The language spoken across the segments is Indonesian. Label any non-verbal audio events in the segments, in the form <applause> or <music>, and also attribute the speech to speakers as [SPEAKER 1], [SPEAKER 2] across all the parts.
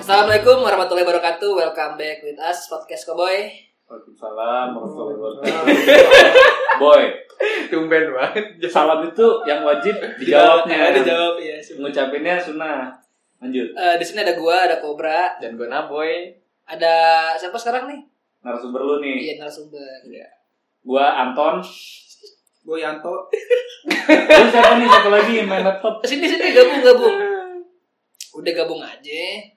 [SPEAKER 1] Assalamualaikum warahmatullahi wabarakatuh. Welcome back with us podcast Cowboy.
[SPEAKER 2] Waalaikumsalam warahmatullahi wabarakatuh.
[SPEAKER 3] Boy,
[SPEAKER 4] Tumben banget.
[SPEAKER 3] salam itu yang wajib
[SPEAKER 2] eh,
[SPEAKER 3] dijawabnya.
[SPEAKER 4] Ada jawab
[SPEAKER 2] iya,
[SPEAKER 4] ya.
[SPEAKER 3] Ngucapinnya sunnah. Lanjut.
[SPEAKER 1] Eh, di sini ada gua, ada Cobra,
[SPEAKER 4] Dan eh. gue naboy.
[SPEAKER 1] ada siapa sekarang nih?
[SPEAKER 3] Narasumber lu nih.
[SPEAKER 1] Iya narasumber.
[SPEAKER 3] Gua Anton.
[SPEAKER 2] Gue Yanto.
[SPEAKER 3] Lu siapa nih satu lagi yang main laptop?
[SPEAKER 1] Sini sini gabung gabung. Udah gabung aja.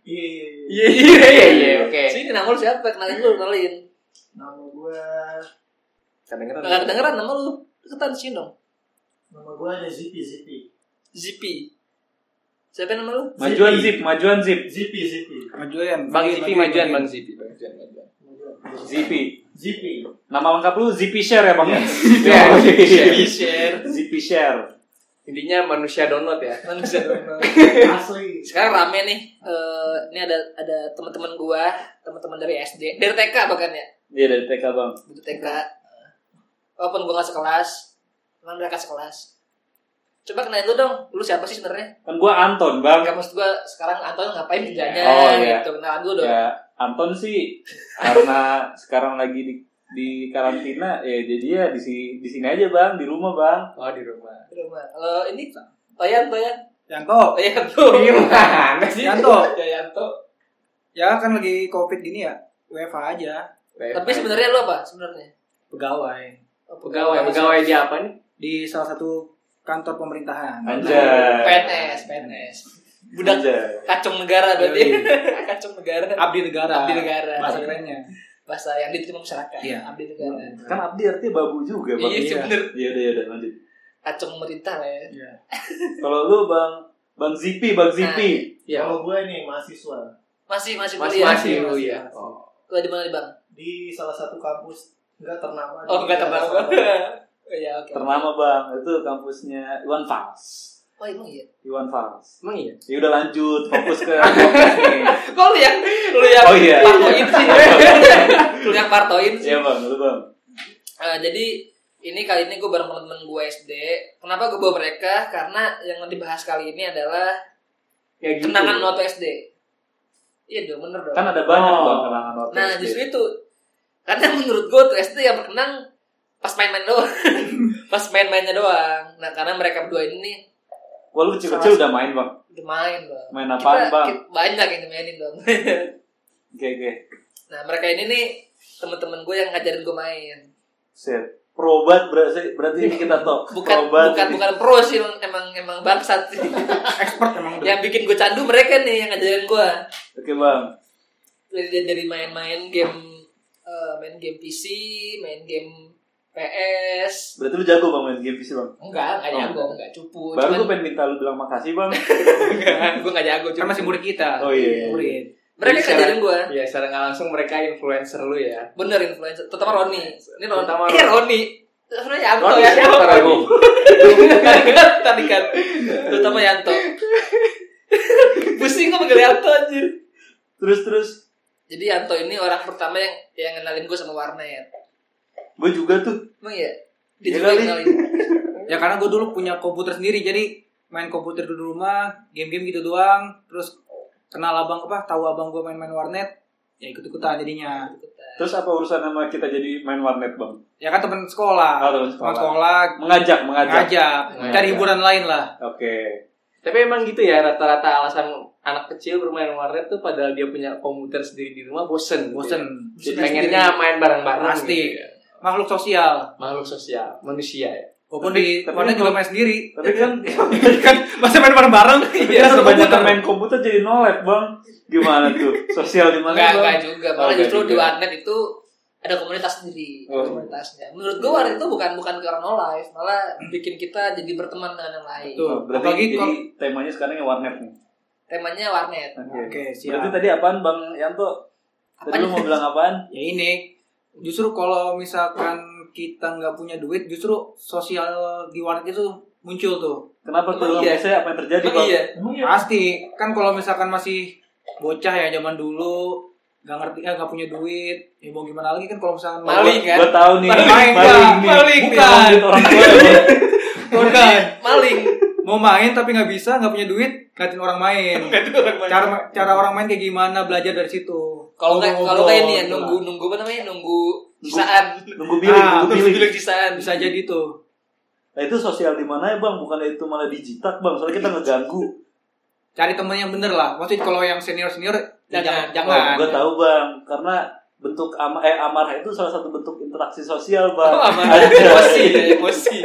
[SPEAKER 2] Iya iya iya.
[SPEAKER 4] Iya iya iya iya, oke.
[SPEAKER 1] Sini nama lu siapa? Kenalin dulu, kenalin.
[SPEAKER 2] Nama gue
[SPEAKER 4] Kedengeran.
[SPEAKER 1] Enggak kedengeran nama lu. Deketan sini dong.
[SPEAKER 2] nama gue ada Zipi Zipi.
[SPEAKER 1] Zipi. Siapa nama lu?
[SPEAKER 3] Majuan zip, majuan zip.
[SPEAKER 2] Zipi Zipi.
[SPEAKER 5] ya,
[SPEAKER 4] Majuan. Bang Zipi majuan, Bang Zipi. Majuan, majuan.
[SPEAKER 3] Zipi.
[SPEAKER 2] Zipi.
[SPEAKER 3] Nama lengkap lu Zipi Share ya bang?
[SPEAKER 4] Iya, Zipi Share.
[SPEAKER 1] share.
[SPEAKER 3] Zipi Share.
[SPEAKER 4] Intinya manusia download ya.
[SPEAKER 1] Manusia doang.
[SPEAKER 2] Asli.
[SPEAKER 1] Sekarang rame nih. Eh, ini ada ada teman-teman gua, teman-teman dari SD, dari TK bahkan ya.
[SPEAKER 3] Dia dari TK bang.
[SPEAKER 1] Butuh TK. Walaupun gue gak sekelas, cuman mereka sekelas. Coba kenalin lu dong, lu siapa sih sebenarnya?
[SPEAKER 3] Kan gua Anton bang.
[SPEAKER 1] Enggak maksud gue sekarang Anton ngapain kerjanya
[SPEAKER 3] Oh, iya.
[SPEAKER 1] gitu. Kenalan dulu dong.
[SPEAKER 3] Ya Anton sih karena <laughs> sekarang lagi di di karantina ya jadi ya di sini di sini aja bang di rumah bang
[SPEAKER 4] Oh, di rumah.
[SPEAKER 1] Di rumah. Kalau ini Toyan, Toyan.
[SPEAKER 5] Yanto,
[SPEAKER 1] <laughs> Toyan tuh.
[SPEAKER 4] Di mana sih?
[SPEAKER 5] Yanto,
[SPEAKER 1] Jayanto.
[SPEAKER 5] ya kan lagi covid gini ya, WFA aja,
[SPEAKER 1] Tapi sebenarnya lu apa sebenarnya?
[SPEAKER 5] pegawai
[SPEAKER 1] Oh,
[SPEAKER 4] pegawai pegawai di apa nih?
[SPEAKER 5] di salah satu kantor pemerintahan.
[SPEAKER 3] anjay
[SPEAKER 1] PNS, PNS. Budak
[SPEAKER 3] Anjay.
[SPEAKER 1] kacung negara berarti. <laughs> kacung negara.
[SPEAKER 5] Abdi negara.
[SPEAKER 1] Abdi negara. Iya.
[SPEAKER 5] Bahasa kerennya.
[SPEAKER 1] Bahasa yang diterima masyarakat.
[SPEAKER 5] Iya.
[SPEAKER 1] Abdi negara.
[SPEAKER 3] Kan Abdi artinya babu juga, Bang.
[SPEAKER 1] Iya, sih bener.
[SPEAKER 3] Iya, udah, ya udah lanjut.
[SPEAKER 1] Kacung pemerintah lah ya.
[SPEAKER 5] Iya.
[SPEAKER 3] Kalau lu Bang Bang Zipi, Bang Zipi.
[SPEAKER 4] Ya.
[SPEAKER 2] Kalau gue nih mahasiswa
[SPEAKER 1] Masih masih
[SPEAKER 4] Masih
[SPEAKER 1] kuliah.
[SPEAKER 4] masih lu ya.
[SPEAKER 1] Kuliah di mana nih, Bang?
[SPEAKER 2] di salah satu kampus nggak ternama.
[SPEAKER 1] Oh,
[SPEAKER 2] di
[SPEAKER 1] enggak teman <laughs>
[SPEAKER 2] Jakarta.
[SPEAKER 1] Iya, oke.
[SPEAKER 3] Ternama Bang, itu kampusnya Iwan Fals.
[SPEAKER 1] Oh, emang iya.
[SPEAKER 3] Iwan Fals.
[SPEAKER 4] Emang iya.
[SPEAKER 3] Ya udah lanjut, fokus ke podcast nih.
[SPEAKER 1] Kok lu yang lu yang
[SPEAKER 3] Oh, iya.
[SPEAKER 1] partoin
[SPEAKER 3] <laughs>
[SPEAKER 1] sih? lu yang partoin sih.
[SPEAKER 3] Iya Bang, lu Bang.
[SPEAKER 1] Eh, jadi ini kali ini gue bareng temen-temen gue SD. Kenapa gue bawa mereka? Karena yang dibahas kali ini adalah
[SPEAKER 4] Ya gitu.
[SPEAKER 1] kenangan waktu SD. Iya dong, bener dong.
[SPEAKER 3] Kan ada banyak
[SPEAKER 4] Oh.
[SPEAKER 3] Bang kalangan
[SPEAKER 4] <laughs>
[SPEAKER 3] waktu
[SPEAKER 1] nah,
[SPEAKER 3] SD.
[SPEAKER 1] justru itu. Karena menurut gue tuh SD yang berkenang pas main-main
[SPEAKER 3] <laughs>
[SPEAKER 1] doang. pas main-mainnya doang. Nah, karena mereka berdua ini
[SPEAKER 3] Wah, lu kecil-kecil udah main Bang.
[SPEAKER 1] udah main bang.
[SPEAKER 3] Main apaan, Bang?
[SPEAKER 1] ki- banyak yang dimainin dong.
[SPEAKER 3] Oke, oke.
[SPEAKER 1] <laughs> nah mereka ini nih teman-teman gue yang ngajarin gue main.
[SPEAKER 3] Set. Probat berarti berarti ini kita top.
[SPEAKER 1] <laughs> Bukan
[SPEAKER 3] Probat
[SPEAKER 1] bukan
[SPEAKER 3] ini.
[SPEAKER 1] bukan pro sih emang emang bangsat.
[SPEAKER 3] <laughs>
[SPEAKER 5] Expert emang udah.
[SPEAKER 1] yang bikin gue candu mereka nih yang ngajarin gue
[SPEAKER 3] Oke, Bang.
[SPEAKER 1] dari dari main-main game eh, main game PC, main game PS.
[SPEAKER 3] Berarti lu jago Bang main game PC, Bang.
[SPEAKER 1] Enggak, enggak
[SPEAKER 3] Oh.
[SPEAKER 1] jago, enggak cupu.
[SPEAKER 3] Baru gue
[SPEAKER 1] Cuman
[SPEAKER 3] pengen minta lu bilang makasih, Bang.
[SPEAKER 1] gue enggak jago.
[SPEAKER 5] Kan
[SPEAKER 1] Cuman
[SPEAKER 5] masih
[SPEAKER 4] <laughs>
[SPEAKER 5] murid kita.
[SPEAKER 3] Oh iya.
[SPEAKER 5] Murid.
[SPEAKER 1] mereka
[SPEAKER 4] Bisa.
[SPEAKER 1] ngajarin gue.
[SPEAKER 4] Iya, secara nggak langsung mereka influencer lu ya.
[SPEAKER 1] Bener influencer, terutama Roni. Ini Roni.
[SPEAKER 4] Terutama
[SPEAKER 1] Eh,
[SPEAKER 4] Roni.
[SPEAKER 1] Roni. Sebenarnya Yanto
[SPEAKER 3] Roni
[SPEAKER 1] ya.
[SPEAKER 3] siapa, Roni?
[SPEAKER 1] Tarikan, tarikan. kan. Terutama Yanto. <laughs> Pusing kok manggil Yanto anjir.
[SPEAKER 3] Terus terus
[SPEAKER 1] Jadi Yanto ini orang pertama yang yang kenalin gue sama warnet.
[SPEAKER 3] gue juga tuh
[SPEAKER 1] Emang ya? Dia
[SPEAKER 3] Ya
[SPEAKER 1] juga yang
[SPEAKER 3] kali.
[SPEAKER 1] kenalin.
[SPEAKER 5] Ya karena gue dulu punya komputer sendiri, jadi main komputer di rumah, game-game gitu doang, terus kenal abang apa, tahu abang gue main-main warnet, ya ikut-ikutan jadinya.
[SPEAKER 3] Terus apa urusan sama kita jadi main warnet bang?
[SPEAKER 5] Ya kan teman sekolah,
[SPEAKER 3] Oh, teman sekolah. Mengajak, mengajak.
[SPEAKER 5] ngajak, cari hiburan lain lah.
[SPEAKER 3] Oke.
[SPEAKER 4] Tapi emang gitu ya rata-rata alasan anak kecil bermain warnet tuh padahal dia punya komputer sendiri di rumah bosen.
[SPEAKER 5] Bosen.
[SPEAKER 3] Iya.
[SPEAKER 4] Jadi pengennya main bareng-bareng.
[SPEAKER 5] Pasti.
[SPEAKER 4] gitu ya.
[SPEAKER 5] Makhluk sosial.
[SPEAKER 4] Makhluk sosial, manusia ya.
[SPEAKER 5] Walaupun
[SPEAKER 3] Tapi-
[SPEAKER 5] di
[SPEAKER 3] tapi
[SPEAKER 5] warnet
[SPEAKER 3] kan-
[SPEAKER 5] juga main sendiri. <laughs>
[SPEAKER 3] Tapi kan
[SPEAKER 5] kan masa main bareng-bareng? Iya,
[SPEAKER 3] ya kebanyakan main komputer jadi nolet bang. Gimana tuh? Sosial di mana
[SPEAKER 1] Enggak, enggak
[SPEAKER 3] bang?
[SPEAKER 1] juga.
[SPEAKER 3] Oh,
[SPEAKER 1] Malah
[SPEAKER 3] enggak
[SPEAKER 1] justru di
[SPEAKER 3] juga.
[SPEAKER 1] warnet itu ada komunitas sendiri, ada
[SPEAKER 3] Oh.
[SPEAKER 1] komunitasnya. Menurut gue warnet itu bukan bukan karena no life, malah bikin kita jadi berteman dengan yang lain.
[SPEAKER 5] Betul.
[SPEAKER 3] Oh, berarti
[SPEAKER 5] Apalagi
[SPEAKER 3] jadi
[SPEAKER 5] kalau-
[SPEAKER 3] temanya sekarang yang warnet nih.
[SPEAKER 1] Temanya warnet.
[SPEAKER 3] Oke.
[SPEAKER 5] Oke, siap.
[SPEAKER 3] Berarti tadi apaan bang Yanto? Tadi lu mau bilang apaan?
[SPEAKER 5] Ya ini justru kalau misalkan kita nggak punya duit, justru sosial di warnet itu muncul tuh.
[SPEAKER 3] Kenapa tuh?
[SPEAKER 1] Emang iya?
[SPEAKER 3] Biasanya apa yang terjadi
[SPEAKER 1] Emang
[SPEAKER 3] bang?
[SPEAKER 1] iya.
[SPEAKER 2] Emang
[SPEAKER 5] <laughs>
[SPEAKER 2] ya?
[SPEAKER 5] Pasti kan kalau misalkan masih bocah ya zaman dulu nggak ngerti ya nggak punya duit ya mau gimana lagi kan kalau misalkan
[SPEAKER 1] Maling, kan?
[SPEAKER 3] Gue tau nih.
[SPEAKER 5] Maling, Kak.
[SPEAKER 3] nih.
[SPEAKER 5] Maling,
[SPEAKER 3] Bukan.
[SPEAKER 5] bukan.
[SPEAKER 3] Orang tua ya, Bang.
[SPEAKER 5] bukan
[SPEAKER 1] Maling.
[SPEAKER 5] mau main tapi nggak bisa nggak punya duit ngatin orang main cara cara orang main kayak gimana belajar dari situ
[SPEAKER 1] Kalau nggak kalau
[SPEAKER 5] Ngobrol-ngobrol,
[SPEAKER 1] kayak ini ya
[SPEAKER 5] gitu
[SPEAKER 1] nunggu
[SPEAKER 5] lah.
[SPEAKER 1] nunggu apa namanya nunggu sisaan.
[SPEAKER 3] Nunggu billing,
[SPEAKER 5] Ah,
[SPEAKER 3] nunggu
[SPEAKER 1] Nunggu
[SPEAKER 3] billing.
[SPEAKER 1] bilang sisaan.
[SPEAKER 5] bisa jadi tuh
[SPEAKER 3] Nah, itu sosial di mana ya bang? Bukan itu malah dijitak bang. Soalnya kita ngeganggu.
[SPEAKER 5] cari temen yang bener lah maksudnya kalau yang senior senior
[SPEAKER 1] Jangan.
[SPEAKER 5] jangan jangan
[SPEAKER 3] gue tahu bang, karena bentuk ama eh amarah itu salah satu bentuk interaksi sosial bang.
[SPEAKER 1] Oh, aman.
[SPEAKER 4] <laughs>
[SPEAKER 1] emosi, ya, emosi,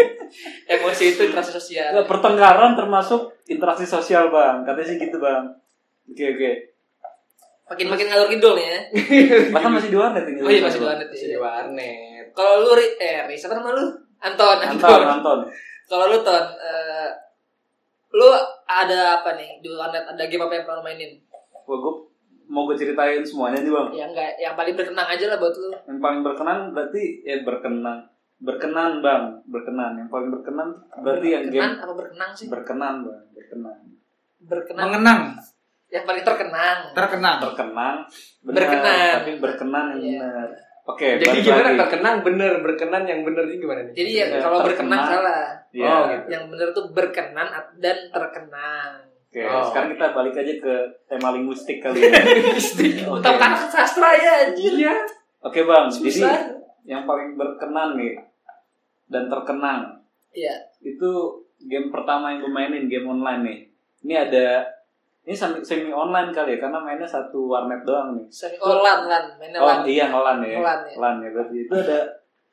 [SPEAKER 1] emosi itu interaksi sosial.
[SPEAKER 3] Nah, pertengkaran termasuk interaksi sosial bang. Katanya sih gitu bang. Oke oke.
[SPEAKER 1] Makin makin ngalur kidul nih ya.
[SPEAKER 3] Masa masih di warnet ini?
[SPEAKER 1] Oh iya masih di warnet
[SPEAKER 4] Masih di
[SPEAKER 1] ya.
[SPEAKER 4] warnet.
[SPEAKER 1] Kalau lu ri, eh Ri, siapa nama lu? Anton,
[SPEAKER 3] Anton,
[SPEAKER 1] Anton.
[SPEAKER 3] Anton.
[SPEAKER 1] Kalau lu Ton, eh, lu ada apa nih di warnet? Ada game apa yang pernah lu mainin?
[SPEAKER 3] Wah, gue mau gue ceritain semuanya nih bang.
[SPEAKER 1] Yang enggak, yang paling berkenang aja lah buat lu.
[SPEAKER 3] Yang paling berkenan berarti eh berkenan, berkenan bang, berkenan. Yang paling berkenan berarti yang game
[SPEAKER 1] Berkenan apa berkenang sih?
[SPEAKER 3] berkenan bang, berkenan.
[SPEAKER 1] Berkenang.
[SPEAKER 5] mengenang
[SPEAKER 1] Yang paling terkenang.
[SPEAKER 5] terkenang
[SPEAKER 3] Berkenan, benar,
[SPEAKER 1] Berkenan.
[SPEAKER 3] tapi berkenan yang
[SPEAKER 1] Iya.
[SPEAKER 3] benar. Oke,
[SPEAKER 4] Jadi
[SPEAKER 3] balik
[SPEAKER 4] gimana
[SPEAKER 3] lagi.
[SPEAKER 4] terkenang bener berkenan yang bener ini gimana nih?
[SPEAKER 1] Jadi ya
[SPEAKER 3] Iya,
[SPEAKER 1] kalau
[SPEAKER 3] terkenang.
[SPEAKER 1] berkenang salah.
[SPEAKER 3] Iya.
[SPEAKER 4] Oh, gitu.
[SPEAKER 1] Yang bener tuh berkenan at- dan terkenang.
[SPEAKER 3] Oke,
[SPEAKER 4] Oh.
[SPEAKER 3] sekarang kita balik aja ke tema linguistik
[SPEAKER 4] <laughs>
[SPEAKER 3] kali ya. Oke.
[SPEAKER 1] Utama karena sastra ya anjir.
[SPEAKER 4] Iya.
[SPEAKER 3] Oke bang, jadi
[SPEAKER 1] Susah.
[SPEAKER 3] yang paling berkenan nih dan terkenang
[SPEAKER 1] Iya.
[SPEAKER 3] itu game pertama yang gue mainin game online nih. Ini ada ini semi, semi online kali ya karena mainnya satu warnet doang nih.
[SPEAKER 1] Sering oh, lan lan, mainnya lan.
[SPEAKER 3] Oh iya ngelan ya.
[SPEAKER 1] Lan ya.
[SPEAKER 3] Lan ya berarti itu ada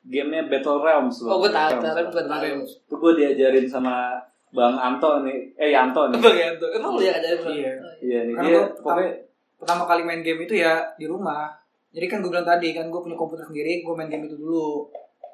[SPEAKER 3] gamenya Battle Realms.
[SPEAKER 1] Oh gue tahu,
[SPEAKER 3] Battle
[SPEAKER 1] tahu
[SPEAKER 3] Realms.
[SPEAKER 1] gue tahu.
[SPEAKER 3] Itu gue diajarin sama Bang Anto nih, eh Yanto nih.
[SPEAKER 1] Bang Yanto, emang lu ya ada
[SPEAKER 5] Iya.
[SPEAKER 3] Iya nih
[SPEAKER 5] Karena
[SPEAKER 3] dia
[SPEAKER 5] gua-
[SPEAKER 3] pokoknya
[SPEAKER 5] pertama kali main game itu ya di rumah jadi kan gue bilang tadi kan gue punya komputer sendiri gue main game itu dulu
[SPEAKER 1] iya.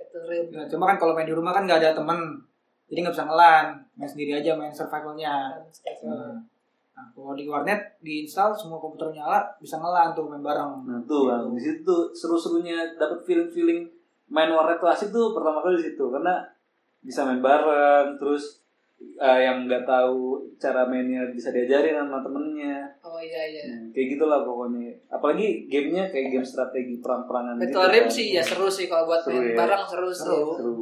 [SPEAKER 5] Nah, cuma kan kalau main di rumah kan nggak ada temen jadi nggak bisa ngelan main sendiri aja main survivalnya nah, kalau di warnet diinstal semua komputer nyala bisa ngelan tuh main bareng
[SPEAKER 3] Nah tuh bang, di situ tuh seru-serunya dapat feeling-feeling main warnet tuh asik tuh pertama kali di situ karena bisa main bareng terus eh, yang nggak tahu cara mainnya bisa diajarin sama temennya
[SPEAKER 1] Oh iya iya.
[SPEAKER 3] Nah, kayak gitulah pokoknya apalagi gamenya kayak game strategi perang-perangan gitu
[SPEAKER 1] Battle Rim
[SPEAKER 3] kan.
[SPEAKER 1] sih ya seru sih kalau buat
[SPEAKER 3] Seru
[SPEAKER 1] main
[SPEAKER 3] ya.
[SPEAKER 1] bareng seru sih.
[SPEAKER 3] seru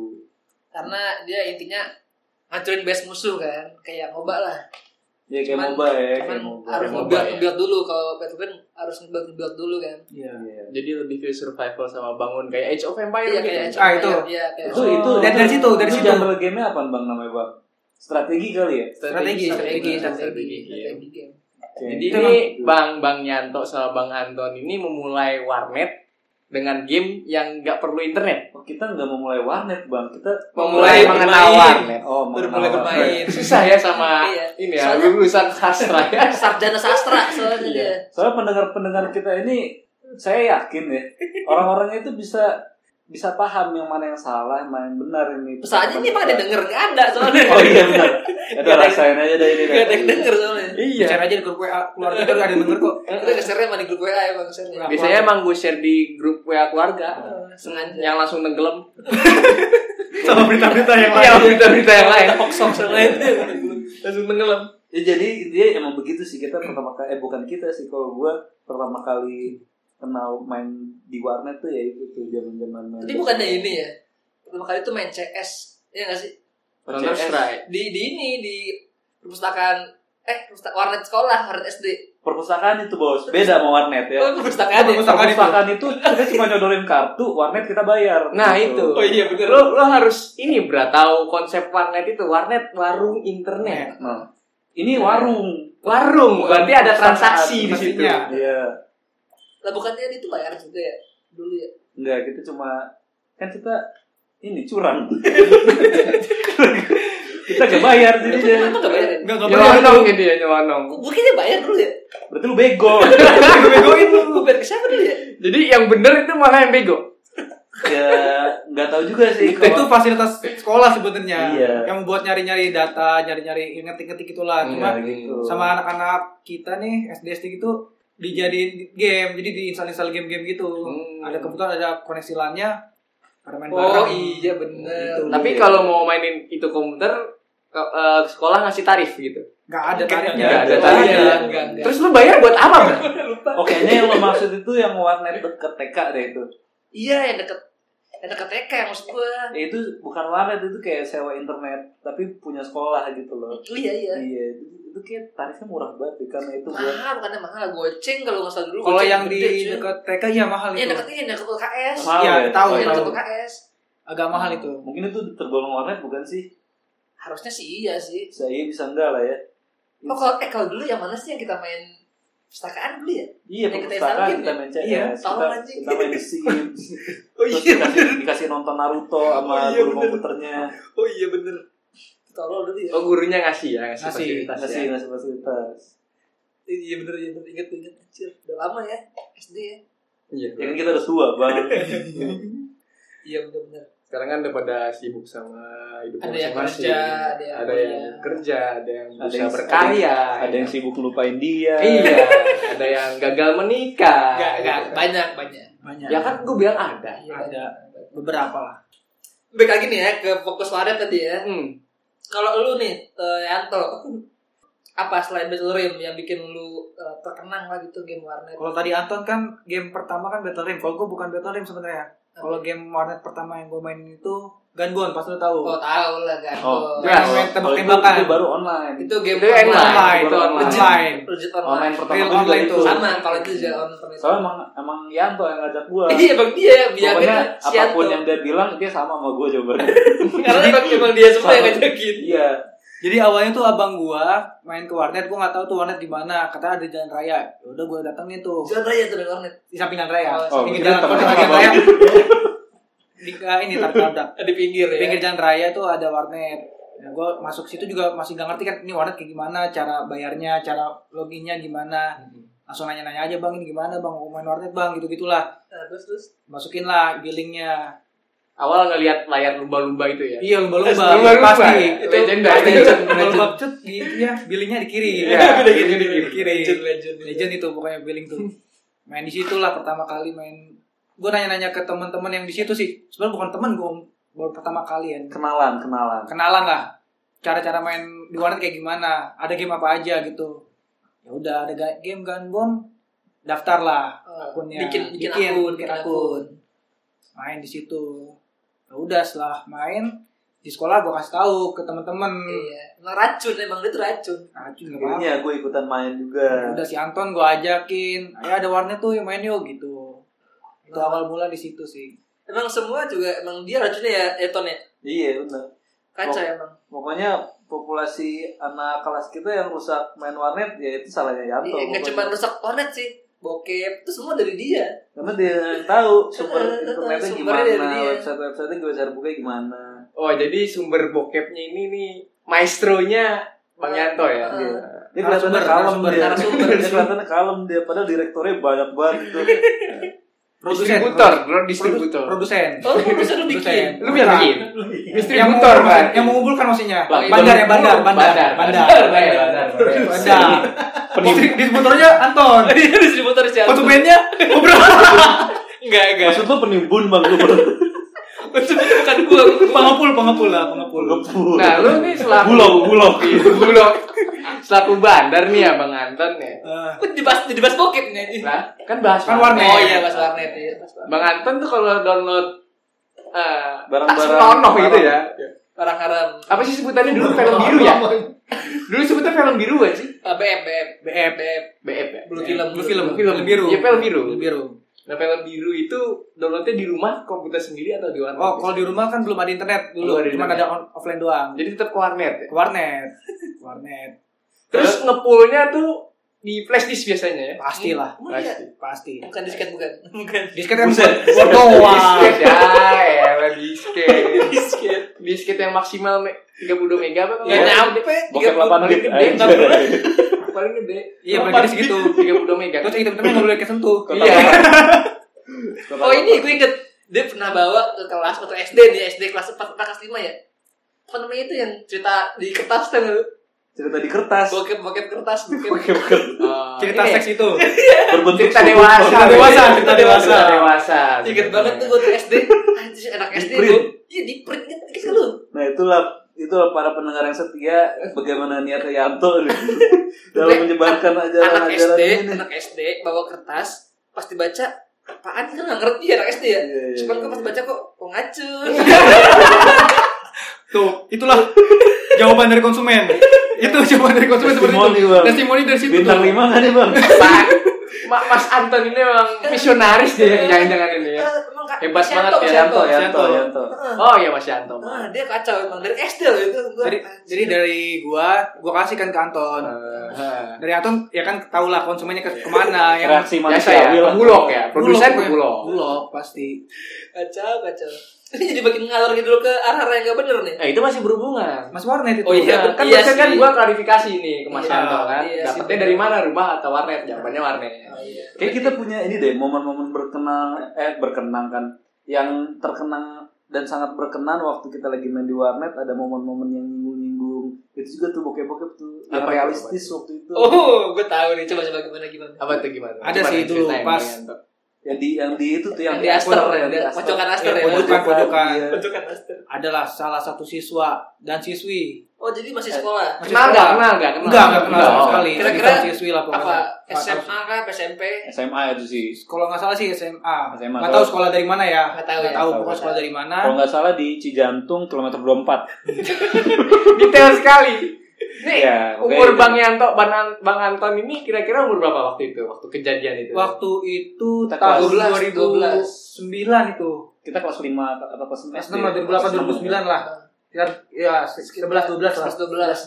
[SPEAKER 1] Karena dia intinya ngancurin base musuh kan, kayak ngoba lah.
[SPEAKER 3] ya kayak
[SPEAKER 1] Cuman-
[SPEAKER 3] moba ya kayak
[SPEAKER 1] Cuman
[SPEAKER 3] moba
[SPEAKER 1] harus ngebuild
[SPEAKER 4] Kayak MOBA ya.
[SPEAKER 1] ngebuild dulu kalau Battle Rim harus ngebuild ngebuild dulu kan.
[SPEAKER 5] iya
[SPEAKER 3] Iya.
[SPEAKER 4] Jadi lebih ke survival sama bangun kayak Age of Empire
[SPEAKER 1] Iya
[SPEAKER 4] gitu.
[SPEAKER 1] kayak
[SPEAKER 5] Ah, itu.
[SPEAKER 1] Iya kayak
[SPEAKER 3] itu
[SPEAKER 5] Oh.
[SPEAKER 3] itu
[SPEAKER 5] Dan dari situ, dari
[SPEAKER 3] itu
[SPEAKER 5] situ.
[SPEAKER 3] genre gamenya apa bang namanya bang strategi kali ya
[SPEAKER 5] Strategi,
[SPEAKER 1] strategi
[SPEAKER 5] strategi,
[SPEAKER 1] strategi
[SPEAKER 4] Iya.
[SPEAKER 1] strategi game.
[SPEAKER 3] Oke.
[SPEAKER 4] Jadi
[SPEAKER 5] Itu
[SPEAKER 4] ini
[SPEAKER 3] emang-
[SPEAKER 4] Bang Bang Yanto sama Bang Anton ini memulai warnet dengan game yang nggak perlu internet.
[SPEAKER 3] Oh, kita nggak mau mulai warnet bang kita
[SPEAKER 1] Memulai
[SPEAKER 4] Memulai mengenal
[SPEAKER 1] bermain.
[SPEAKER 4] warnet.
[SPEAKER 3] oh
[SPEAKER 1] Baru mulai
[SPEAKER 3] mengenal warnet.
[SPEAKER 1] bermain.
[SPEAKER 4] Susah ya <laughs> sama
[SPEAKER 1] Iya.
[SPEAKER 4] ini ya
[SPEAKER 1] Soalnya-
[SPEAKER 4] lulusan sastra ya. <laughs>
[SPEAKER 1] Eh, Sarjana sastra soalnya dia.
[SPEAKER 3] Soalnya pendengar-pendengar kita ini saya yakin ya orang-orangnya itu bisa bisa paham yang mana yang salah, yang mana yang benar ini.
[SPEAKER 1] Soalnya ini emang ada denger nggak ada
[SPEAKER 5] <laughs>
[SPEAKER 1] soalnya.
[SPEAKER 3] Oh iya benar. Ada rasain aja dari ini.
[SPEAKER 1] Nggak ada
[SPEAKER 3] deh.
[SPEAKER 1] yang denger soalnya.
[SPEAKER 4] Iya.
[SPEAKER 5] bicara aja di grup WA keluarga kan ada yang denger kok
[SPEAKER 1] Kita kesernya sama di grup ya, WA emang kesernya.
[SPEAKER 4] Biasanya emang gue share di grup WA keluarga
[SPEAKER 1] sengaja.
[SPEAKER 4] yang langsung tenggelam.
[SPEAKER 5] sama berita-berita yang
[SPEAKER 4] Iya, berita-berita yang lain.
[SPEAKER 1] Hoax-hoax yang lain tuh.
[SPEAKER 4] Langsung tenggelam.
[SPEAKER 3] Ya, jadi dia emang begitu sih kita pertama kali eh bukan kita sih kalau gua pertama kali kenal main di warnet tuh ya itu tuh zaman-zaman main.
[SPEAKER 1] Tapi bukannya ini ya. Pertama kali tuh main CS. Iya nggak sih?
[SPEAKER 4] Counter
[SPEAKER 3] CS.
[SPEAKER 4] Strike.
[SPEAKER 1] Di di ini di perpustakaan eh perpustakaan warnet sekolah, warnet SD.
[SPEAKER 3] Perpustakaan itu bos, beda sama warnet ya.
[SPEAKER 1] Oh, perpustakaan ya.
[SPEAKER 5] Perpustakaan itu.
[SPEAKER 3] Perpustakaan itu kita cuma nyodorin kartu, warnet kita bayar.
[SPEAKER 4] Nah
[SPEAKER 3] Gitu.
[SPEAKER 1] Oh,
[SPEAKER 4] itu.
[SPEAKER 1] bener.
[SPEAKER 4] Lo lo harus ini bra tahu konsep warnet itu warnet warung internet.
[SPEAKER 3] Nah, ini warung.
[SPEAKER 4] Warung Oh, berarti ada transaksi di situ.
[SPEAKER 5] Pastinya.
[SPEAKER 3] Iya.
[SPEAKER 1] Lah bukannya itu bayar juga ya dulu ya.
[SPEAKER 3] Enggak, kita cuma kan kita ini
[SPEAKER 4] <laughs>
[SPEAKER 3] curang. kita gak bayar jadi
[SPEAKER 1] Itu
[SPEAKER 3] dia.
[SPEAKER 1] kenapa
[SPEAKER 5] Iya.
[SPEAKER 1] nggak bayar? ya?
[SPEAKER 5] nggak nggak boleh
[SPEAKER 4] Nyelonong gitu ya nyelonong.
[SPEAKER 1] Gue gue kayaknya bayar dulu ya.
[SPEAKER 3] Berarti lu
[SPEAKER 4] <laughs>
[SPEAKER 3] bego.
[SPEAKER 1] Begoin
[SPEAKER 5] iya.
[SPEAKER 1] lu. Gue bayar ke siapa dulu ya?
[SPEAKER 4] Jadi yang bener itu malah yang bego.
[SPEAKER 3] ya nggak tahu juga sih
[SPEAKER 5] itu
[SPEAKER 3] kalau
[SPEAKER 5] fasilitas sekolah sebenarnya
[SPEAKER 3] Iya.
[SPEAKER 5] yang buat nyari-nyari data nyari-nyari ngetik-ngetik itulah cuma
[SPEAKER 3] Iya, gitu.
[SPEAKER 5] sama anak-anak kita nih SD SD gitu dijadiin game jadi diinstal-install game-game gitu
[SPEAKER 4] Hmm.
[SPEAKER 5] ada kebetulan ada koneksi LAN-nya pada main
[SPEAKER 1] Oh
[SPEAKER 5] bareng
[SPEAKER 1] iya
[SPEAKER 3] Gitu.
[SPEAKER 1] bener.
[SPEAKER 4] Tapi kalau mau mainin itu komputer ke, eh, sekolah ngasih tarif gitu.
[SPEAKER 5] nggak ada tarifnya
[SPEAKER 3] Nggak ada
[SPEAKER 5] Nggak
[SPEAKER 4] tarifnya.
[SPEAKER 5] ada.
[SPEAKER 1] Enggak, enggak.
[SPEAKER 4] Terus lu bayar buat apa, Bro?
[SPEAKER 3] oh kayaknya yang lo maksud itu yang warnet deket TK deh itu
[SPEAKER 1] Iya yang deket ada KTK maksud gua
[SPEAKER 3] Ya, itu bukan warnet itu kayak sewa internet tapi punya sekolah gitu loh.
[SPEAKER 1] iya iya
[SPEAKER 3] Iya, itu, itu kayak tarifnya murah banget deh, karena itu buat
[SPEAKER 1] mahal bukannya mahal goceng kalau nggak salah dulu
[SPEAKER 5] Kalau
[SPEAKER 1] goceng
[SPEAKER 5] yang
[SPEAKER 1] gede,
[SPEAKER 5] di
[SPEAKER 1] cuy.
[SPEAKER 5] dekat TK ya mahal
[SPEAKER 1] iya
[SPEAKER 5] itu.
[SPEAKER 1] deket ini deket UKS
[SPEAKER 3] mahal ya.
[SPEAKER 5] Iya,
[SPEAKER 3] iya.
[SPEAKER 5] tahu,
[SPEAKER 1] iya
[SPEAKER 5] tahu.
[SPEAKER 1] deket UKS
[SPEAKER 5] Agak mahal
[SPEAKER 3] Hmm.
[SPEAKER 5] itu.
[SPEAKER 3] Mungkin itu tergolong warnet bukan sih?
[SPEAKER 1] harusnya sih iya sih
[SPEAKER 3] Bisa iya bisa enggak lah ya.
[SPEAKER 1] oh kalau eh kalau dulu yang mana sih yang kita main pustakaan dulu ya
[SPEAKER 3] Iya,
[SPEAKER 1] Yang kita
[SPEAKER 3] perpustakaan
[SPEAKER 1] installin
[SPEAKER 3] kita
[SPEAKER 1] ya?
[SPEAKER 3] main CS,
[SPEAKER 5] Iya,
[SPEAKER 1] tahu
[SPEAKER 3] kita,
[SPEAKER 1] anjing.
[SPEAKER 3] kita main The Sims,
[SPEAKER 4] Oh
[SPEAKER 3] terus
[SPEAKER 4] iya,
[SPEAKER 3] dikasih, dikasih nonton Naruto sama
[SPEAKER 4] Oh iya,
[SPEAKER 3] guru
[SPEAKER 4] bener.
[SPEAKER 3] komputernya,
[SPEAKER 4] oh iya bener.
[SPEAKER 1] tolol dulu ya
[SPEAKER 4] Oh gurunya ngasih ya, ngasih,
[SPEAKER 5] Ngasih.
[SPEAKER 4] fasilitas ya.
[SPEAKER 3] ngasih ngasih fasilitas.
[SPEAKER 1] iya bener iya bener inget inget anjir udah lama ya SD ya
[SPEAKER 4] Iya.
[SPEAKER 3] Ya kan kita udah tua bang.
[SPEAKER 1] iya bener bener
[SPEAKER 4] Sekarang kan udah pada sibuk sama hidup
[SPEAKER 1] Ada yang
[SPEAKER 4] masing-masing.
[SPEAKER 1] kerja, ada yang
[SPEAKER 4] ada yang
[SPEAKER 1] kuliah.
[SPEAKER 4] kerja, ada yang
[SPEAKER 3] Ada
[SPEAKER 4] bisa
[SPEAKER 3] yang-
[SPEAKER 4] berkarya. ya.
[SPEAKER 3] Ada yang sibuk lupain dia.
[SPEAKER 4] Iya, ada yang gagal menikah.
[SPEAKER 1] Enggak, enggak, banyak, banyak.
[SPEAKER 5] Banyak.
[SPEAKER 4] Ya kan gue bilang ada.
[SPEAKER 1] Iya,
[SPEAKER 5] Ada.
[SPEAKER 1] banyak.
[SPEAKER 5] beberapa lah.
[SPEAKER 1] Baik lagi nih ya ke fokus wadah tadi ya.
[SPEAKER 4] Hmm.
[SPEAKER 1] Kalau lu nih, eh, Yanto, apa selain Battle Rim yang bikin lu eh, terkenang lah gitu game warnet?
[SPEAKER 5] Kalau tadi Anton kan game pertama kan Battle Rim. Kalau gue bukan Battle Rim sebenarnya. Kalau
[SPEAKER 1] Eh,
[SPEAKER 5] game warnet pertama yang gue main itu Gun pasti lo tahu.
[SPEAKER 1] Oh, tahu lah kan.
[SPEAKER 3] Oh,
[SPEAKER 4] Yes.
[SPEAKER 5] Yang main
[SPEAKER 3] Kalau itu-
[SPEAKER 5] tembak-tembakan.
[SPEAKER 3] itu baru online.
[SPEAKER 1] Itu game
[SPEAKER 4] Itu yang
[SPEAKER 1] online.
[SPEAKER 5] Online,
[SPEAKER 3] itu
[SPEAKER 5] itu
[SPEAKER 3] online.
[SPEAKER 5] online.
[SPEAKER 1] Legit
[SPEAKER 3] Online
[SPEAKER 1] online.
[SPEAKER 3] pertama
[SPEAKER 5] Real
[SPEAKER 3] gue juga
[SPEAKER 5] online
[SPEAKER 3] itu.
[SPEAKER 5] tuh.
[SPEAKER 1] Sama kalau itu juga online.
[SPEAKER 3] Soalnya emang emang Yanto yang ngajak gua.
[SPEAKER 1] <laughs> Iya, bang dia ya, biar
[SPEAKER 3] Pokoknya
[SPEAKER 1] si
[SPEAKER 3] apapun
[SPEAKER 1] Yanto.
[SPEAKER 3] yang dia bilang dia sama sama gua coba.
[SPEAKER 1] Karena emang, emang dia gitu. semua yang ngajakin.
[SPEAKER 3] Iya.
[SPEAKER 5] Jadi awalnya tuh abang gua main ke warnet, gua nggak tahu tuh warnet di mana. Kata ada jalan raya. Ya Udah gua datang nih tuh
[SPEAKER 1] Jangan raya tuh dari warnet.
[SPEAKER 5] di samping jalan raya.
[SPEAKER 1] Oh,
[SPEAKER 5] pinggir
[SPEAKER 3] kira
[SPEAKER 5] jalan
[SPEAKER 3] temen
[SPEAKER 5] kota
[SPEAKER 3] sama
[SPEAKER 5] jalan
[SPEAKER 3] abang.
[SPEAKER 5] raya. Di eh, ini tabrak
[SPEAKER 1] Di pinggir ya.
[SPEAKER 5] Pinggir jalan raya tuh ada warnet. Ya, gua masuk situ juga masih gak ngerti kan ini warnet kayak gimana, cara bayarnya, cara loginnya gimana. Langsung nanya-nanya aja bang ini gimana bang, mau main warnet bang gitu gitulah.
[SPEAKER 1] Nah, terus terus.
[SPEAKER 5] Masukin lah billingnya.
[SPEAKER 4] Awal ngelihat layar lumba-lumba itu ya.
[SPEAKER 5] Iya lumba-lumba,
[SPEAKER 4] Lumba-lumba
[SPEAKER 5] pasti.
[SPEAKER 4] ya?
[SPEAKER 5] Itu
[SPEAKER 4] Legenda,
[SPEAKER 5] pasti.
[SPEAKER 4] legend,
[SPEAKER 5] Lumba-lumba cut, di, ya, billingnya di kiri.
[SPEAKER 4] Iya, ini di
[SPEAKER 5] di kiri.
[SPEAKER 1] Legend, legend.
[SPEAKER 5] Legend itu pokoknya billing tuh. Main di situ lah pertama kali main. Gue nanya-nanya ke teman-teman yang di situ sih. Sebenarnya bukan teman gue baru pertama kali ya.
[SPEAKER 3] Kenalan, kenalan.
[SPEAKER 5] Kenalan lah. Cara-cara main di warnet kayak gimana? Ada game apa aja gitu. Ya udah ada ga- game Gunbomb daftar lah
[SPEAKER 1] Oh,
[SPEAKER 5] akunnya.
[SPEAKER 1] Bikin, bikin,
[SPEAKER 5] Bikin,
[SPEAKER 1] akun,
[SPEAKER 5] bikin akun. main di situ. Ya udah setelah main di sekolah gue kasih tahu ke teman-teman.
[SPEAKER 1] Iya, emang racun emang dia tuh racun.
[SPEAKER 5] Nah, cuy, nggak apa-apa.
[SPEAKER 3] Akhirnya Iya, gua ikutan main juga.
[SPEAKER 5] udah si Anton gue ajakin ayo ada warnet tuh yang main yuk gitu itu
[SPEAKER 1] Nah.
[SPEAKER 5] awal mula di situ sih
[SPEAKER 1] Emang semua juga emang dia racunnya ya Eton ya.
[SPEAKER 3] Iya benar.
[SPEAKER 1] Kacau
[SPEAKER 3] Oh.
[SPEAKER 1] emang.
[SPEAKER 3] Pokoknya populasi anak kelas kita yang rusak main warnet ya itu salahnya Yanto.
[SPEAKER 1] Iya, nggak cuma
[SPEAKER 3] pokoknya.
[SPEAKER 1] rusak warnet sih. Bokep itu semua dari dia.
[SPEAKER 3] Karena dia yang tahu super
[SPEAKER 1] Eh, eh, eh,
[SPEAKER 3] internetnya
[SPEAKER 1] sumbernya dari
[SPEAKER 3] gimana,
[SPEAKER 1] dia.
[SPEAKER 3] website websitenya gue share buka gimana.
[SPEAKER 4] Oh, jadi sumber bokepnya ini nih maestronya Bang Yanto ya.
[SPEAKER 1] Heeh.
[SPEAKER 3] Dia kelihatannya
[SPEAKER 5] Narasumber,
[SPEAKER 3] kalem
[SPEAKER 5] narasumber,
[SPEAKER 3] dia.
[SPEAKER 1] narasumber.
[SPEAKER 3] <laughs> Dia kelihatannya kalem dia padahal direktornya banyak banget itu.
[SPEAKER 4] Distributor, bro, distributor.
[SPEAKER 5] produsen
[SPEAKER 1] Oh, lu bisa lu bikin.
[SPEAKER 5] Produsen.
[SPEAKER 4] Lu biar bikin.
[SPEAKER 2] Iya.
[SPEAKER 5] yang
[SPEAKER 4] Distributor,
[SPEAKER 5] mengumpulkan,
[SPEAKER 4] Bang.
[SPEAKER 5] yang mengumpulkan maksudnya
[SPEAKER 4] Lah,
[SPEAKER 5] bandar ya bandar
[SPEAKER 4] bandar,
[SPEAKER 5] bandar
[SPEAKER 4] bandar,
[SPEAKER 5] bandar
[SPEAKER 4] bandar, bandar, bandar.
[SPEAKER 5] bandar Distri- distributornya Anton
[SPEAKER 4] Iya,
[SPEAKER 1] Dia distributor sih.
[SPEAKER 5] konsumennya
[SPEAKER 4] <laughs>
[SPEAKER 1] Enggak, enggak.
[SPEAKER 3] Maksud lu penimbun bang lu <laughs>
[SPEAKER 1] Konsumen bukan gua.
[SPEAKER 5] pengepul pengepul lah pengepul
[SPEAKER 3] pengepul.
[SPEAKER 4] Nah, lu nih selaku
[SPEAKER 3] bulog bulog.
[SPEAKER 4] Iya, bulog. Selaku bandar nih ya Bang Anton ya.
[SPEAKER 5] Ah,
[SPEAKER 1] Gua dibahas dibahas bokep nih anjing.
[SPEAKER 4] Nah, kan bahas
[SPEAKER 5] Kan warnet.
[SPEAKER 1] Oh
[SPEAKER 4] Oh
[SPEAKER 1] iya,
[SPEAKER 4] iya,
[SPEAKER 1] pas warnet ya. pas warnet.
[SPEAKER 4] Bang Anton tuh kalau download eh
[SPEAKER 3] Barang-barang
[SPEAKER 4] Astrono gitu ya.
[SPEAKER 1] Barang haram.
[SPEAKER 4] Apa sih sebutannya dulu film biru ya? Dulu sebutan film biru kan sih?
[SPEAKER 1] BF, BF,
[SPEAKER 5] BF
[SPEAKER 1] BF.
[SPEAKER 4] BF ya.
[SPEAKER 1] Blue film,
[SPEAKER 5] blue film
[SPEAKER 4] Film.
[SPEAKER 5] film biru
[SPEAKER 4] Iya, film biru.
[SPEAKER 5] Film biru
[SPEAKER 4] Nah, film biru itu downloadnya di rumah komputer sendiri atau di warnet?
[SPEAKER 5] oh kalau di rumah kan belum ada internet
[SPEAKER 4] Belum
[SPEAKER 5] dulu
[SPEAKER 4] ada
[SPEAKER 5] cuma
[SPEAKER 4] internet.
[SPEAKER 5] ada on- offline doang
[SPEAKER 4] Jadi tetap ke warnet ya.
[SPEAKER 5] Ke warnet Ke warnet
[SPEAKER 4] Terus ngepulnya tuh di flash disk biasanya ya.
[SPEAKER 5] pastilah
[SPEAKER 1] Emang iya?
[SPEAKER 5] pasti
[SPEAKER 1] Bukan disket bukan. Bukan.
[SPEAKER 5] disket kan buat doang
[SPEAKER 4] Disket ya, elah disket. disket. Disket yang maksimal me- 32 mega apa?
[SPEAKER 1] Enggak
[SPEAKER 4] Iya.
[SPEAKER 1] nyampe.
[SPEAKER 3] Bokep 8
[SPEAKER 4] paling
[SPEAKER 3] bit
[SPEAKER 4] gede,
[SPEAKER 3] aja.
[SPEAKER 4] Paling gede.
[SPEAKER 5] Iya, paling gede segitu.
[SPEAKER 4] 32 mega.
[SPEAKER 5] Terus item-itemnya nggak boleh kesentuh.
[SPEAKER 4] Iya.
[SPEAKER 1] Oh ini gue inget dia pernah bawa ke kelas waktu SD nih SD kelas 4 atau kelas 5 ya apa namanya itu yang cerita di kertas kan lu
[SPEAKER 3] cerita di kertas
[SPEAKER 1] bokep bokep kertas bokep
[SPEAKER 4] Ah,
[SPEAKER 5] Cerita
[SPEAKER 4] ini ya,
[SPEAKER 5] seks itu.
[SPEAKER 3] berbentuk
[SPEAKER 4] cerita
[SPEAKER 3] sudut.
[SPEAKER 4] dewasa,
[SPEAKER 5] Cerita dewasa, cerita dewasa.
[SPEAKER 4] Cerita dewasa.
[SPEAKER 1] inget banget tuh gue tuh SD anjir anak
[SPEAKER 3] Di
[SPEAKER 1] SD
[SPEAKER 3] print.
[SPEAKER 1] lu iya di print kan kisah lu
[SPEAKER 3] Nah itulah itulah para pendengar yang setia bagaimana niatnya Yanto nih. dalam menyebarkan
[SPEAKER 1] anak
[SPEAKER 3] ajaran-ajaran Iya,
[SPEAKER 1] SD
[SPEAKER 3] ini.
[SPEAKER 1] anak SD bawa kertas pas dibaca apaan kan nggak ngerti ya anak SD ya
[SPEAKER 3] Iya, iya,
[SPEAKER 1] cuman
[SPEAKER 3] iya.
[SPEAKER 1] gue pas baca kok kok ngacun
[SPEAKER 6] Tuh, itulah jawaban dari
[SPEAKER 5] <laughs>
[SPEAKER 6] konsumen. Itu jawaban dari konsumen seperti
[SPEAKER 3] Testimoni,
[SPEAKER 6] itu.
[SPEAKER 3] Bang.
[SPEAKER 6] Testimoni dari situ.
[SPEAKER 3] Bintang
[SPEAKER 6] tuh.
[SPEAKER 3] 5 nggak nih bang?
[SPEAKER 4] Pak, Ma- Mas Anton ini memang misionaris dia jangan-jangan ini ya.
[SPEAKER 1] Eh, emang Kak-
[SPEAKER 4] Hebat
[SPEAKER 1] Sianto,
[SPEAKER 4] banget ya,
[SPEAKER 1] Sianto.
[SPEAKER 3] Yanto, Yanto,
[SPEAKER 6] Yanto.
[SPEAKER 3] Yanto.
[SPEAKER 1] Heeh.
[SPEAKER 4] Oh iya Mas Yanto.
[SPEAKER 1] Ah, dia kacau emang dari SD loh itu gue
[SPEAKER 5] Jadi, jadi dari gua, gua kasih kan ke Anton.
[SPEAKER 4] Eh,
[SPEAKER 5] Dari Anton ya kan tau lah konsumennya ke kemana yang
[SPEAKER 3] Reaksi
[SPEAKER 4] Biasa
[SPEAKER 3] manusia
[SPEAKER 4] ya, bulog ya, produsen bulog.
[SPEAKER 5] Bulog pasti.
[SPEAKER 1] kacau <laughs> kacau ini jadi makin ngalor gitu ke arah-arah yang gak bener nih
[SPEAKER 4] Nah itu masih berhubungan.
[SPEAKER 5] Mas warnet itu.
[SPEAKER 4] Oh iya, kan
[SPEAKER 1] Iya
[SPEAKER 4] barusan kan
[SPEAKER 1] sih.
[SPEAKER 4] gua klarifikasi nih ke Mas
[SPEAKER 1] Iya,
[SPEAKER 4] Yanto kan.
[SPEAKER 1] iya sih,
[SPEAKER 4] Dapatnya
[SPEAKER 1] bener.
[SPEAKER 4] dari mana rumah atau warnet? Jawabannya warnet.
[SPEAKER 1] Oh, iya.
[SPEAKER 3] Kayak kita punya ini deh momen-momen berkenang eh berkenang kan yang terkenang dan sangat berkenan waktu kita lagi main di warnet ada momen-momen yang nyinggung-nyinggung itu juga tuh bokep-bokep tuh yang
[SPEAKER 4] Apa itu,
[SPEAKER 3] realistis waktu itu
[SPEAKER 1] oh gue tahu nih coba coba gimana gimana
[SPEAKER 4] Apa tuh gimana?
[SPEAKER 5] Ada
[SPEAKER 4] Coba
[SPEAKER 5] sih
[SPEAKER 4] deh
[SPEAKER 5] dulu,
[SPEAKER 4] ceritain,
[SPEAKER 5] pas-
[SPEAKER 4] Mas Yanto.
[SPEAKER 3] yang di yang di itu tuh yang,
[SPEAKER 1] yang di Aster yang iya, di
[SPEAKER 3] yang di
[SPEAKER 1] pojokan Aster ya
[SPEAKER 5] Iya, pojokan, pojokan.
[SPEAKER 3] Iya.
[SPEAKER 1] pojokan Aster
[SPEAKER 5] Adalah salah satu siswa dan siswi.
[SPEAKER 1] oh jadi masih sekolah
[SPEAKER 5] Masih
[SPEAKER 4] Kenal nggak?
[SPEAKER 5] sekolah.
[SPEAKER 4] Kenal nggak? Kenal
[SPEAKER 5] Enggak, enggak kenal sama
[SPEAKER 4] Oh.
[SPEAKER 5] sekali.
[SPEAKER 1] Kira-kira
[SPEAKER 5] Siswa- siswi lah pokoknya.
[SPEAKER 1] apa
[SPEAKER 5] Nggak tahu
[SPEAKER 1] SMA kah SMP
[SPEAKER 3] SMA itu sih
[SPEAKER 5] kalau nggak salah sih SMA.
[SPEAKER 3] SMA,
[SPEAKER 5] Nggak
[SPEAKER 3] tahu.
[SPEAKER 5] tahu sekolah dari mana ya.
[SPEAKER 1] Nggak tahu ya.
[SPEAKER 5] tahu
[SPEAKER 3] Nggak
[SPEAKER 5] pokoknya
[SPEAKER 3] tahu.
[SPEAKER 5] sekolah dari mana.
[SPEAKER 3] kalau nggak salah di Cijantung kilometer 24
[SPEAKER 4] Detail sekali.
[SPEAKER 1] Eh,
[SPEAKER 4] Nih,
[SPEAKER 3] Iya,
[SPEAKER 4] umur
[SPEAKER 3] pokoknya
[SPEAKER 4] Bang
[SPEAKER 1] ya?
[SPEAKER 4] Yanto, Bang, An- Bang Anton ini kira-kira umur berapa waktu itu? Waktu kejadian itu?
[SPEAKER 5] Waktu itu
[SPEAKER 3] Kita
[SPEAKER 5] tahun
[SPEAKER 1] 12,
[SPEAKER 5] 2009 itu.
[SPEAKER 3] kita kelas 5 atau kelas
[SPEAKER 5] Kelas
[SPEAKER 3] 6
[SPEAKER 5] enam lah, 2008 2009 lah. Kira- Ya, 11 12 lah.
[SPEAKER 1] kelas dua belas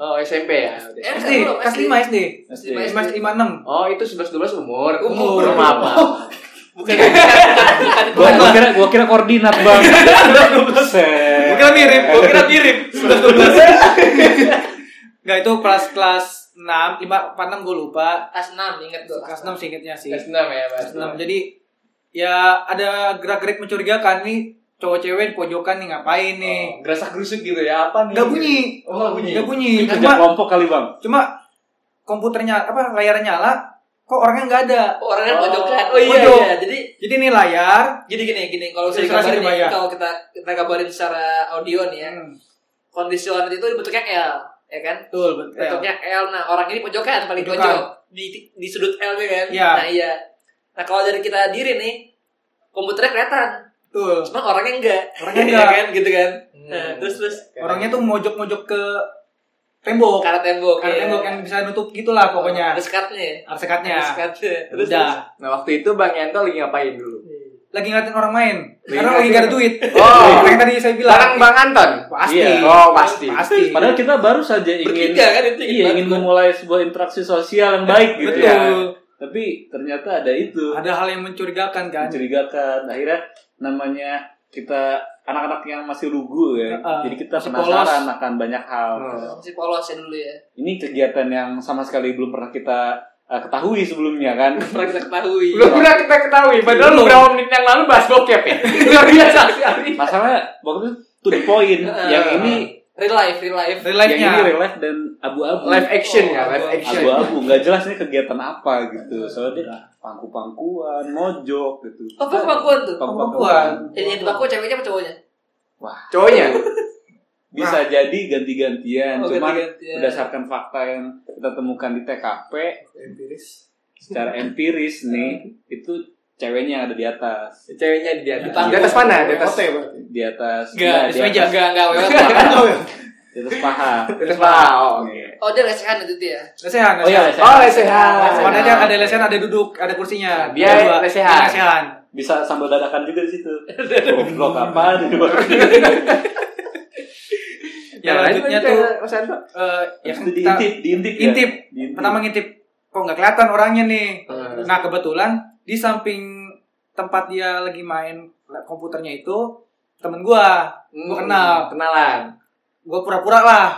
[SPEAKER 4] Oh SMP ya.
[SPEAKER 1] Eh,
[SPEAKER 5] SD, kelas 5 SD.
[SPEAKER 3] SD.
[SPEAKER 1] Lima
[SPEAKER 5] Kelas 5 6.
[SPEAKER 4] Oh itu 11-12 umur.
[SPEAKER 1] Umur.
[SPEAKER 5] <laughs>
[SPEAKER 4] apa?
[SPEAKER 1] bukan bukan
[SPEAKER 3] Gua, gua kira gua kira koordinat
[SPEAKER 5] <laughs>
[SPEAKER 3] bang.
[SPEAKER 5] Gua
[SPEAKER 3] Gua
[SPEAKER 5] kira mirip, gua kira
[SPEAKER 3] mirip.
[SPEAKER 5] Enggak itu kelas kelas 6, 5 4 6 gue lupa.
[SPEAKER 1] kelas enam inget gue
[SPEAKER 5] Kelas 6 singkatnya sih.
[SPEAKER 4] S6 ya Mas.
[SPEAKER 5] Kelas 6. Jadi ya ada gerak-gerik mencurigakan nih cowok cewek di pojokan nih ngapain nih.
[SPEAKER 4] Oh, Gerasak gerusuk gitu ya apa nih?
[SPEAKER 5] Enggak bunyi.
[SPEAKER 4] Oh nggak
[SPEAKER 2] Iya.
[SPEAKER 4] bunyi.
[SPEAKER 5] Enggak bunyi.
[SPEAKER 3] Kerja
[SPEAKER 5] Cuma
[SPEAKER 3] kelompok kali bang.
[SPEAKER 5] cuma komputernya apa layarnya nyala kok orangnya nggak ada.
[SPEAKER 1] orangnya
[SPEAKER 4] Oh.
[SPEAKER 1] pojokan oh iya
[SPEAKER 5] Pojok.
[SPEAKER 1] iya jadi
[SPEAKER 5] Jadi ini layar
[SPEAKER 1] jadi gini gini kalau saya
[SPEAKER 5] Ilustrasi
[SPEAKER 1] kabarin
[SPEAKER 5] dibayar.
[SPEAKER 1] nih, kalau kita kita kabarin secara audio nih ya kondisi warnet itu bentuknya L ya kan
[SPEAKER 5] betul betul.
[SPEAKER 1] bentuknya L nah orang ini pojokan paling
[SPEAKER 5] Pojokan.
[SPEAKER 1] pojok di di sudut L nya kan
[SPEAKER 5] Iya.
[SPEAKER 1] nah iya nah kalau dari kita diri nih komputernya kelihatan
[SPEAKER 5] Betul.
[SPEAKER 1] cuma orangnya enggak
[SPEAKER 5] Orangnya
[SPEAKER 1] <laughs> Iya
[SPEAKER 5] enggak.
[SPEAKER 1] kan gitu kan
[SPEAKER 4] Hmm.
[SPEAKER 1] nah, terus terus
[SPEAKER 5] Orangnya tuh mojok-mojok ke tembok.
[SPEAKER 1] karena tembok
[SPEAKER 5] Karena
[SPEAKER 1] iya.
[SPEAKER 5] tembok yang bisa nutup gitulah pokoknya.
[SPEAKER 1] ada skatnya
[SPEAKER 5] Ada
[SPEAKER 1] ada
[SPEAKER 5] sekatnya.
[SPEAKER 1] skatnya terus
[SPEAKER 5] Udah.
[SPEAKER 4] Nah waktu itu Bang Yanto lagi ngapain dulu?
[SPEAKER 5] lagi ngeliatin orang main
[SPEAKER 4] Lagi
[SPEAKER 5] karena lagi gak ada duit
[SPEAKER 4] Oh.
[SPEAKER 5] <laughs> yang tadi saya bilang
[SPEAKER 4] Larang Bang Anton.
[SPEAKER 5] pasti
[SPEAKER 3] Iya.
[SPEAKER 4] Oh pasti.
[SPEAKER 5] pasti
[SPEAKER 3] Padahal kita baru saja ingin
[SPEAKER 1] bertiga kan itu
[SPEAKER 3] iya ingin memulai sebuah interaksi sosial yang baik gitu
[SPEAKER 5] betul
[SPEAKER 3] ya.
[SPEAKER 4] Iya.
[SPEAKER 3] Tapi ternyata ada itu
[SPEAKER 5] ada hal yang mencurigakan kan
[SPEAKER 3] mencurigakan. Akhirnya namanya kita anak-anak yang masih lugu ya.
[SPEAKER 5] Heeh.
[SPEAKER 3] Jadi kita
[SPEAKER 5] Masih
[SPEAKER 3] penasaran
[SPEAKER 5] polos.
[SPEAKER 3] akan banyak hal.
[SPEAKER 4] Hmm.
[SPEAKER 1] masih polos ya dulu ya
[SPEAKER 3] Ini kegiatan yang sama sekali belum pernah kita eh, ketahui sebelumnya
[SPEAKER 5] <laughs>
[SPEAKER 3] kan.
[SPEAKER 1] pernah kita ketahui
[SPEAKER 4] Belum pernah kita ketahui, padahal beberapa menit yang lalu bahas bokep ya. <laughs> Luar biasa sekali.
[SPEAKER 3] Masalahnya waktu itu to the point. yang ini
[SPEAKER 1] real life real life
[SPEAKER 5] real life
[SPEAKER 4] Iya,
[SPEAKER 5] nya
[SPEAKER 3] yang ini real life dan abu-abu.
[SPEAKER 4] Live action ya, live
[SPEAKER 5] Iya.
[SPEAKER 4] action.
[SPEAKER 3] abu-abu nggak jelas nih kegiatan apa gitu soalnya dia pangku-pangkuan mojok gitu
[SPEAKER 5] Oh,
[SPEAKER 1] apa kemampuan tuh
[SPEAKER 5] perempuan
[SPEAKER 1] yang yang aku ceweknya apa cowoknya
[SPEAKER 4] Cowoknya.
[SPEAKER 3] bisa
[SPEAKER 5] Nah.
[SPEAKER 3] jadi ganti-gantian
[SPEAKER 1] Oh,
[SPEAKER 3] cuman
[SPEAKER 1] ganti-gantian.
[SPEAKER 3] berdasarkan fakta yang kita temukan di TKP secara empiris nih itu ceweknya yang ada di atas
[SPEAKER 4] Ceweknya di atas.
[SPEAKER 3] Di
[SPEAKER 4] Di atas mana? Di atas.
[SPEAKER 2] Ote berarti.
[SPEAKER 3] di atas
[SPEAKER 5] Nggak,
[SPEAKER 3] nggak,
[SPEAKER 5] di meja.
[SPEAKER 3] atas,
[SPEAKER 1] enggak enggak wewe
[SPEAKER 3] di atas paha
[SPEAKER 4] <laughs> Di atas bawah. Oh, Oke.
[SPEAKER 1] oh dia lesehan itu dia
[SPEAKER 5] lesehan
[SPEAKER 3] oh iya
[SPEAKER 4] Oh,
[SPEAKER 3] lesehan.
[SPEAKER 4] lesehan.
[SPEAKER 5] lesehan ada ada lesehan ada duduk ada kursinya
[SPEAKER 4] Dia
[SPEAKER 5] Ada dua.
[SPEAKER 4] lesehan.
[SPEAKER 5] Dia lesehan
[SPEAKER 3] bisa sambil dadakan juga di
[SPEAKER 5] <laughs>
[SPEAKER 3] situ goblok apa
[SPEAKER 5] ya lanjutnya tuh eh, ya kan kita
[SPEAKER 3] diintip diintip ya?
[SPEAKER 5] Intip.
[SPEAKER 3] Diintip.
[SPEAKER 5] pertama ngintip kok nggak kelihatan orangnya nih
[SPEAKER 4] Hmm.
[SPEAKER 5] nah kebetulan di samping tempat dia lagi main komputernya itu temen gua gua kenal
[SPEAKER 4] Hmm, Kenalan.
[SPEAKER 5] gua pura-pura lah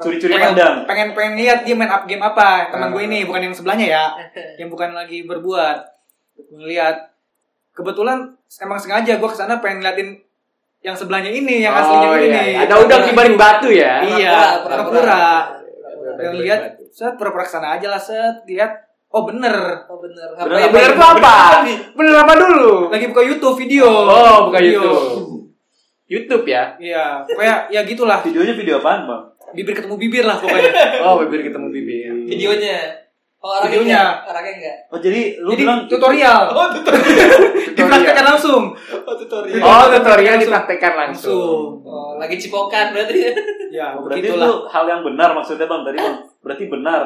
[SPEAKER 3] curi-curi
[SPEAKER 5] Pengen-
[SPEAKER 3] pandang
[SPEAKER 5] pengen pengen lihat dia main up game apa teman
[SPEAKER 4] Ah.
[SPEAKER 5] gue ini bukan yang sebelahnya ya
[SPEAKER 1] Eh,
[SPEAKER 5] yang bukan lagi berbuat ngelihat kebetulan emang sengaja gue kesana pengen ngeliatin yang sebelahnya ini yang aslinya
[SPEAKER 4] Oh,
[SPEAKER 5] ini
[SPEAKER 4] iya. Ada udang di balik batu ya.
[SPEAKER 5] iya
[SPEAKER 1] Pura-pura.
[SPEAKER 5] pura-pura yang lihat set pura-pura kesana aja lah set lihat oh bener
[SPEAKER 1] oh bener
[SPEAKER 4] Bener,
[SPEAKER 1] ngapain
[SPEAKER 4] bener tuh apa? Bener apa dulu?
[SPEAKER 5] lagi buka YouTube video
[SPEAKER 4] Oh, bukan
[SPEAKER 5] Video.
[SPEAKER 4] YouTube. YouTube ya.
[SPEAKER 5] iya pokoknya ya gitulah
[SPEAKER 3] videonya video apaan bang
[SPEAKER 4] <laughs>
[SPEAKER 5] bibir ketemu bibir lah pokoknya
[SPEAKER 4] Oh, bibir ketemu bibir.
[SPEAKER 1] videonya Oh, orangnya
[SPEAKER 5] Videonya.
[SPEAKER 1] enggak. Orangnya enggak.
[SPEAKER 3] Oh jadi lu
[SPEAKER 5] Jadi
[SPEAKER 3] bilang
[SPEAKER 5] tutorial.
[SPEAKER 6] Oh,
[SPEAKER 5] Dipraktekkan langsung.
[SPEAKER 6] Oh, tutorial.
[SPEAKER 4] Oh, tutorial dipraktekkan langsung. Oh,
[SPEAKER 5] Langsung.
[SPEAKER 1] Oh, lagi cipokan berarti.
[SPEAKER 5] Ya,
[SPEAKER 3] berarti itu
[SPEAKER 5] begitulah.
[SPEAKER 3] hal yang benar maksudnya bang tadi bang. Berarti benar.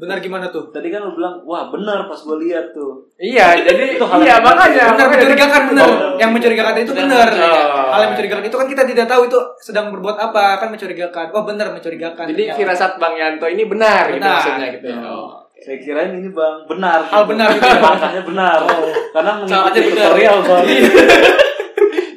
[SPEAKER 5] Benar gimana tuh?
[SPEAKER 3] Tadi kan lu bilang wah benar pas gua lihat tuh.
[SPEAKER 4] Iya, jadi
[SPEAKER 3] Itu hal yang
[SPEAKER 4] iya makanya.
[SPEAKER 5] Benar
[SPEAKER 4] makanya
[SPEAKER 5] mencurigakan benar.
[SPEAKER 3] Oh,
[SPEAKER 5] Yang mencurigakan itu
[SPEAKER 1] Benar,
[SPEAKER 5] benar.
[SPEAKER 1] mencurigakan.
[SPEAKER 5] Hal yang mencurigakan itu kan kita tidak tahu itu sedang berbuat apa, kan mencurigakan. Oh, benar mencurigakan. Ya.
[SPEAKER 4] Jadi
[SPEAKER 5] Ternyata.
[SPEAKER 4] firasat Bang Yanto ini benar, gitu
[SPEAKER 5] Benar.
[SPEAKER 4] maksudnya gitu ya.
[SPEAKER 3] Oh. Saya kirain ini bang benar.
[SPEAKER 5] Hal
[SPEAKER 3] <laughs>
[SPEAKER 5] benar gitu ya, Bang?
[SPEAKER 3] Langkahnya benar.
[SPEAKER 1] Caranya
[SPEAKER 3] Karena mengikuti
[SPEAKER 1] benar.
[SPEAKER 3] tutorial bang.
[SPEAKER 5] Iya.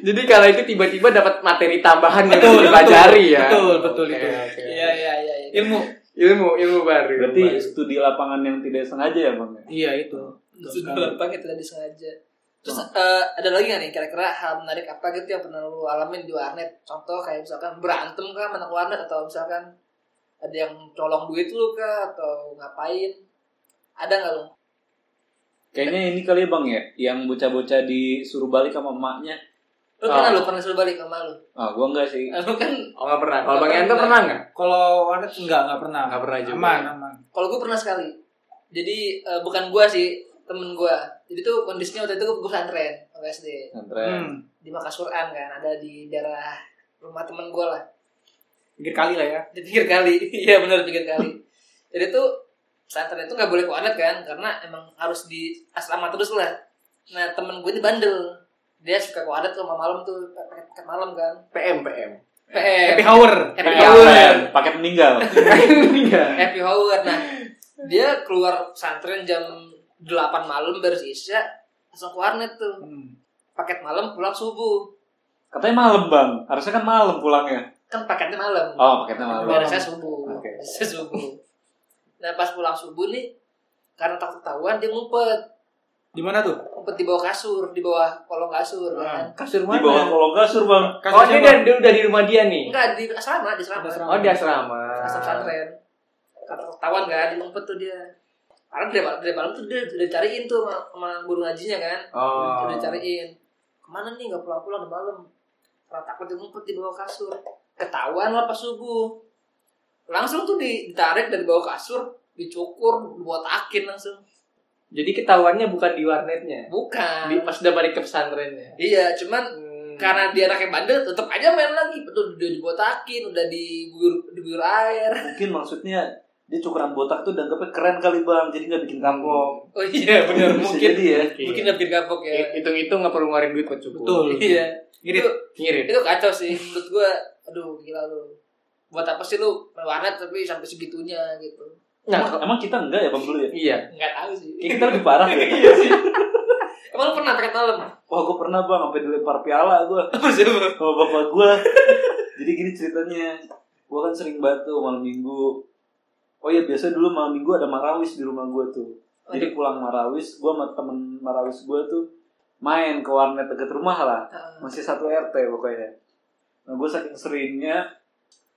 [SPEAKER 4] Jadi kalau itu tiba-tiba dapat materi tambahan yang
[SPEAKER 5] Betul,
[SPEAKER 4] bisa dipelajari
[SPEAKER 5] betul,
[SPEAKER 4] ya.
[SPEAKER 5] betul, betul
[SPEAKER 4] Oke,
[SPEAKER 5] itu.
[SPEAKER 4] oke.
[SPEAKER 1] Iya, iya, iya. iya.
[SPEAKER 5] ilmu.
[SPEAKER 4] Ilmu ilmu baru.
[SPEAKER 3] Berarti
[SPEAKER 4] Baru.
[SPEAKER 3] studi lapangan yang tidak sengaja ya bang. ya?
[SPEAKER 5] Iya, itu.
[SPEAKER 1] Sudah gampang itu tadi sengaja. Terus eh, ada lagi nggak nih kira-kira hal menarik apa gitu yang pernah lu alamin di warnet? Contoh kayak misalkan berantem kah sama anak warnet atau misalkan ada yang colong duit lu kah atau ngapain? Ada nggak lu?
[SPEAKER 3] Kayaknya ini kali ya bang ya, yang bocah-bocah disuruh balik sama emaknya.
[SPEAKER 1] Lu pernah lu pernah suruh balik sama lu?
[SPEAKER 3] Ah, gua enggak sih.
[SPEAKER 1] Eh, Lu kan
[SPEAKER 4] Oh nggak pernah. Kalau Bang
[SPEAKER 1] Nggak
[SPEAKER 4] Yanto
[SPEAKER 1] pernah.
[SPEAKER 4] pernah nggak?
[SPEAKER 5] Kalau warnet enggak, enggak pernah.
[SPEAKER 4] Nggak pernah juga.
[SPEAKER 5] Aman, aman.
[SPEAKER 1] kalau gue pernah sekali. Jadi eh, bukan gua sih temen gua. Jadi tuh kondisinya waktu itu gue pesantren waktu SD.
[SPEAKER 3] Santren.
[SPEAKER 5] Hmm.
[SPEAKER 1] di Makasuran kan ada di daerah rumah temen gue lah
[SPEAKER 5] Pikir kali lah ya.
[SPEAKER 1] di pinggir kali <laughs> iya benar pinggir kali jadi tuh pesantren itu nggak boleh ke warnet kan karena emang harus di asrama terus lah nah temen gue ini bandel dia suka ke warnet tuh sama malam tuh pakai pakai malam kan
[SPEAKER 4] PM PM.
[SPEAKER 5] Eh, Happy
[SPEAKER 1] PM
[SPEAKER 5] hour.
[SPEAKER 1] happy
[SPEAKER 5] iya.
[SPEAKER 3] Kayak
[SPEAKER 1] hour
[SPEAKER 3] apa ya? Paket
[SPEAKER 5] <laughs>
[SPEAKER 3] meninggal.
[SPEAKER 1] happy hour nah dia keluar pesantren jam 8 malam beres isya langsung ke warnet tuh
[SPEAKER 5] Hmm.
[SPEAKER 1] paket malam pulang subuh
[SPEAKER 3] Katanya malam bang, harusnya kan malam pulangnya.
[SPEAKER 1] kan paketnya malam
[SPEAKER 3] Oh, paketnya malam.
[SPEAKER 1] Beresnya subuh.
[SPEAKER 3] Oke.
[SPEAKER 1] Beresnya <laughs> subuh. Nah pas pulang subuh nih karena takut ketahuan dia ngumpet
[SPEAKER 5] Di mana tuh?
[SPEAKER 1] ngumpet di bawah kasur di bawah kolong kasur
[SPEAKER 5] Ah.
[SPEAKER 1] kan
[SPEAKER 4] Kasur
[SPEAKER 3] Di bawah kolong kasur bang.
[SPEAKER 4] Oh ini
[SPEAKER 5] siapa?
[SPEAKER 4] dia, dia udah di rumah dia nih.
[SPEAKER 1] enggak di asrama di asrama
[SPEAKER 5] Di asrama.
[SPEAKER 4] Oh di asrama.
[SPEAKER 1] asrama pesantren karena ketahuan kan dia ngumpet tuh dia karena dari malam, dari malam tuh dia udah cariin tuh sama, sama guru ngajinya kan
[SPEAKER 5] Ah.
[SPEAKER 4] Oh.
[SPEAKER 1] udah cariin kemana nih nggak pulang-pulang di malam karena takut dia ngumpet di bawah kasur ketahuan lah pas subuh langsung tuh di- ditarik dari bawah kasur dicukur buat akin langsung
[SPEAKER 4] Jadi ketahuannya bukan di warnetnya.
[SPEAKER 1] Bukan.
[SPEAKER 4] Di, pas udah balik ke ya. Hmm. pesantrennya.
[SPEAKER 1] Iya, cuman karena dia anaknya bandel, tetap aja main lagi. Betul, udah dibotakin, udah diguyur, diguyur air.
[SPEAKER 3] Mungkin maksudnya dia cukuran botak tuh dianggapnya keren kali bang, jadi nggak bikin kapok.
[SPEAKER 1] Oh iya, benar.
[SPEAKER 3] Bisa
[SPEAKER 1] mungkin
[SPEAKER 3] jadi ya.
[SPEAKER 4] Iya.
[SPEAKER 1] mungkin udah bikin kapok ya.
[SPEAKER 4] Hitung-hitung nggak perlu ngeluarin duit buat cukup.
[SPEAKER 5] Betul.
[SPEAKER 1] Iya.
[SPEAKER 5] Ngirit.
[SPEAKER 1] Itu,
[SPEAKER 4] Ngirit.
[SPEAKER 1] itu kacau sih menurut gua. Aduh, gila lu. Buat apa sih lu main warnet tapi sampai segitunya gitu.
[SPEAKER 4] Nah,
[SPEAKER 3] Emang, emang kita enggak ya bang dulu ya?
[SPEAKER 4] iya.
[SPEAKER 1] Enggak tahu sih.
[SPEAKER 3] Kayak kita lebih parah <laughs> ya.
[SPEAKER 1] Emang lu pernah pakai malam?
[SPEAKER 4] Oh,
[SPEAKER 3] Wah gue pernah bang, sampai dilempar piala gue sama bapak gue. Jadi gini ceritanya, gue kan sering batu malam minggu. Oh iya biasa dulu malam minggu ada marawis di rumah gue tuh. Jadi pulang marawis, gue sama temen marawis gue tuh main ke warnet deket rumah lah.
[SPEAKER 1] Ah.
[SPEAKER 3] Masih satu RT pokoknya. Nah gue saking seringnya,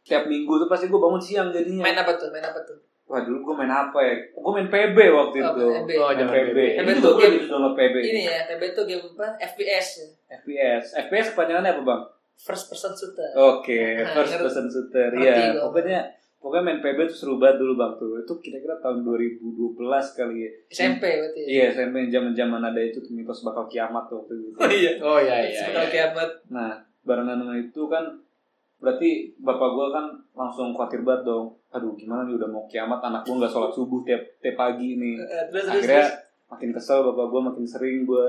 [SPEAKER 3] tiap minggu tuh pasti gue bangun siang jadinya.
[SPEAKER 1] Main apa tuh? Main apa tuh?
[SPEAKER 3] Wah dulu gue main apa ya? Gue main PB waktu
[SPEAKER 1] Oh,
[SPEAKER 3] itu.
[SPEAKER 1] main PB.
[SPEAKER 4] Oh,
[SPEAKER 3] Main
[SPEAKER 4] jangan
[SPEAKER 3] PB.
[SPEAKER 1] PB.
[SPEAKER 3] Itu gue lebih download PB.
[SPEAKER 1] Ini ya, TB itu game apa? FPS. ya.
[SPEAKER 3] FPS. FPS kepanjangannya apa bang?
[SPEAKER 1] First person
[SPEAKER 3] Oh.
[SPEAKER 1] shooter.
[SPEAKER 3] Oke,
[SPEAKER 1] Nah,
[SPEAKER 3] first
[SPEAKER 1] ngerti.
[SPEAKER 3] person shooter
[SPEAKER 1] Ngerti
[SPEAKER 3] ya.
[SPEAKER 1] gua.
[SPEAKER 3] Pokoknya pokoknya main PB tuh seru banget dulu Bang tuh. Itu kira-kira tahun 2012 kali ya.
[SPEAKER 1] SMP berarti. ya?
[SPEAKER 3] Iya, SMP zaman-zaman ada itu tuh mitos bakal kiamat tuh waktu
[SPEAKER 1] <laughs>
[SPEAKER 3] itu.
[SPEAKER 1] <laughs> Oh iya.
[SPEAKER 4] Oh iya iya.
[SPEAKER 1] Sebelum
[SPEAKER 4] iya.
[SPEAKER 1] kiamat.
[SPEAKER 3] Nah, barengan dengan itu kan berarti bapak gua kan langsung khawatir banget dong. Aduh, gimana nih udah mau kiamat anak gua nggak sholat subuh tiap tiap pagi nih.
[SPEAKER 1] Eh, Terus terus.
[SPEAKER 3] akhirnya
[SPEAKER 1] terus.
[SPEAKER 3] makin kesel bapak gue makin sering gue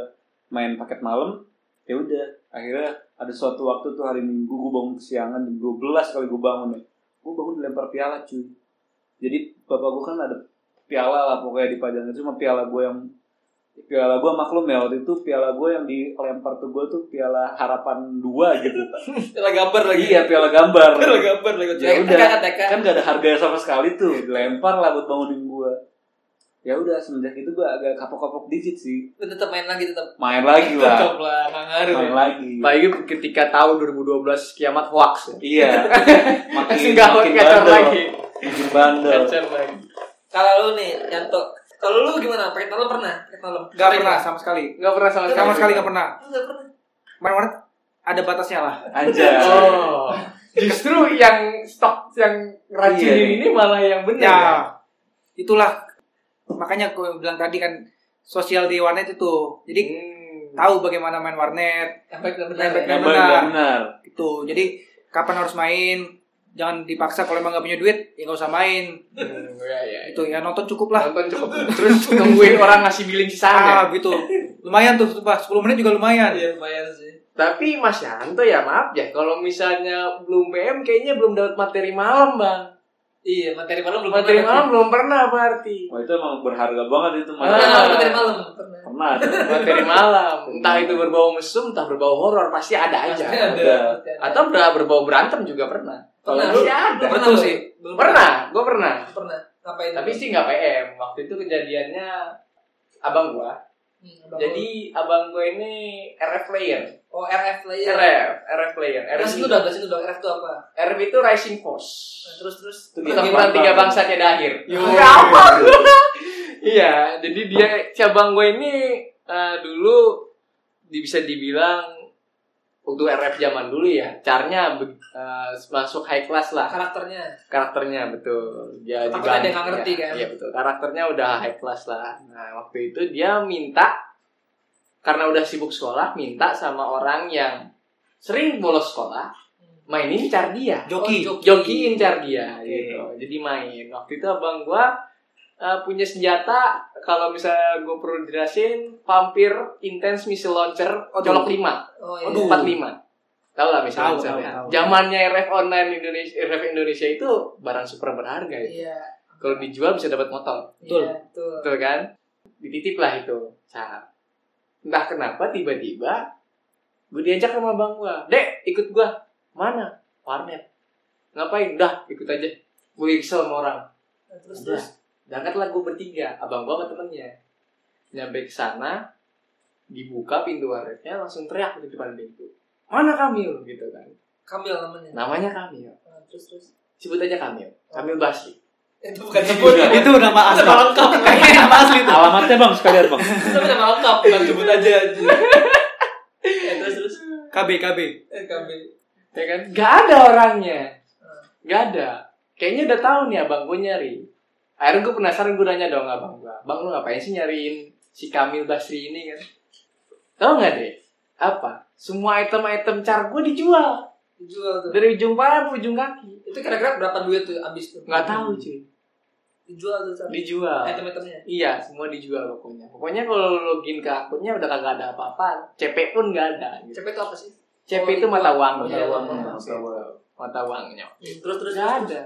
[SPEAKER 3] main paket malam ya udah akhirnya ada suatu waktu tuh hari minggu gue bangun kesiangan jam 12 kali gue bangun ya gue bangun dilempar piala cuy jadi bapak gue kan ada piala lah pokoknya dipajangin cuma piala gue yang piala gue maklum ya waktu itu piala gue yang dilempar ke gue tuh piala harapan dua
[SPEAKER 1] <laughs>
[SPEAKER 3] gitu
[SPEAKER 1] Piala gambar lagi.
[SPEAKER 3] iya piala gambar
[SPEAKER 1] Piala gambar lagi. Eh,
[SPEAKER 3] Ya
[SPEAKER 1] TK,
[SPEAKER 3] udah.
[SPEAKER 1] TK, TK.
[SPEAKER 3] kan gak ada harganya sama sekali tuh dilempar lah buat bangunin gue ya udah semenjak itu gue agak kapok-kapok dikit sih
[SPEAKER 1] Lu tetap main lagi tetap.
[SPEAKER 3] main lagi lah
[SPEAKER 1] Tetap lah, nggak ngaruh.
[SPEAKER 3] main
[SPEAKER 1] ya.
[SPEAKER 3] lagi
[SPEAKER 4] Apalagi ketika tahun 2012 kiamat hoax ya.
[SPEAKER 3] iya makin
[SPEAKER 4] Enggak
[SPEAKER 3] makin
[SPEAKER 4] kacau
[SPEAKER 3] bandel
[SPEAKER 4] lagi.
[SPEAKER 3] makin bandel
[SPEAKER 4] Kacau lagi.
[SPEAKER 1] Kalau lu nih, Yanto. Kalau lu gimana? Pakai malam pernah? Pakai malam.
[SPEAKER 5] Enggak
[SPEAKER 1] Pakai
[SPEAKER 5] pernah
[SPEAKER 1] malam?
[SPEAKER 5] sama sekali.
[SPEAKER 4] Enggak pernah sama
[SPEAKER 5] Sama sekali enggak pernah.
[SPEAKER 1] Lu nggak pernah.
[SPEAKER 5] Main warnet ada batasnya lah.
[SPEAKER 3] anjay
[SPEAKER 4] Oh. <laughs> Justru yang kan? stok yang racunin
[SPEAKER 3] Iya.
[SPEAKER 4] ini malah yang benar.
[SPEAKER 5] Ya. Itulah makanya gue bilang tadi kan sosial di warnet itu jadi
[SPEAKER 4] Hmm.
[SPEAKER 5] Hmm. tahu bagaimana main warnet
[SPEAKER 1] Efek dan benar.
[SPEAKER 5] Efek
[SPEAKER 1] ya?
[SPEAKER 5] dan-
[SPEAKER 3] Gambar
[SPEAKER 5] benar.
[SPEAKER 3] nggak benar.
[SPEAKER 5] gitu jadi kapan harus main jangan dipaksa kalau emang gak punya duit ya gak usah main
[SPEAKER 4] Hmm, ya, ya.
[SPEAKER 5] itu ya nonton cukup lah
[SPEAKER 4] Nonton cukup. Terus nungguin orang ngasih billing
[SPEAKER 5] ah
[SPEAKER 4] sisanya.
[SPEAKER 5] gitu lumayan tuh sumpah 10 menit juga lumayan
[SPEAKER 1] Iya, lumayan sih.
[SPEAKER 4] Tapi Mas Yanto ya maaf ya, kalau misalnya belum PM kayaknya belum dapat materi malam, Bang.
[SPEAKER 1] Iya, materi malam belum
[SPEAKER 4] Materi
[SPEAKER 1] pernah.
[SPEAKER 4] malam belum pernah berarti.
[SPEAKER 3] Wah itu emang berharga banget itu
[SPEAKER 1] Materi
[SPEAKER 3] materi.
[SPEAKER 1] malam, materi malam. Pernah.
[SPEAKER 3] Pernah. ada.
[SPEAKER 4] Materi malam, entah itu berbau mesum, entah berbau horor, pasti ada aja.
[SPEAKER 3] Ada.
[SPEAKER 1] Atau
[SPEAKER 4] Atau ber- berbau berantem juga pernah.
[SPEAKER 3] Kalau
[SPEAKER 1] Pernah.
[SPEAKER 3] lu
[SPEAKER 4] Pasti ada.
[SPEAKER 1] Iya, Pernah
[SPEAKER 5] betul
[SPEAKER 1] Bang.
[SPEAKER 5] sih.
[SPEAKER 1] Belum pernah.
[SPEAKER 4] Pernah, gue pernah.
[SPEAKER 1] Pernah. Ngapain? Hmm,
[SPEAKER 4] Tapi sih nggak PM. Waktu itu kejadiannya abang gua.
[SPEAKER 1] Hmm, abang
[SPEAKER 4] Jadi abang gua ini RF player.
[SPEAKER 1] lu. oh RF lah ya. Nah,
[SPEAKER 4] RF, RF player. RF
[SPEAKER 1] Terus itu
[SPEAKER 4] itu
[SPEAKER 1] udah bahas itu dong RF itu apa?
[SPEAKER 4] RF itu Rising Force.
[SPEAKER 1] Nah, terus terus
[SPEAKER 3] Bang.
[SPEAKER 4] Pertempuran tiga bangsa tiada akhir.
[SPEAKER 6] Yo.
[SPEAKER 4] Ya apa? Iya, jadi dia si abang gue ini eh, dulu di- bisa dibilang waktu RF zaman dulu ya, caranya be- eh, masuk high class lah
[SPEAKER 1] karakternya.
[SPEAKER 4] karakternya betul dia
[SPEAKER 1] Karakternya
[SPEAKER 4] dibanding-
[SPEAKER 1] dia nggak ngerti,
[SPEAKER 4] ya,
[SPEAKER 1] kan?
[SPEAKER 4] iya betul karakternya udah high class lah nah waktu itu dia minta karena udah sibuk sekolah minta sama orang yang sering bolos sekolah mainin car dia
[SPEAKER 5] joki
[SPEAKER 1] Oh, joki.
[SPEAKER 4] joki incar dia
[SPEAKER 3] Oke.
[SPEAKER 4] gitu jadi main waktu itu abang gua eh, punya senjata kalau misalnya gue perlu jelasin vampir intense missile launcher
[SPEAKER 5] Aduh.
[SPEAKER 4] colok lima
[SPEAKER 1] Oh iya.
[SPEAKER 5] Aduh.
[SPEAKER 4] 45 Tahu lah misalnya,
[SPEAKER 5] Tahu,
[SPEAKER 4] misalnya.
[SPEAKER 5] tahu, tahu.
[SPEAKER 4] Zamannya RF online Indonesia, RF Indonesia itu barang super berharga ya.
[SPEAKER 1] Iya.
[SPEAKER 4] Kalau dijual bisa dapat motor,
[SPEAKER 5] Betul.
[SPEAKER 1] Iya, Betul.
[SPEAKER 4] betul kan? Dititip lah itu. Nah, entah kenapa tiba-tiba gue diajak sama bang gua, dek ikut gua mana? Warnet. Ngapain? Dah ikut aja. Gue kesel sama orang.
[SPEAKER 1] Nah, Terus
[SPEAKER 4] Udah.
[SPEAKER 1] terus.
[SPEAKER 4] Berangkatlah gue bertiga, abang gua sama temennya. Nyampe ke sana, dibuka pintu warnetnya, langsung teriak di depan pintu. Mana Kamil? Gitu kan.
[SPEAKER 1] Kamil namanya.
[SPEAKER 4] Namanya Kamil.
[SPEAKER 1] Nah, terus terus.
[SPEAKER 4] Sebut aja Kamil. Kamil Basri.
[SPEAKER 1] Itu bukan sebut.
[SPEAKER 6] itu nama asli nama
[SPEAKER 5] <laughs>
[SPEAKER 6] lengkap kayaknya nama asli tuh
[SPEAKER 3] Alamatnya bang sekalian bang.
[SPEAKER 1] Itu nama lengkap bukan sebut aja. <laughs> Ya, terus terus.
[SPEAKER 5] KB KB
[SPEAKER 1] Eh, Kamil.
[SPEAKER 4] Ya kan? Gak ada orangnya. Gak ada. Kayaknya udah tahu nih abang gue nyari. Akhirnya gue penasaran gue nanya dong abang gue. Bang lu ngapain sih nyariin si Kamil Basri ini kan? Tahu nggak deh? Apa? Semua item-item car gue dijual
[SPEAKER 1] Dijual tuh.
[SPEAKER 4] dari ujung paha ke ujung kaki.
[SPEAKER 1] Itu kira-kira berapa duit tuh abis tuh?
[SPEAKER 4] Nggak tahu cuy.
[SPEAKER 1] Dijual tuh. Sam.
[SPEAKER 4] Dijual.
[SPEAKER 1] Item-itemnya.
[SPEAKER 4] Iya, semua dijual pokoknya. Pokoknya kalau lo login ke akunnya udah kagak ada apa-apa. CP pun nggak ada. Gitu.
[SPEAKER 1] CP itu apa sih?
[SPEAKER 4] CP itu mata uang.
[SPEAKER 1] Mata uang.
[SPEAKER 4] Mata uang. Mata uangnya.
[SPEAKER 1] Hmm, Terus terus.
[SPEAKER 4] Nggak ada.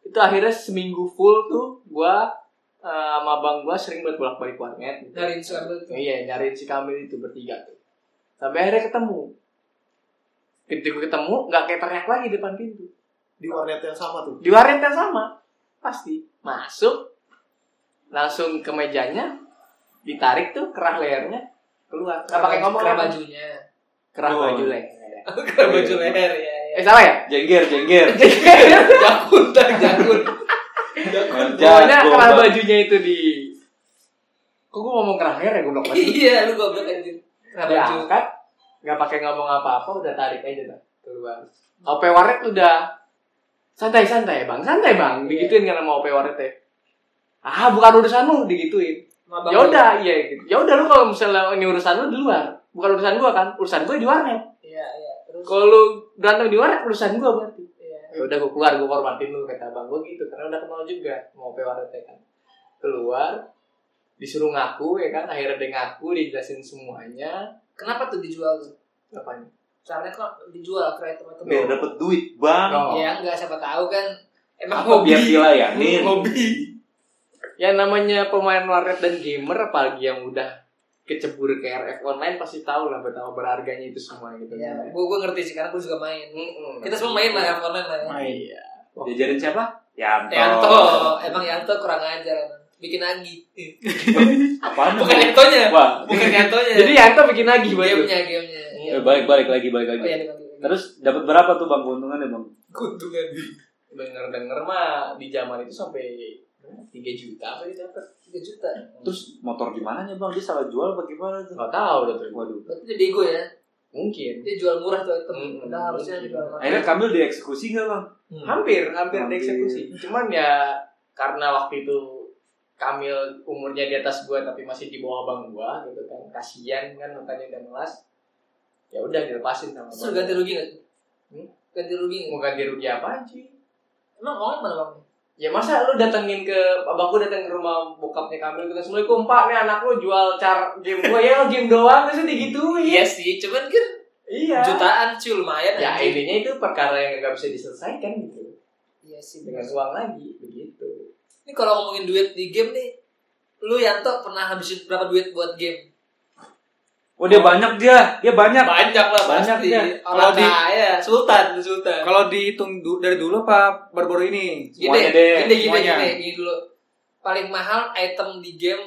[SPEAKER 4] Itu akhirnya seminggu full tuh gua eh, sama abang gua sering buat bolak-balik warnet. Gitu.
[SPEAKER 1] Dari si Kamil tuh.
[SPEAKER 4] Iya, nyariin si Kamil itu bertiga tuh. Sampai akhirnya ketemu. Ketika ketemu, nggak kayak teriak lagi depan pintu.
[SPEAKER 2] di warnet yang sama tuh
[SPEAKER 4] Di warnet yang sama, pasti. Masuk, langsung ke mejanya, ditarik tuh kerah lehernya, keluar. Nggak pakai ngomong
[SPEAKER 1] Kerah
[SPEAKER 4] apa.
[SPEAKER 1] bajunya. <laughs>
[SPEAKER 4] Kerah
[SPEAKER 3] Doang.
[SPEAKER 4] baju leher.
[SPEAKER 1] Kerah baju leher ya. ya. <laughs>
[SPEAKER 4] Eh, salah ya?
[SPEAKER 3] Jengger jengger.
[SPEAKER 1] Jakun tak jakun.
[SPEAKER 4] Pokoknya
[SPEAKER 3] Jago,
[SPEAKER 4] kerah
[SPEAKER 3] Bang.
[SPEAKER 4] bajunya itu di... Kok gue ngomong kerah leher ya? Gue blok banget.
[SPEAKER 1] Iya, lu goblok anjir. Kerah baju.
[SPEAKER 4] diangkat nggak pakai ngomong apa-apa udah tarik aja dah keluar OP Warnet udah santai santai bang santai bang digituin kan sama OP Warnet teh ah bukan urusanmu digituin
[SPEAKER 1] Sama abang
[SPEAKER 4] ya udah iya gitu ya udah lu kalau misalnya ini urusan lu di luar bukan urusan gua kan urusan gua di warnet
[SPEAKER 1] lu. Iya, iya. Terus
[SPEAKER 4] kalau lu berantem di warnet urusan gua berarti
[SPEAKER 1] iya.
[SPEAKER 4] ya udah gue keluar gue hormatin lu kata abang gue gitu karena udah kenal juga mau OP Warnet ya kan keluar disuruh ngaku ya kan akhirnya dia ngaku dijelasin semuanya
[SPEAKER 1] Kenapa tuh dijual tuh?
[SPEAKER 4] apanya
[SPEAKER 1] Caranya kok dijual kerah item-item?
[SPEAKER 3] Biar dapet duit bang.
[SPEAKER 4] Oh.
[SPEAKER 1] Ya enggak siapa tahu kan. Emang
[SPEAKER 3] Apa biar
[SPEAKER 1] hobi.
[SPEAKER 3] dilayanin?
[SPEAKER 1] Hobi.
[SPEAKER 4] Ya namanya pemain warnet dan gamer apalagi yang udah kecebur ke RF online pasti tahu lah betapa berharganya itu semua gitu. kan.
[SPEAKER 1] Iya, gua gua ngerti sih karena gua juga main.
[SPEAKER 4] Mm-mm.
[SPEAKER 1] Kita semua main Oh. lah online lah ya.
[SPEAKER 4] Iya.
[SPEAKER 3] Diajarin siapa? Yanto.
[SPEAKER 1] Yanto, emang Yanto kurang ajar emang. Bikin lagi.
[SPEAKER 3] Apaan?
[SPEAKER 1] Bukan
[SPEAKER 3] Bang?
[SPEAKER 1] Yantonya.
[SPEAKER 3] Wah.
[SPEAKER 1] Bukan Yantonya.
[SPEAKER 4] Jadi Yanto bikin lagi buat lu.
[SPEAKER 1] gamenya, gamenya. Iya.
[SPEAKER 3] Eh, balik balik lagi balik lagi.
[SPEAKER 1] Oh, iya, dipanggil.
[SPEAKER 3] Terus dapat berapa tuh bang keuntungannya bang?
[SPEAKER 1] keuntungan.
[SPEAKER 4] Denger-denger mah di zaman itu sampai 3 juta apa dia dapat.
[SPEAKER 1] 3 juta.
[SPEAKER 3] Terus motor gimana nih bang? Dia salah jual bagaimana tuh?
[SPEAKER 4] Enggak tahu udah tuh.
[SPEAKER 3] Waduh.
[SPEAKER 1] Berarti dia bego ya.
[SPEAKER 4] Mungkin.
[SPEAKER 1] Dia jual murah tuh item.
[SPEAKER 4] Mm-mm.
[SPEAKER 1] Padahal harusnya jual mahal.
[SPEAKER 3] Akhirnya Kamil dieksekusi nggak bang?
[SPEAKER 4] Hampir, hampir
[SPEAKER 3] Hampir.
[SPEAKER 4] dieksekusi. Cuman ya karena waktu itu Kamil umurnya di atas gua tapi masih di bawah abang gua gitu kan kasihan kan makanya udah ngelas ya udah dilepasin sama
[SPEAKER 1] Terus lu
[SPEAKER 4] gua.
[SPEAKER 1] ganti rugi nggak?
[SPEAKER 4] Hmm?
[SPEAKER 1] Ganti rugi nggak?
[SPEAKER 4] mau ganti rugi apa cuy
[SPEAKER 1] Emang mau mana bang?
[SPEAKER 4] ya masa lu datengin ke abang gua datang ke rumah bokapnya Kamil gitu assalamualaikum pak nih anak lu jual car game gua ya game doang terus digituin
[SPEAKER 1] Iya sih, cuman kan
[SPEAKER 4] iya
[SPEAKER 1] jutaan cuy lumayan.
[SPEAKER 4] ya
[SPEAKER 1] anjing.
[SPEAKER 4] intinya itu perkara yang nggak bisa diselesaikan gitu
[SPEAKER 1] Iya sih.
[SPEAKER 4] dengan
[SPEAKER 1] bener.
[SPEAKER 4] uang lagi begitu
[SPEAKER 1] Ini kalau ngomongin duit di game nih, lu Yanto pernah habisin berapa duit buat game?
[SPEAKER 3] Oh dia banyak dia, dia banyak.
[SPEAKER 1] Banyak lah
[SPEAKER 3] Banyak,
[SPEAKER 1] pasti.
[SPEAKER 3] ya.
[SPEAKER 6] Kalau
[SPEAKER 1] Orang
[SPEAKER 6] di-
[SPEAKER 1] kaya, sultan, sultan.
[SPEAKER 6] Kalau dihitung du- dari dulu apa baru-baru ini?
[SPEAKER 1] Gini,
[SPEAKER 3] Semuanya
[SPEAKER 1] gini,
[SPEAKER 3] deh,
[SPEAKER 1] gini, gini,
[SPEAKER 6] semuanya.
[SPEAKER 1] gini dulu. Paling mahal item di game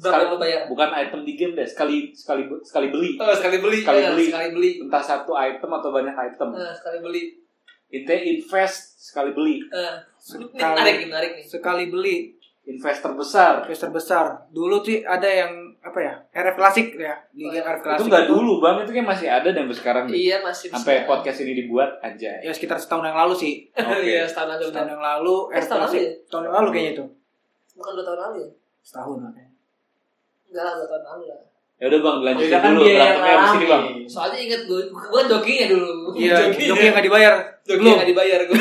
[SPEAKER 1] berapa yang lu bayar?
[SPEAKER 3] Bukan item di game deh, sekali sekali sekali beli.
[SPEAKER 1] Oh, sekali beli.
[SPEAKER 3] Sekali
[SPEAKER 1] Ya,
[SPEAKER 3] beli.
[SPEAKER 1] Sekali beli.
[SPEAKER 3] Entah satu item atau banyak item.
[SPEAKER 1] Eh, sekali beli.
[SPEAKER 3] Intinya invest sekali beli.
[SPEAKER 1] Eh, ini
[SPEAKER 6] Sekali-
[SPEAKER 1] menarik nih, menarik nih.
[SPEAKER 5] Sekali beli
[SPEAKER 3] Invest terbesar.
[SPEAKER 5] investor besar. Dulu tuh ada yang apa ya? RF Classic ya, di game RF Classic.
[SPEAKER 3] Itu nggak dulu bang, itu kayak masih ada dan sampai sekarang. deh.
[SPEAKER 1] Iya, masih bisa.
[SPEAKER 3] Sampai podcast ini dibuat
[SPEAKER 5] <laughs>
[SPEAKER 3] aja.
[SPEAKER 5] Ya sekitar setahun yang lalu sih.
[SPEAKER 1] Iya, setahun lalu.
[SPEAKER 5] Setahun yang lalu
[SPEAKER 1] Eh,
[SPEAKER 5] RF
[SPEAKER 1] setahun lalu
[SPEAKER 5] Classic.
[SPEAKER 1] ya?
[SPEAKER 5] Tahun yang lalu kayaknya itu.
[SPEAKER 1] Bukan dua tahun lalu ya?
[SPEAKER 5] Setahun makanya.
[SPEAKER 1] Enggak lah, dua tahun lalu lah.
[SPEAKER 3] Ya udah bang, lanjutin
[SPEAKER 4] Ya, kan
[SPEAKER 3] dulu.
[SPEAKER 4] dia yang
[SPEAKER 3] Berantemnya abis ini bang.
[SPEAKER 4] ngalamin.
[SPEAKER 1] Soalnya inget gue, gue jokinya dulu.
[SPEAKER 5] Iya,
[SPEAKER 1] jokinya.
[SPEAKER 5] joki yang nggak dibayar.
[SPEAKER 1] Jokinya
[SPEAKER 5] Belum.
[SPEAKER 1] nggak dibayar gue.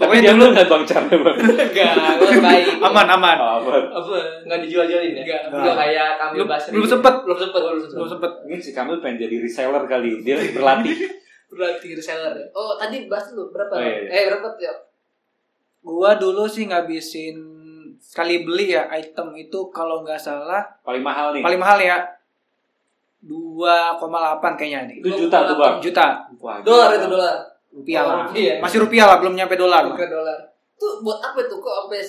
[SPEAKER 3] Tapi dia dulu nggak bang caranya bang.
[SPEAKER 1] Enggak, gue baik.
[SPEAKER 6] Aman, aman.
[SPEAKER 3] Oh, bang.
[SPEAKER 1] Apa?
[SPEAKER 4] nggak dijual-jualin ya
[SPEAKER 1] Enggak.
[SPEAKER 4] Nggak kayak Kamil
[SPEAKER 6] Belum,
[SPEAKER 4] Basri
[SPEAKER 6] belum sempet.
[SPEAKER 1] Iya, Belum sempet, belum
[SPEAKER 6] Belum
[SPEAKER 1] sempet.
[SPEAKER 6] sempet.
[SPEAKER 3] Ini si Kamil pengen jadi reseller kali. Dia
[SPEAKER 5] <laughs>
[SPEAKER 3] berlatih.
[SPEAKER 1] Berarti reseller. ya? Oh, tadi bahas lu berapa?
[SPEAKER 3] Oh, iya, iya.
[SPEAKER 1] Eh, berapa ya?
[SPEAKER 5] Gua dulu sih ngabisin sekali beli ya item itu kalau nggak salah
[SPEAKER 3] Paling mahal nih.
[SPEAKER 5] paling mahal ya 2,8 kayaknya nih.
[SPEAKER 3] Itu juta tuh bang.
[SPEAKER 5] Juta
[SPEAKER 3] Wah,
[SPEAKER 1] Dolar
[SPEAKER 3] gila.
[SPEAKER 1] itu dolar.
[SPEAKER 5] rupiah lah.
[SPEAKER 1] Iya.
[SPEAKER 5] Masih rupiah lah, belum nyampe dolar. lah.
[SPEAKER 1] Bukan dolar. Tuh buat apa tuh kok sampai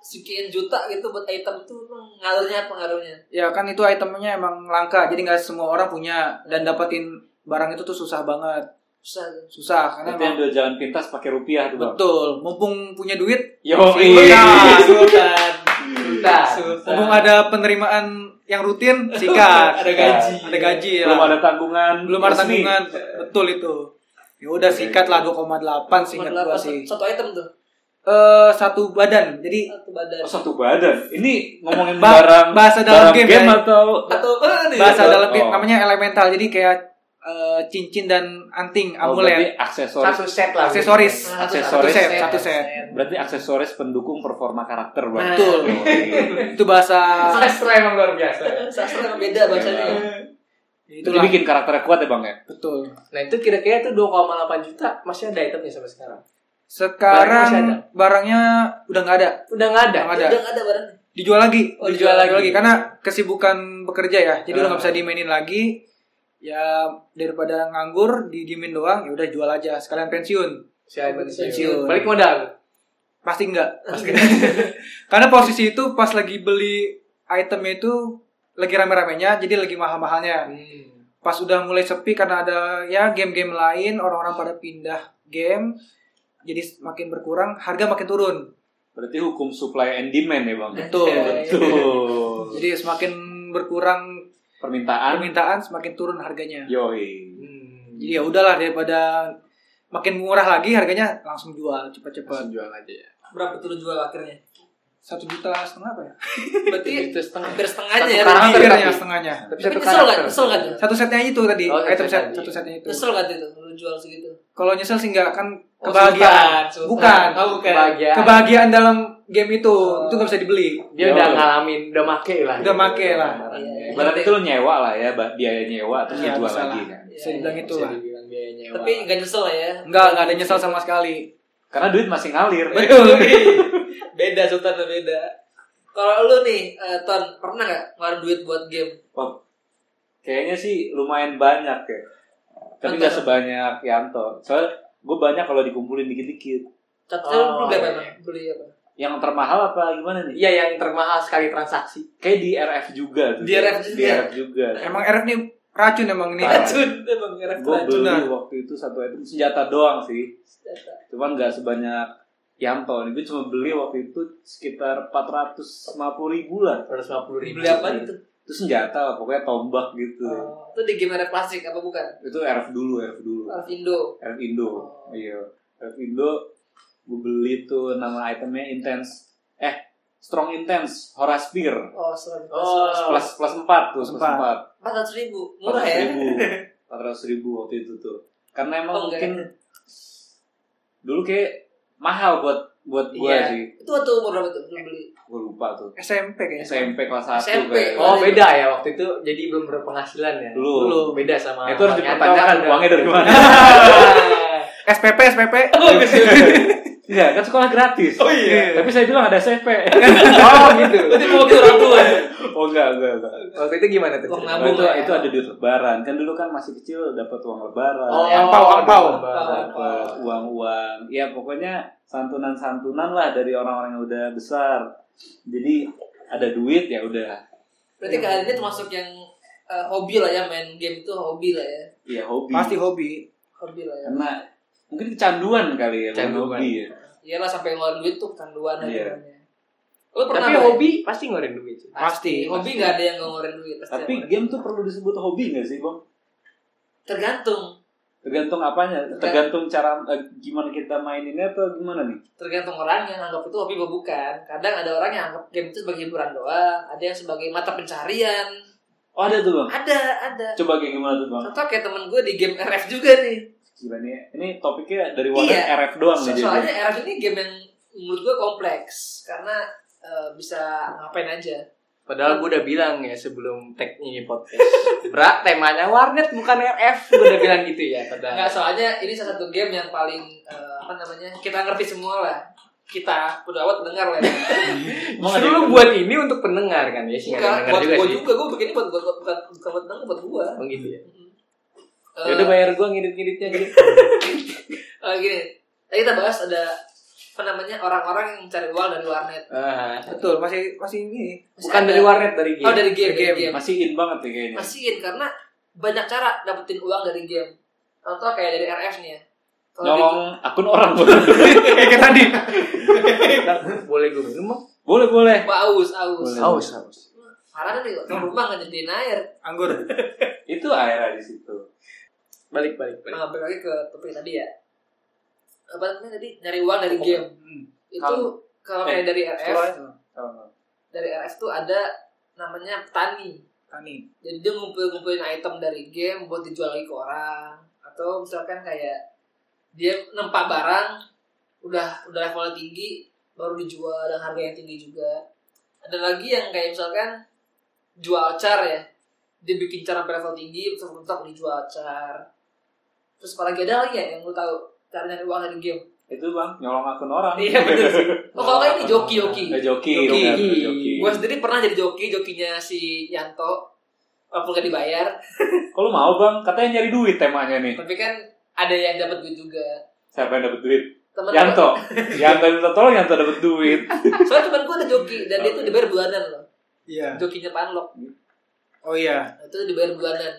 [SPEAKER 1] sekian juta gitu buat item tuh emang ngalirnya pengaruhnya.
[SPEAKER 5] Ya kan itu itemnya emang langka, jadi nggak semua orang punya dan dapetin barang itu tuh susah banget,
[SPEAKER 1] Susah. tuh.
[SPEAKER 5] susah karena
[SPEAKER 3] Itu
[SPEAKER 5] emang
[SPEAKER 3] yang dua jalan pintas pakai rupiah tuh bang.
[SPEAKER 5] betul. Mumpung punya duit,
[SPEAKER 3] Yo,
[SPEAKER 1] Oh, iya.
[SPEAKER 5] Nah,
[SPEAKER 1] Sultan.
[SPEAKER 4] Sultan.
[SPEAKER 1] Sultan.
[SPEAKER 5] mumpung ada penerimaan yang
[SPEAKER 1] <laughs>
[SPEAKER 5] rutin, sikat.
[SPEAKER 1] Ada gaji.
[SPEAKER 5] Ada gaji ya.
[SPEAKER 3] Belum ada tanggungan.
[SPEAKER 5] belum ada
[SPEAKER 3] resmi. Iya.
[SPEAKER 5] tanggungan, betul itu. Ya udah sikat lah 2,8 sih ingat gua
[SPEAKER 1] 0,8,
[SPEAKER 5] sih.
[SPEAKER 1] Satu item tuh.
[SPEAKER 5] Eh satu badan. Jadi
[SPEAKER 1] Satu badan.
[SPEAKER 3] Oh, satu badan. Ini ngomongin
[SPEAKER 5] Ba-
[SPEAKER 3] barang
[SPEAKER 5] bahasa dalam
[SPEAKER 3] barang
[SPEAKER 5] game, ya.
[SPEAKER 3] atau
[SPEAKER 1] Atau apa nih?
[SPEAKER 5] bahasa dalam game
[SPEAKER 3] Oh.
[SPEAKER 5] namanya elemental. Jadi kayak eh, cincin dan anting, ya.
[SPEAKER 3] Oh,
[SPEAKER 5] amulet,
[SPEAKER 3] berarti aksesoris.
[SPEAKER 4] satu set lah
[SPEAKER 5] aksesoris.
[SPEAKER 1] Nah, satu-
[SPEAKER 5] Satu
[SPEAKER 3] Aksesoris.
[SPEAKER 5] set, satu set.
[SPEAKER 3] Berarti aksesoris pendukung performa karakter bang.
[SPEAKER 1] Nah.
[SPEAKER 5] Betul. itu bahasa
[SPEAKER 4] sastra emang luar biasa
[SPEAKER 1] Sastra emang beda bahasanya.
[SPEAKER 3] Itu
[SPEAKER 5] itulah.
[SPEAKER 3] bikin karakternya kuat ya bang ya.
[SPEAKER 5] Betul.
[SPEAKER 4] nah itu kira-kira tuh 2,8 juta masih ada itemnya sampai sekarang
[SPEAKER 5] Sekarang
[SPEAKER 4] Barangnya masih
[SPEAKER 5] barangnya udah nggak ada,
[SPEAKER 4] udah nggak ada
[SPEAKER 5] Nggak
[SPEAKER 1] Ada.
[SPEAKER 5] ada.
[SPEAKER 1] Udah nggak ada barang.
[SPEAKER 5] Dijual lagi,
[SPEAKER 1] Oh, dijual lagi.
[SPEAKER 5] karena kesibukan bekerja ya. Jadi udah nggak
[SPEAKER 4] Ah.
[SPEAKER 5] bisa dimainin lagi. Ya daripada nganggur didiemin doang, ya udah jual aja sekalian pensiun.
[SPEAKER 4] si Aiman
[SPEAKER 5] Pensiun.
[SPEAKER 4] balik modal
[SPEAKER 5] Pasti enggak. karena posisi itu pas lagi beli item itu lagi rame-ramenya, jadi lagi mahal-mahalnya. pas udah mulai sepi karena ada ya game-game lain orang-orang pada pindah game jadi makin berkurang harga makin turun
[SPEAKER 3] Berarti hukum supply and demand ya
[SPEAKER 5] <laughs>
[SPEAKER 3] bang.
[SPEAKER 5] Betul.
[SPEAKER 3] Betul.
[SPEAKER 5] jadi semakin berkurang
[SPEAKER 3] Permintaan.
[SPEAKER 5] permintaan semakin turun harganya
[SPEAKER 3] Yoi.
[SPEAKER 4] Hmm.
[SPEAKER 5] jadi ya udahlah daripada makin murah lagi harganya langsung jual cepat-cepat
[SPEAKER 4] Langsung jual aja ya
[SPEAKER 1] Berapa tuh lu jual akhirnya?
[SPEAKER 5] satu juta setengah apa ya
[SPEAKER 1] Berarti
[SPEAKER 4] Itu setengah
[SPEAKER 1] hampir setengahnya ya.
[SPEAKER 4] Gitu. Satu karakter.
[SPEAKER 1] Tapi
[SPEAKER 5] hampirnya setengahnya
[SPEAKER 1] nyesel nggak? Nyesel nggak tuh?
[SPEAKER 5] satu setnya itu tadi
[SPEAKER 4] Oh, satu
[SPEAKER 5] item
[SPEAKER 4] set
[SPEAKER 5] set
[SPEAKER 4] tadi.
[SPEAKER 5] satu setnya itu
[SPEAKER 1] Nyesel nggak tuh itu lu jual segitu?
[SPEAKER 5] kalau nyesel sih enggak kan
[SPEAKER 1] Oh, sultan,
[SPEAKER 5] kebahagiaan
[SPEAKER 1] sultan.
[SPEAKER 5] bukan
[SPEAKER 1] Oh, bukan.
[SPEAKER 4] Kebahagiaan.
[SPEAKER 5] kebahagiaan dalam game itu
[SPEAKER 1] Oh.
[SPEAKER 5] itu nggak bisa <laughs> dibeli
[SPEAKER 4] dia udah ngalamin udah make lah
[SPEAKER 5] Udah make lah.
[SPEAKER 1] Iya.
[SPEAKER 3] Berarti itu lo nyewa lah ya, ba- biaya nyewa terus
[SPEAKER 5] Iya,
[SPEAKER 3] dijual
[SPEAKER 5] bisa
[SPEAKER 3] lagi
[SPEAKER 5] lah.
[SPEAKER 3] kan.
[SPEAKER 5] bisa dibilang
[SPEAKER 4] Bisa
[SPEAKER 5] itu lah
[SPEAKER 4] dibilang biaya nyewa.
[SPEAKER 1] Tapi nggak nyesel lah ya.
[SPEAKER 5] Enggak, enggak ada nyesal sama sekali. Iya.
[SPEAKER 3] Karena duit masih ngalir.
[SPEAKER 5] Betul.
[SPEAKER 1] <laughs> beda sultan tuh beda kalau lu nih eh, ton pernah nggak ngeluarin duit buat game
[SPEAKER 3] Wah, Kayaknya sih lumayan banyak ya.
[SPEAKER 1] Mantap.
[SPEAKER 3] Tapi nggak sebanyak Yanto. Soalnya gue banyak kalau dikumpulin dikit-dikit.
[SPEAKER 1] contohnya lu
[SPEAKER 4] Oh,
[SPEAKER 1] beli apa
[SPEAKER 4] iya.
[SPEAKER 1] Ton? beli apa
[SPEAKER 3] Yang termahal apa gimana nih?
[SPEAKER 4] iya yang termahal sekali transaksi <laughs>
[SPEAKER 3] Kayak di RF juga tuh.
[SPEAKER 1] Di RF juga?
[SPEAKER 3] Di RF juga.
[SPEAKER 5] Emang RF nih racun emang ini.
[SPEAKER 3] Parah.
[SPEAKER 1] racun emang ngerek
[SPEAKER 3] Gue
[SPEAKER 1] racun
[SPEAKER 3] beli
[SPEAKER 5] racunan.
[SPEAKER 3] waktu itu satu item senjata doang sih.
[SPEAKER 1] Senjata.
[SPEAKER 3] Cuman nggak sebanyak Yanto. Gue cuma beli waktu itu sekitar 450 ribu lah.
[SPEAKER 4] 250 ribu
[SPEAKER 1] beli apa itu
[SPEAKER 3] Itu senjata lah, pokoknya tombak gitu.
[SPEAKER 1] Oh, itu di game rap klasik apa bukan Ah,
[SPEAKER 3] Itu RF dulu, RF dulu.
[SPEAKER 1] Alvindo
[SPEAKER 3] Rap Indo.
[SPEAKER 1] Oh.
[SPEAKER 3] Iya. Rap Indo gue beli tuh nama itemnya Intense. Eh, Strong Intense, Horace Spear.
[SPEAKER 1] Oh, serem.
[SPEAKER 4] Oh.
[SPEAKER 3] Plus plus 4 tuh, plus
[SPEAKER 5] Empat.
[SPEAKER 3] 4.
[SPEAKER 1] Empat ratus ribu, murah
[SPEAKER 3] 400
[SPEAKER 1] ya?
[SPEAKER 3] ribu. 400 ribu waktu itu tuh. Karena emang
[SPEAKER 1] Oh, enggak.
[SPEAKER 3] mungkin dulu kayak mahal buat buat gua
[SPEAKER 5] Iya.
[SPEAKER 3] sih.
[SPEAKER 1] Itu waktu umur berapa tuh? Belum beli.
[SPEAKER 3] Gua lupa tuh.
[SPEAKER 5] SMP kayaknya.
[SPEAKER 3] SMP kelas 1
[SPEAKER 1] SMP.
[SPEAKER 4] Oh beda ya waktu itu jadi belum berpenghasilan ya.
[SPEAKER 3] Dulu.
[SPEAKER 4] beda sama.
[SPEAKER 3] Itu harus
[SPEAKER 4] Bang Yanto
[SPEAKER 3] dipertanyakan
[SPEAKER 4] kan.
[SPEAKER 3] uangnya dari
[SPEAKER 4] <laughs>
[SPEAKER 3] mana.
[SPEAKER 5] SPP <laughs> SPP.
[SPEAKER 3] <laughs>
[SPEAKER 4] Oh, gitu.
[SPEAKER 3] Iya, kan sekolah gratis.
[SPEAKER 6] Oh iya.
[SPEAKER 3] Tapi saya bilang ada SMP.
[SPEAKER 4] oh gitu.
[SPEAKER 1] Itu mau ke orang tua.
[SPEAKER 3] <laughs> oh enggak, enggak, enggak.
[SPEAKER 4] Waktu itu gimana tuh?
[SPEAKER 1] Uang
[SPEAKER 4] cerita?
[SPEAKER 1] nabung
[SPEAKER 3] Nah, itu,
[SPEAKER 1] lah ya.
[SPEAKER 3] itu ada duit lebaran. Kan dulu kan masih kecil dapat uang lebaran.
[SPEAKER 4] Oh,
[SPEAKER 5] Angpau, angpau.
[SPEAKER 3] dapat uang-uang. Ya pokoknya santunan-santunan lah dari orang-orang yang udah besar. Jadi ada duit ya udah.
[SPEAKER 1] Berarti kalian ini termasuk yang eh, hobi lah ya main game itu hobi lah ya.
[SPEAKER 3] Ya hobi.
[SPEAKER 5] Pasti hobi.
[SPEAKER 1] Hobi lah ya.
[SPEAKER 3] Karena mungkin kecanduan kali ya bukan
[SPEAKER 4] Kecanduan.
[SPEAKER 3] hobi ya.
[SPEAKER 1] Iyalah sampai ngeluarin duit tuh kecanduan aja.
[SPEAKER 3] Iya.
[SPEAKER 1] namanya. Lu pernah
[SPEAKER 4] Tapi
[SPEAKER 1] nggak ya?
[SPEAKER 4] hobi pasti ngoreng duit. sih.
[SPEAKER 1] Pasti.
[SPEAKER 5] Pasti.
[SPEAKER 1] Hobi nggak ada yang nggak ngeluarin duit. Pasti
[SPEAKER 3] Tapi
[SPEAKER 1] ada.
[SPEAKER 3] game tuh perlu disebut hobi nggak sih, Bang?
[SPEAKER 1] tergantung,
[SPEAKER 3] Tergantung apanya? Tergantung cara eh, gimana kita maininnya atau gimana nih?
[SPEAKER 1] tergantung orang yang anggap itu hobi apa bukan. Kadang ada orang yang anggap game itu sebagai hiburan doang, ada yang sebagai mata pencarian.
[SPEAKER 3] Oh, ada tuh, Bang.
[SPEAKER 1] Ada, ada.
[SPEAKER 3] Coba kayak gimana tuh, Bang?
[SPEAKER 1] Contoh kayak temen gue di game RF juga nih.
[SPEAKER 3] Gila nih. Ini topiknya dari wadah
[SPEAKER 1] Iya.
[SPEAKER 3] RF doang
[SPEAKER 1] So-
[SPEAKER 3] nih.
[SPEAKER 1] soalnya
[SPEAKER 4] ya?
[SPEAKER 3] jadi.
[SPEAKER 1] RF ini game yang menurut gue kompleks karena eh, bisa ngapain aja.
[SPEAKER 4] Padahal gue udah bilang ya sebelum tag ini <laughs> podcast. Bra, temanya warnet bukan RF. Gue udah bilang gitu ya. Padahal.
[SPEAKER 1] Enggak, soalnya ini salah satu game yang paling eh, apa namanya? Kita ngerti semua lah. Kita pudawat dengar lah. ya.
[SPEAKER 3] Emang ada yang
[SPEAKER 4] Justru lu buat ini untuk pendengar kan ya sih nggak ada Iya, yang
[SPEAKER 1] Enggak, buat
[SPEAKER 4] dengar
[SPEAKER 1] gue
[SPEAKER 4] juga sih.
[SPEAKER 1] juga, gue begini buat buat bukan bukan buat dengar, buat gue.
[SPEAKER 4] Oh gitu ya.
[SPEAKER 1] Eh,
[SPEAKER 4] Ya udah bayar gua ngedit-ngeditnya gitu.
[SPEAKER 1] eh, gini, tadi kita bahas ada apa namanya orang-orang yang mencari uang dari warnet.
[SPEAKER 4] Ah,
[SPEAKER 5] Betul, masih masih ini.
[SPEAKER 1] Masih
[SPEAKER 4] bukan
[SPEAKER 1] ada-
[SPEAKER 4] dari warnet dari game.
[SPEAKER 1] Oh dari game,
[SPEAKER 5] Dari
[SPEAKER 1] dari
[SPEAKER 5] game.
[SPEAKER 1] game.
[SPEAKER 3] <laughs> masih in banget ya kayaknya.
[SPEAKER 1] Masihin karena banyak cara dapetin uang dari game. Contoh kayak dari RF nih ya. Kalau di-
[SPEAKER 3] Nyolong akun orang
[SPEAKER 6] Kayak kayak tadi.
[SPEAKER 4] <laughs> Boleh gue minum? Bang?
[SPEAKER 3] <laughs> boleh boleh.
[SPEAKER 1] Aus, aus.
[SPEAKER 3] Boleh. Haus,
[SPEAKER 1] Karena nih, ke rumah nggak nyediain air.
[SPEAKER 5] Anggur.
[SPEAKER 3] Itu akhirnya di situ.
[SPEAKER 4] Balik balik balik.
[SPEAKER 1] Nah, balik lagi ke topik tadi ya. Apa namanya tadi? Nyari uang dari game.
[SPEAKER 5] Hmm.
[SPEAKER 1] Itu
[SPEAKER 3] Kalau-
[SPEAKER 1] kalau
[SPEAKER 3] eh,
[SPEAKER 1] kayak dari RF,
[SPEAKER 3] Oh.
[SPEAKER 1] dari RF tuh ada namanya petani.
[SPEAKER 5] Tani.
[SPEAKER 1] Jadi dia ngumpul-ngumpulin item dari game buat dijual lagi ke orang atau misalkan kayak dia nempak barang udah udah levelnya tinggi baru dijual dengan harga yang tinggi juga. Ada lagi yang kayak misalkan jual car ya. Dia bikin car sampai level tinggi terus mentok dijual car. Terus apalagi ada lagi ya yang lu tahu cara nyari uang dari game.
[SPEAKER 3] Itu bang, nyolong akun orang.
[SPEAKER 1] Iya bener
[SPEAKER 3] <laughs>
[SPEAKER 1] sih. Oh kalau nggak ini joki-joki.
[SPEAKER 3] Eh, joki,
[SPEAKER 4] Joki.
[SPEAKER 3] bener, joki.
[SPEAKER 1] Gue sendiri pernah jadi joki, jokinya si Yanto. Walaupun gak dibayar,
[SPEAKER 3] Kalau mau bang, katanya nyari duit temanya nih.
[SPEAKER 1] tapi kan ada yang dapat duit juga.
[SPEAKER 3] Siapa yang dapat duit?
[SPEAKER 1] Temen
[SPEAKER 3] Yanto. Yanto minta tolong, Yanto dapat duit.
[SPEAKER 1] gua- Soalnya temen gue ada joki dan dia tuh dibayar bulanan loh.
[SPEAKER 5] Iya.
[SPEAKER 1] Jokinya Panlok.
[SPEAKER 5] Oh iya.
[SPEAKER 1] Nah, Itu dibayar bulanan.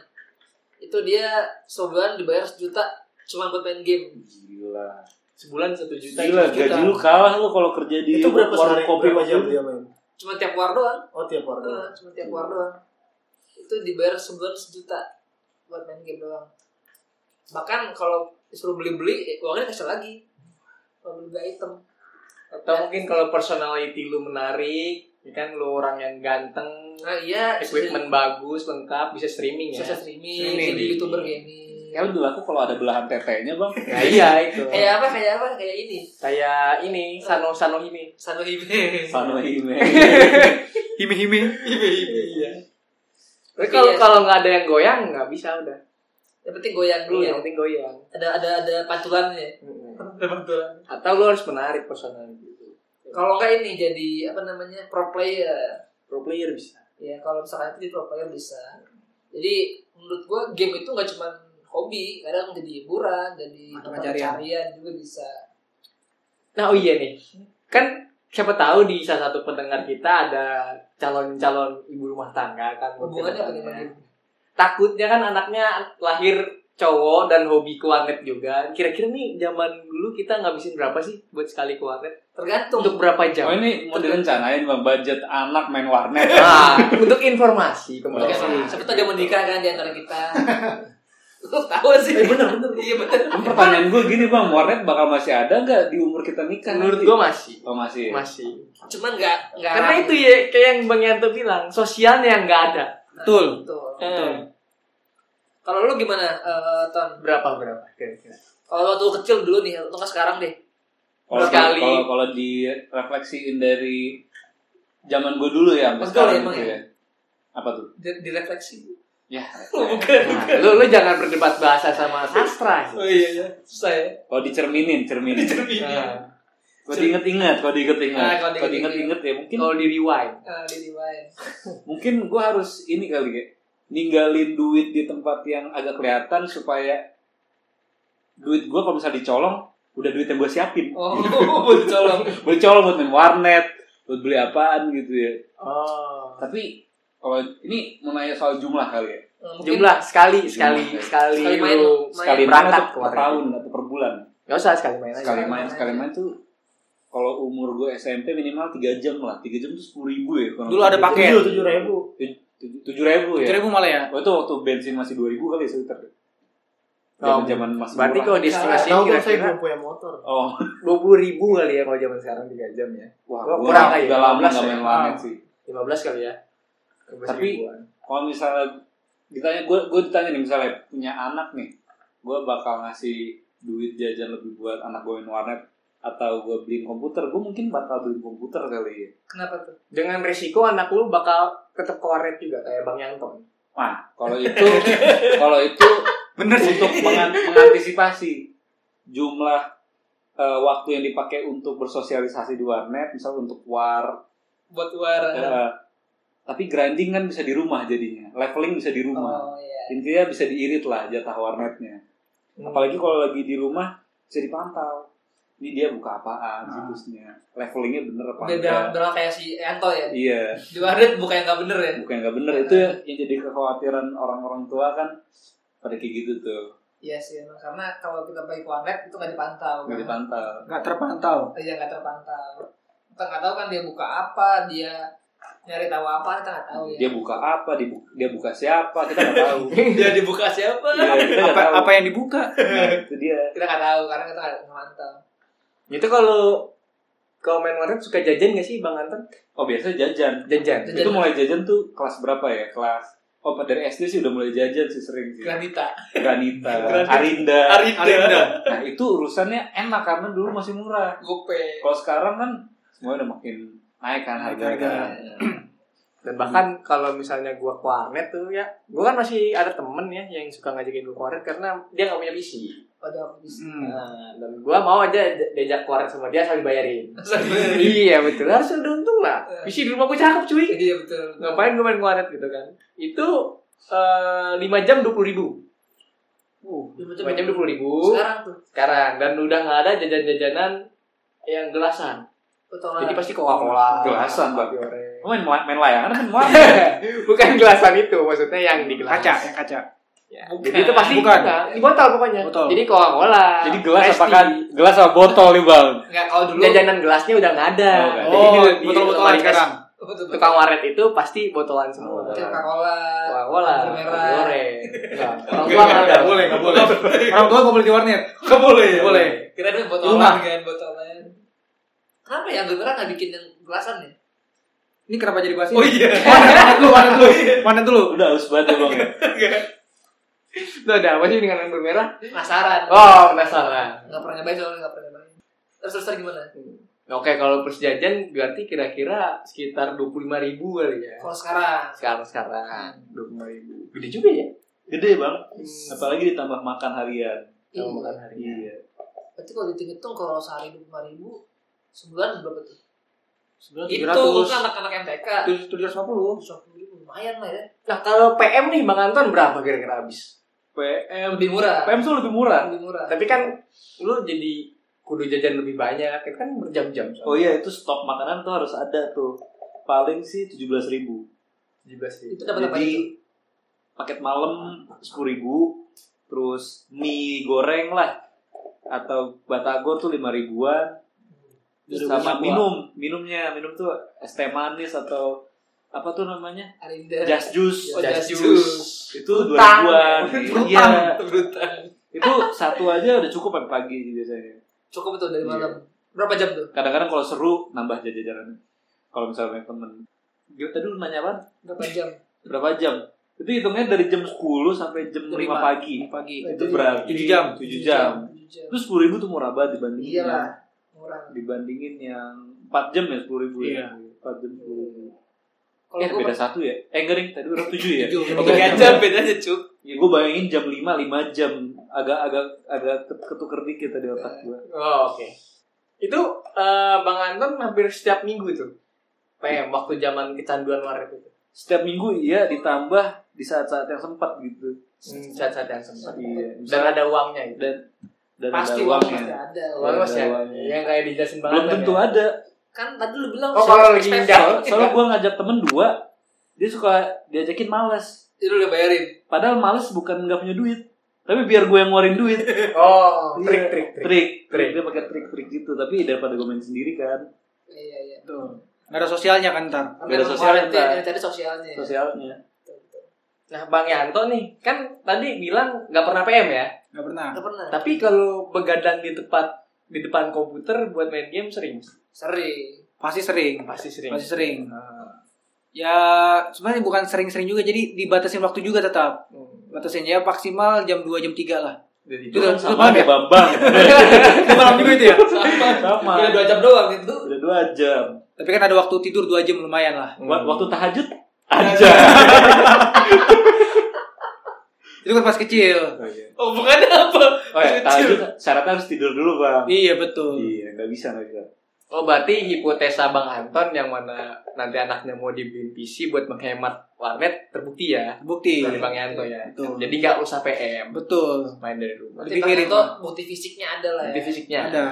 [SPEAKER 1] Itu dia sebulan dibayar sejuta cuma buat main game.
[SPEAKER 3] Gila.
[SPEAKER 4] Sebulan satu juta.
[SPEAKER 3] Gila, gaji lu kalah lu kalau kerja di
[SPEAKER 2] Itu berapa
[SPEAKER 3] warung
[SPEAKER 2] sehari?
[SPEAKER 3] kopi
[SPEAKER 2] berapa jam
[SPEAKER 3] waktu itu.
[SPEAKER 2] dia main?
[SPEAKER 1] Cuma tiap war doang.
[SPEAKER 2] Oh tiap
[SPEAKER 1] Nah,
[SPEAKER 2] warna.
[SPEAKER 1] cuma tiap war doang. Itu dibayar sebulan sejuta buat main game doang. Bahkan kalau disuruh beli-beli, eh, uangnya kasih lagi. Kalau beli item.
[SPEAKER 4] Atau mungkin kalau personality lu menarik, ya kan lu orang yang ganteng,
[SPEAKER 1] Nah, iya,
[SPEAKER 4] equipment bagus, lengkap, bisa streaming ya. <laughs>
[SPEAKER 1] bisa streaming,
[SPEAKER 5] Streaming.
[SPEAKER 1] jadi youtuber gaming.
[SPEAKER 3] Ya udah aku kalau ada belahan tetenya bang.
[SPEAKER 4] Nah, iya itu.
[SPEAKER 1] Kayak apa? Kayak apa? Kayak ini.
[SPEAKER 4] Kayak ini, Sano Sano ini.
[SPEAKER 1] Sano Hime.
[SPEAKER 3] Sano Hime.
[SPEAKER 6] Himi-himi.
[SPEAKER 1] Iya.
[SPEAKER 4] Iya. Tapi kalau kalau nggak ada yang goyang nggak bisa udah.
[SPEAKER 1] yang penting goyang dulu
[SPEAKER 4] Lu
[SPEAKER 1] ya.
[SPEAKER 4] yang penting goyang.
[SPEAKER 1] Ada ada ada pantulannya. Ada pantulan.
[SPEAKER 4] Atau lu harus menarik personality lu.
[SPEAKER 1] Kalau enggak ini jadi apa namanya? pro player.
[SPEAKER 4] Pro player bisa.
[SPEAKER 1] Ya kalau misalkan itu jadi pro player bisa. Jadi menurut gua game itu nggak cuma hobi, kadang jadi hiburan, jadi
[SPEAKER 5] Mata
[SPEAKER 1] tempat
[SPEAKER 5] pencarian.
[SPEAKER 1] pencarian juga bisa.
[SPEAKER 4] Nah, oh iya nih. Kan siapa tahu di salah satu pendengar kita ada calon-calon ibu rumah tangga kan.
[SPEAKER 1] Hubungannya apa
[SPEAKER 4] Kedepannya.
[SPEAKER 1] dengan game?
[SPEAKER 4] takutnya kan anaknya lahir cowok dan hobi ke warnet juga. Kira-kira nih zaman dulu kita ngabisin berapa sih buat sekali ke warnet?
[SPEAKER 1] Tergantung.
[SPEAKER 4] Untuk berapa
[SPEAKER 3] Oh
[SPEAKER 4] jam?
[SPEAKER 3] ini mau direncanain bang budget anak main warnet.
[SPEAKER 4] Ah. Nah, untuk informasi
[SPEAKER 1] Oke,
[SPEAKER 4] kembali.
[SPEAKER 3] Oh.
[SPEAKER 1] Siapa tahu dia menikah kan di antara kita. Lu tahu sih.
[SPEAKER 3] Eh, bener, bener.
[SPEAKER 1] Iya bener.
[SPEAKER 3] Kan pertanyaan gue gini bang, warnet bakal masih ada nggak di umur kita nikah?
[SPEAKER 4] Menurut
[SPEAKER 3] nanti?
[SPEAKER 4] gue masih.
[SPEAKER 3] oh, masih.
[SPEAKER 4] Masih.
[SPEAKER 1] Cuman nggak nggak.
[SPEAKER 4] Karena itu ya kayak yang Bang Yanto bilang, sosialnya yang nggak ada.
[SPEAKER 5] Betul.
[SPEAKER 1] Nah, Betul.
[SPEAKER 4] Eh,
[SPEAKER 1] Kalau lu gimana, eh, Ton?
[SPEAKER 4] berapa berapa
[SPEAKER 1] <laughs>
[SPEAKER 4] kira-kira?
[SPEAKER 1] Kalau waktu kecil dulu nih, atau nggak sekarang deh?
[SPEAKER 3] Kalau
[SPEAKER 4] Sekali.
[SPEAKER 3] kalau kalau direfleksiin dari zaman gue dulu ya, sampai
[SPEAKER 1] Betul,
[SPEAKER 3] sekarang
[SPEAKER 1] emang
[SPEAKER 3] gitu
[SPEAKER 1] ya.
[SPEAKER 3] ya. Apa tuh?
[SPEAKER 1] Di- Direfleksi.
[SPEAKER 3] Ya.
[SPEAKER 1] Bukan.
[SPEAKER 4] Nah, lu lu jangan berdebat bahasa sama sastra.
[SPEAKER 1] Oh iya, iya. susah ya.
[SPEAKER 3] Kalau dicerminin, cerminin.
[SPEAKER 1] Nah,
[SPEAKER 4] Nah,
[SPEAKER 3] Kalau diinget-inget, kalau
[SPEAKER 1] Ah,
[SPEAKER 3] diinget-inget,
[SPEAKER 1] kalau
[SPEAKER 3] kalau diinget-inget ya mungkin
[SPEAKER 4] kalau di rewind,
[SPEAKER 1] jadi Eh, main.
[SPEAKER 3] mungkin gue harus ini kali ya, ninggalin duit di tempat yang agak kelihatan supaya duit gue kalau misalnya dicolong, udah duit yang gue siapin.
[SPEAKER 1] Oh, colong.
[SPEAKER 3] Gue colong buat main warnet, buat beli apaan gitu ya.
[SPEAKER 4] oh,
[SPEAKER 3] Tapi kalau ini mau nanya soal jumlah kali ya.
[SPEAKER 4] jumlah sekali sekali
[SPEAKER 3] Jumlah.
[SPEAKER 4] sekali
[SPEAKER 1] Sekali main, main.
[SPEAKER 4] lu
[SPEAKER 3] Sekali main
[SPEAKER 4] berangkat Iya,
[SPEAKER 3] atau
[SPEAKER 4] ke
[SPEAKER 3] per
[SPEAKER 4] warnet.
[SPEAKER 3] tahun atau per bulan.
[SPEAKER 4] Gak usah sekali main aja.
[SPEAKER 3] Sekali main,
[SPEAKER 1] main
[SPEAKER 3] sekali
[SPEAKER 1] aja.
[SPEAKER 3] main tuh kalau umur gue SMP minimal 3 jam lah. 3 jam tuh 10 ribu ya. Kalau
[SPEAKER 5] Dulu ada
[SPEAKER 3] tujuh-
[SPEAKER 5] paket.
[SPEAKER 2] Tujuh tujuh ribu.
[SPEAKER 3] tujuh- Tujuh ribu ya.
[SPEAKER 5] Kira gue malah ya.
[SPEAKER 3] Oh, itu waktu bensin masih 2000 kali ya sekitar.
[SPEAKER 4] Oh,
[SPEAKER 3] Zaman zaman masih
[SPEAKER 4] Berarti
[SPEAKER 3] murah.
[SPEAKER 4] kalau di
[SPEAKER 2] Nah,
[SPEAKER 4] estimasi
[SPEAKER 2] tahu gue saya
[SPEAKER 4] kira-kira
[SPEAKER 2] belum punya motor.
[SPEAKER 3] Oh,
[SPEAKER 4] dua puluh ribu kali ya kalau zaman sekarang tiga jam ya.
[SPEAKER 3] wah,
[SPEAKER 4] Gua
[SPEAKER 3] gua
[SPEAKER 4] kurang
[SPEAKER 3] udah
[SPEAKER 4] kali ya,
[SPEAKER 3] lama
[SPEAKER 4] 15
[SPEAKER 3] nggak
[SPEAKER 4] ya.
[SPEAKER 3] main warnet sih.
[SPEAKER 4] Lima belas kali ya.
[SPEAKER 3] Tapi- Kalau misalnya ditanya gue gue ditanya nih misalnya punya anak nih, gue bakal ngasih duit jajan lebih buat anak gue main warnet atau gue beliin komputer, gue mungkin bakal beliin komputer kali ya.
[SPEAKER 1] Kenapa tuh?
[SPEAKER 4] dengan resiko anak lu <laughs> bakal tetap koret juga kayak Bang Yanto.
[SPEAKER 3] Nah, kalau itu kalau itu
[SPEAKER 6] <laughs> Bener sih.
[SPEAKER 3] untuk mengan- mengantisipasi jumlah eh, waktu yang dipakai untuk bersosialisasi di warnet, misal untuk war
[SPEAKER 1] Buat
[SPEAKER 6] Iya.
[SPEAKER 4] Iya.
[SPEAKER 1] warna.
[SPEAKER 3] Eh, tapi grinding kan bisa di rumah jadinya leveling bisa di rumah
[SPEAKER 1] Oh iya.
[SPEAKER 3] intinya bisa diirit lah jatah warnetnya
[SPEAKER 5] Hmm.
[SPEAKER 3] apalagi kalau lagi di rumah bisa dipantau ini dia buka apaan
[SPEAKER 5] Ah.
[SPEAKER 3] situsnya levelingnya bener apa enggak
[SPEAKER 1] Beda dalam kayak si Anto ya.
[SPEAKER 3] iya
[SPEAKER 1] Di warnet bukan yang nggak bener ya.
[SPEAKER 3] bukan nggak bener itu yang jadi kekhawatiran orang-orang tua kan pada kayak gitu tuh
[SPEAKER 1] Iya sih, emang. karena kalau kita bagi warnet itu nggak dipantau.
[SPEAKER 3] nggak
[SPEAKER 1] kan?
[SPEAKER 3] dipantau
[SPEAKER 5] Gak terpantau.
[SPEAKER 1] Iya nggak terpantau. Kita nggak tahu kan dia buka apa, dia nyari tahu apa kita nggak tahu ya.
[SPEAKER 3] dia buka apa dibu- dia buka siapa kita nggak tahu
[SPEAKER 1] dia dibuka siapa?
[SPEAKER 3] Iya, kita nggak tahu
[SPEAKER 5] Apa, apa yang dibuka?
[SPEAKER 3] Nah, itu dia
[SPEAKER 1] Kita nggak tahu karena kita nggak mantau.
[SPEAKER 4] Itu kalau kalau main warnet suka jajan gak sih Bang Anton?
[SPEAKER 3] oh biasanya jajan
[SPEAKER 4] Jajan.
[SPEAKER 1] Jajan.
[SPEAKER 3] itu mulai jajan tuh kelas berapa ya kelas oh dari SD sih udah mulai jajan sih sering sih
[SPEAKER 1] Granita.
[SPEAKER 3] Granita,
[SPEAKER 1] Granita.
[SPEAKER 3] Arinda
[SPEAKER 4] Iya.
[SPEAKER 6] Arinda.
[SPEAKER 3] nah itu urusannya enak karena dulu masih murah
[SPEAKER 1] Gope.
[SPEAKER 3] kalau sekarang kan semua udah makin naik kan
[SPEAKER 5] Naik
[SPEAKER 3] harganya
[SPEAKER 5] harga.
[SPEAKER 4] Dan bahkan kalau misalnya gua ke warnet tuh ya, gua kan masih ada temen ya yang suka ngajakin gua ke warnet karena dia nggak punya PC.
[SPEAKER 1] Waduh, aku
[SPEAKER 4] <laughs>
[SPEAKER 1] bisa.
[SPEAKER 5] Hmm.
[SPEAKER 4] Nah, dan gua mau aja di- diajak ke warnet sama dia sambil bayarin.
[SPEAKER 1] Sorry.
[SPEAKER 4] iya betul, harus ada untung lah. PC di rumah gua cakep cuy.
[SPEAKER 1] Iya betul.
[SPEAKER 4] Ngapain gua main ke warnet gitu kan? Itu eh, 5 jam 20 ribu.
[SPEAKER 1] Macam
[SPEAKER 4] 5 jam 20 ribu.
[SPEAKER 1] Sekarang tuh.
[SPEAKER 4] sekarang dan udah nggak ada jajan-jajanan yang gelasan
[SPEAKER 1] Potongan.
[SPEAKER 4] jadi pasti coca cola
[SPEAKER 3] Gelasan, Bang. Lu main main layangan kan main
[SPEAKER 4] bukan gelasan itu maksudnya yang di gelas
[SPEAKER 5] Kaca, yang kaca.
[SPEAKER 4] Ya,
[SPEAKER 1] Bukan.
[SPEAKER 4] jadi itu pasti
[SPEAKER 5] Bukan.
[SPEAKER 4] enggak. di botol pokoknya
[SPEAKER 5] Botol.
[SPEAKER 4] jadi coca cola
[SPEAKER 3] jadi gelas apa kan gelas sama botol nih bang
[SPEAKER 1] Nggak, kalau dulu.
[SPEAKER 4] jajanan gelasnya udah nggak ada
[SPEAKER 3] Oh, nggak ada.
[SPEAKER 4] Jadi
[SPEAKER 5] Oh,
[SPEAKER 4] di- di
[SPEAKER 5] botol-botolan
[SPEAKER 4] lemari es
[SPEAKER 5] sekarang.
[SPEAKER 1] Betul, betul.
[SPEAKER 4] tukang waret itu pasti botolan semua
[SPEAKER 3] Oh,
[SPEAKER 1] Coca Cola.
[SPEAKER 4] coca cola
[SPEAKER 1] anggur iya. merah.
[SPEAKER 4] goreng Nah, orang tua nggak ada
[SPEAKER 6] Gak boleh, gak boleh.
[SPEAKER 5] Orang tua gak boleh di warnet.
[SPEAKER 6] Gak boleh. ya?
[SPEAKER 5] Boleh.
[SPEAKER 1] Kira itu
[SPEAKER 5] Rumah.
[SPEAKER 1] botolan kan, botolan. Kenapa ya anggur merah nggak bikin yang gelasan ya?
[SPEAKER 5] Ini kenapa jadi bahas ini?
[SPEAKER 6] Oh
[SPEAKER 4] <laughs>
[SPEAKER 6] iya.
[SPEAKER 5] Warnet dulu, warnet dulu. Warnet dulu.
[SPEAKER 3] udah harus banget ya bang <laughs> ya
[SPEAKER 4] itu ada apa sih dengan anggur merah
[SPEAKER 1] Penasaran.
[SPEAKER 4] oh penasaran
[SPEAKER 1] Nggak pernah nyobain soalnya nggak pernah nyobain. Terus terus terus
[SPEAKER 4] Ya.
[SPEAKER 1] gimana?
[SPEAKER 4] Oke, kalau persejajan berarti kira-kira sekitar 25.000 ribu kali ya.
[SPEAKER 1] Kalau sekarang.
[SPEAKER 4] Sekarang sekarang 25.000 ribu. Gede juga ya?
[SPEAKER 3] gede bang
[SPEAKER 2] Hmm.
[SPEAKER 3] apalagi ditambah makan harian
[SPEAKER 1] Iya.
[SPEAKER 4] Kalau makan hari.
[SPEAKER 3] iya
[SPEAKER 1] Berarti kalau dihitung-hitung kalau sehari dua puluh ribu sebulan berapa tuh?
[SPEAKER 5] Sebulan
[SPEAKER 1] Itu
[SPEAKER 5] 700.
[SPEAKER 1] kan anak-anak MTK.
[SPEAKER 5] 750.
[SPEAKER 1] 250 ribu lumayan lah ya.
[SPEAKER 4] Nah, kalau PM nih Bang Anton berapa kira-kira habis?
[SPEAKER 3] PM
[SPEAKER 1] Eh, Lebih murah.
[SPEAKER 3] PM tuh lebih murah
[SPEAKER 1] Lebih murah.
[SPEAKER 4] Tapi kan lu jadi kudu jajan lebih banyak, itu kan berjam-jam.
[SPEAKER 3] oh iya itu stok makanan tuh harus ada tuh paling sih tujuh belas ribu
[SPEAKER 4] 17 ribu.
[SPEAKER 1] Itu dapat apa
[SPEAKER 3] Jadi-
[SPEAKER 1] itu?
[SPEAKER 3] paket malam sepuluh ribu terus mie goreng lah atau batagor tuh lima ribuan terus sama minum minumnya minum tuh es teh manis atau apa tuh namanya?
[SPEAKER 1] Arinda.
[SPEAKER 3] Just Juice.
[SPEAKER 1] Oh, Just
[SPEAKER 3] Just
[SPEAKER 1] Juice.
[SPEAKER 3] Itu dua ribuan.
[SPEAKER 1] <laughs>
[SPEAKER 3] Iya.
[SPEAKER 1] Berutang.
[SPEAKER 3] Itu satu aja udah cukup pagi pagi biasanya.
[SPEAKER 1] Cukup itu dari
[SPEAKER 3] Iya.
[SPEAKER 1] malam. Berapa jam tuh?
[SPEAKER 3] Kadang-kadang kalau seru nambah jajaran. Kalau misalnya temen. Gimana tadi lu nanya apa?
[SPEAKER 1] Berapa jam?
[SPEAKER 3] Berapa jam? Itu hitungnya dari jam 10 sampai jam 5
[SPEAKER 1] Lima.
[SPEAKER 3] pagi.
[SPEAKER 5] pagi.
[SPEAKER 3] Itu berarti
[SPEAKER 6] 7 jam.
[SPEAKER 3] 7 jam.
[SPEAKER 1] Tujuh jam.
[SPEAKER 3] Itu 10 ribu tuh murah banget dibandingin
[SPEAKER 1] Iya lah.
[SPEAKER 3] yang-
[SPEAKER 1] Murah.
[SPEAKER 3] dibandingin yang 4 jam ya 10 ribu
[SPEAKER 6] Iya.
[SPEAKER 3] ya. 4 jam 10 ribu.
[SPEAKER 1] Kalau
[SPEAKER 3] eh,
[SPEAKER 1] Iya, gua
[SPEAKER 3] beda satu ya? Eh, enggak, Ring. Tadi udah 7 ya?
[SPEAKER 5] Tujuh.
[SPEAKER 3] Oke,
[SPEAKER 4] Iya.
[SPEAKER 1] Tiga jam bedanya cuk.
[SPEAKER 3] Ya gue bayangin jam 5, 5 jam agak agak agak ketuker dikit tadi otak gue.
[SPEAKER 4] Oh, oke. Itu eh, Bang Anton hampir setiap minggu itu. PM waktu zaman kecanduan warnet itu.
[SPEAKER 3] Setiap minggu iya ditambah di saat-saat yang sempat gitu.
[SPEAKER 4] Hmm, Saat-saat yang sempat.
[SPEAKER 3] Iya.
[SPEAKER 4] Dan ada uangnya gitu.
[SPEAKER 3] dan dan
[SPEAKER 1] Pasti
[SPEAKER 3] ada
[SPEAKER 1] uang
[SPEAKER 3] uangnya.
[SPEAKER 1] pasti ada.
[SPEAKER 4] Uang
[SPEAKER 3] Ada
[SPEAKER 4] masih ada.
[SPEAKER 3] uangnya.
[SPEAKER 4] Yang kayak dijelasin Bang
[SPEAKER 3] Belum
[SPEAKER 4] Anton
[SPEAKER 3] tentu
[SPEAKER 4] Iya, ya.
[SPEAKER 3] ada.
[SPEAKER 1] Kan tadi lu bilang
[SPEAKER 4] Oh,
[SPEAKER 1] soal
[SPEAKER 4] kalau lagi
[SPEAKER 1] ekspektasi.
[SPEAKER 4] ngindah.
[SPEAKER 3] Soal- Soalnya gue ngajak temen dua, dia suka diajakin males.
[SPEAKER 1] Itu udah bayarin.
[SPEAKER 3] Padahal males bukan nggak punya duit, tapi biar gue yang ngeluarin duit.
[SPEAKER 4] Oh,
[SPEAKER 3] Iya.
[SPEAKER 4] trik trik
[SPEAKER 3] Trik,
[SPEAKER 4] trik. Trik.
[SPEAKER 3] trik. Dia pakai trik-trik gitu, tapi daripada gue main sendiri kan,
[SPEAKER 1] Iya iya.
[SPEAKER 5] Nggak ada sosialnya kan ntar.
[SPEAKER 1] Ambil
[SPEAKER 3] Beda sosial
[SPEAKER 1] warnet ya,
[SPEAKER 3] ntar.
[SPEAKER 1] Yang cari sosialnya.
[SPEAKER 3] sosialnya.
[SPEAKER 4] Nah, Bang Yanto nih kan tadi bilang nggak pernah PM ya.
[SPEAKER 5] Nggak pernah.
[SPEAKER 1] Gak pernah.
[SPEAKER 4] Tapi kalau begadang di tempat di depan komputer buat main game sering.
[SPEAKER 1] Sering.
[SPEAKER 5] Pasti sering.
[SPEAKER 4] Pasti sering.
[SPEAKER 5] Pasti sering. Ya sebenarnya bukan sering-sering juga jadi dibatasin waktu juga tetap. Batasin ya maksimal jam 2 jam 3 lah.
[SPEAKER 3] Jadi
[SPEAKER 5] Itu-
[SPEAKER 3] kan
[SPEAKER 5] itu
[SPEAKER 3] sama
[SPEAKER 5] malam ya?
[SPEAKER 3] kayak <laughs> Bambang.
[SPEAKER 5] Itu malam juga itu ya.
[SPEAKER 1] <laughs>
[SPEAKER 3] sama.
[SPEAKER 1] Iya dua jam doang itu.
[SPEAKER 3] Udah dua jam.
[SPEAKER 5] Tapi kan ada waktu tidur 2 jam lumayan lah.
[SPEAKER 3] Wa- Waktu tahajud aja.
[SPEAKER 5] Itu kan pas kecil.
[SPEAKER 3] Oh, iya.
[SPEAKER 1] Oh bukan apa?
[SPEAKER 3] Oh ya, tahajud syaratnya harus tidur dulu bang.
[SPEAKER 5] Iya betul.
[SPEAKER 3] Iya, nggak bisa nggak bisa.
[SPEAKER 4] Oh berarti hipotesa Bang Anton yang mana nanti anaknya mau dibeliin PC buat menghemat warnet terbukti ya
[SPEAKER 5] Bukti.
[SPEAKER 4] dari Bang Yanto ya.
[SPEAKER 5] Betul.
[SPEAKER 4] Jadi nggak usah PM
[SPEAKER 5] Betul.
[SPEAKER 4] main dari rumah.
[SPEAKER 5] Lebih
[SPEAKER 1] Tapi
[SPEAKER 5] mirip.
[SPEAKER 1] itu bukti fisiknya ada lah
[SPEAKER 4] Nanti
[SPEAKER 1] ya.
[SPEAKER 4] fisiknya
[SPEAKER 5] Ada.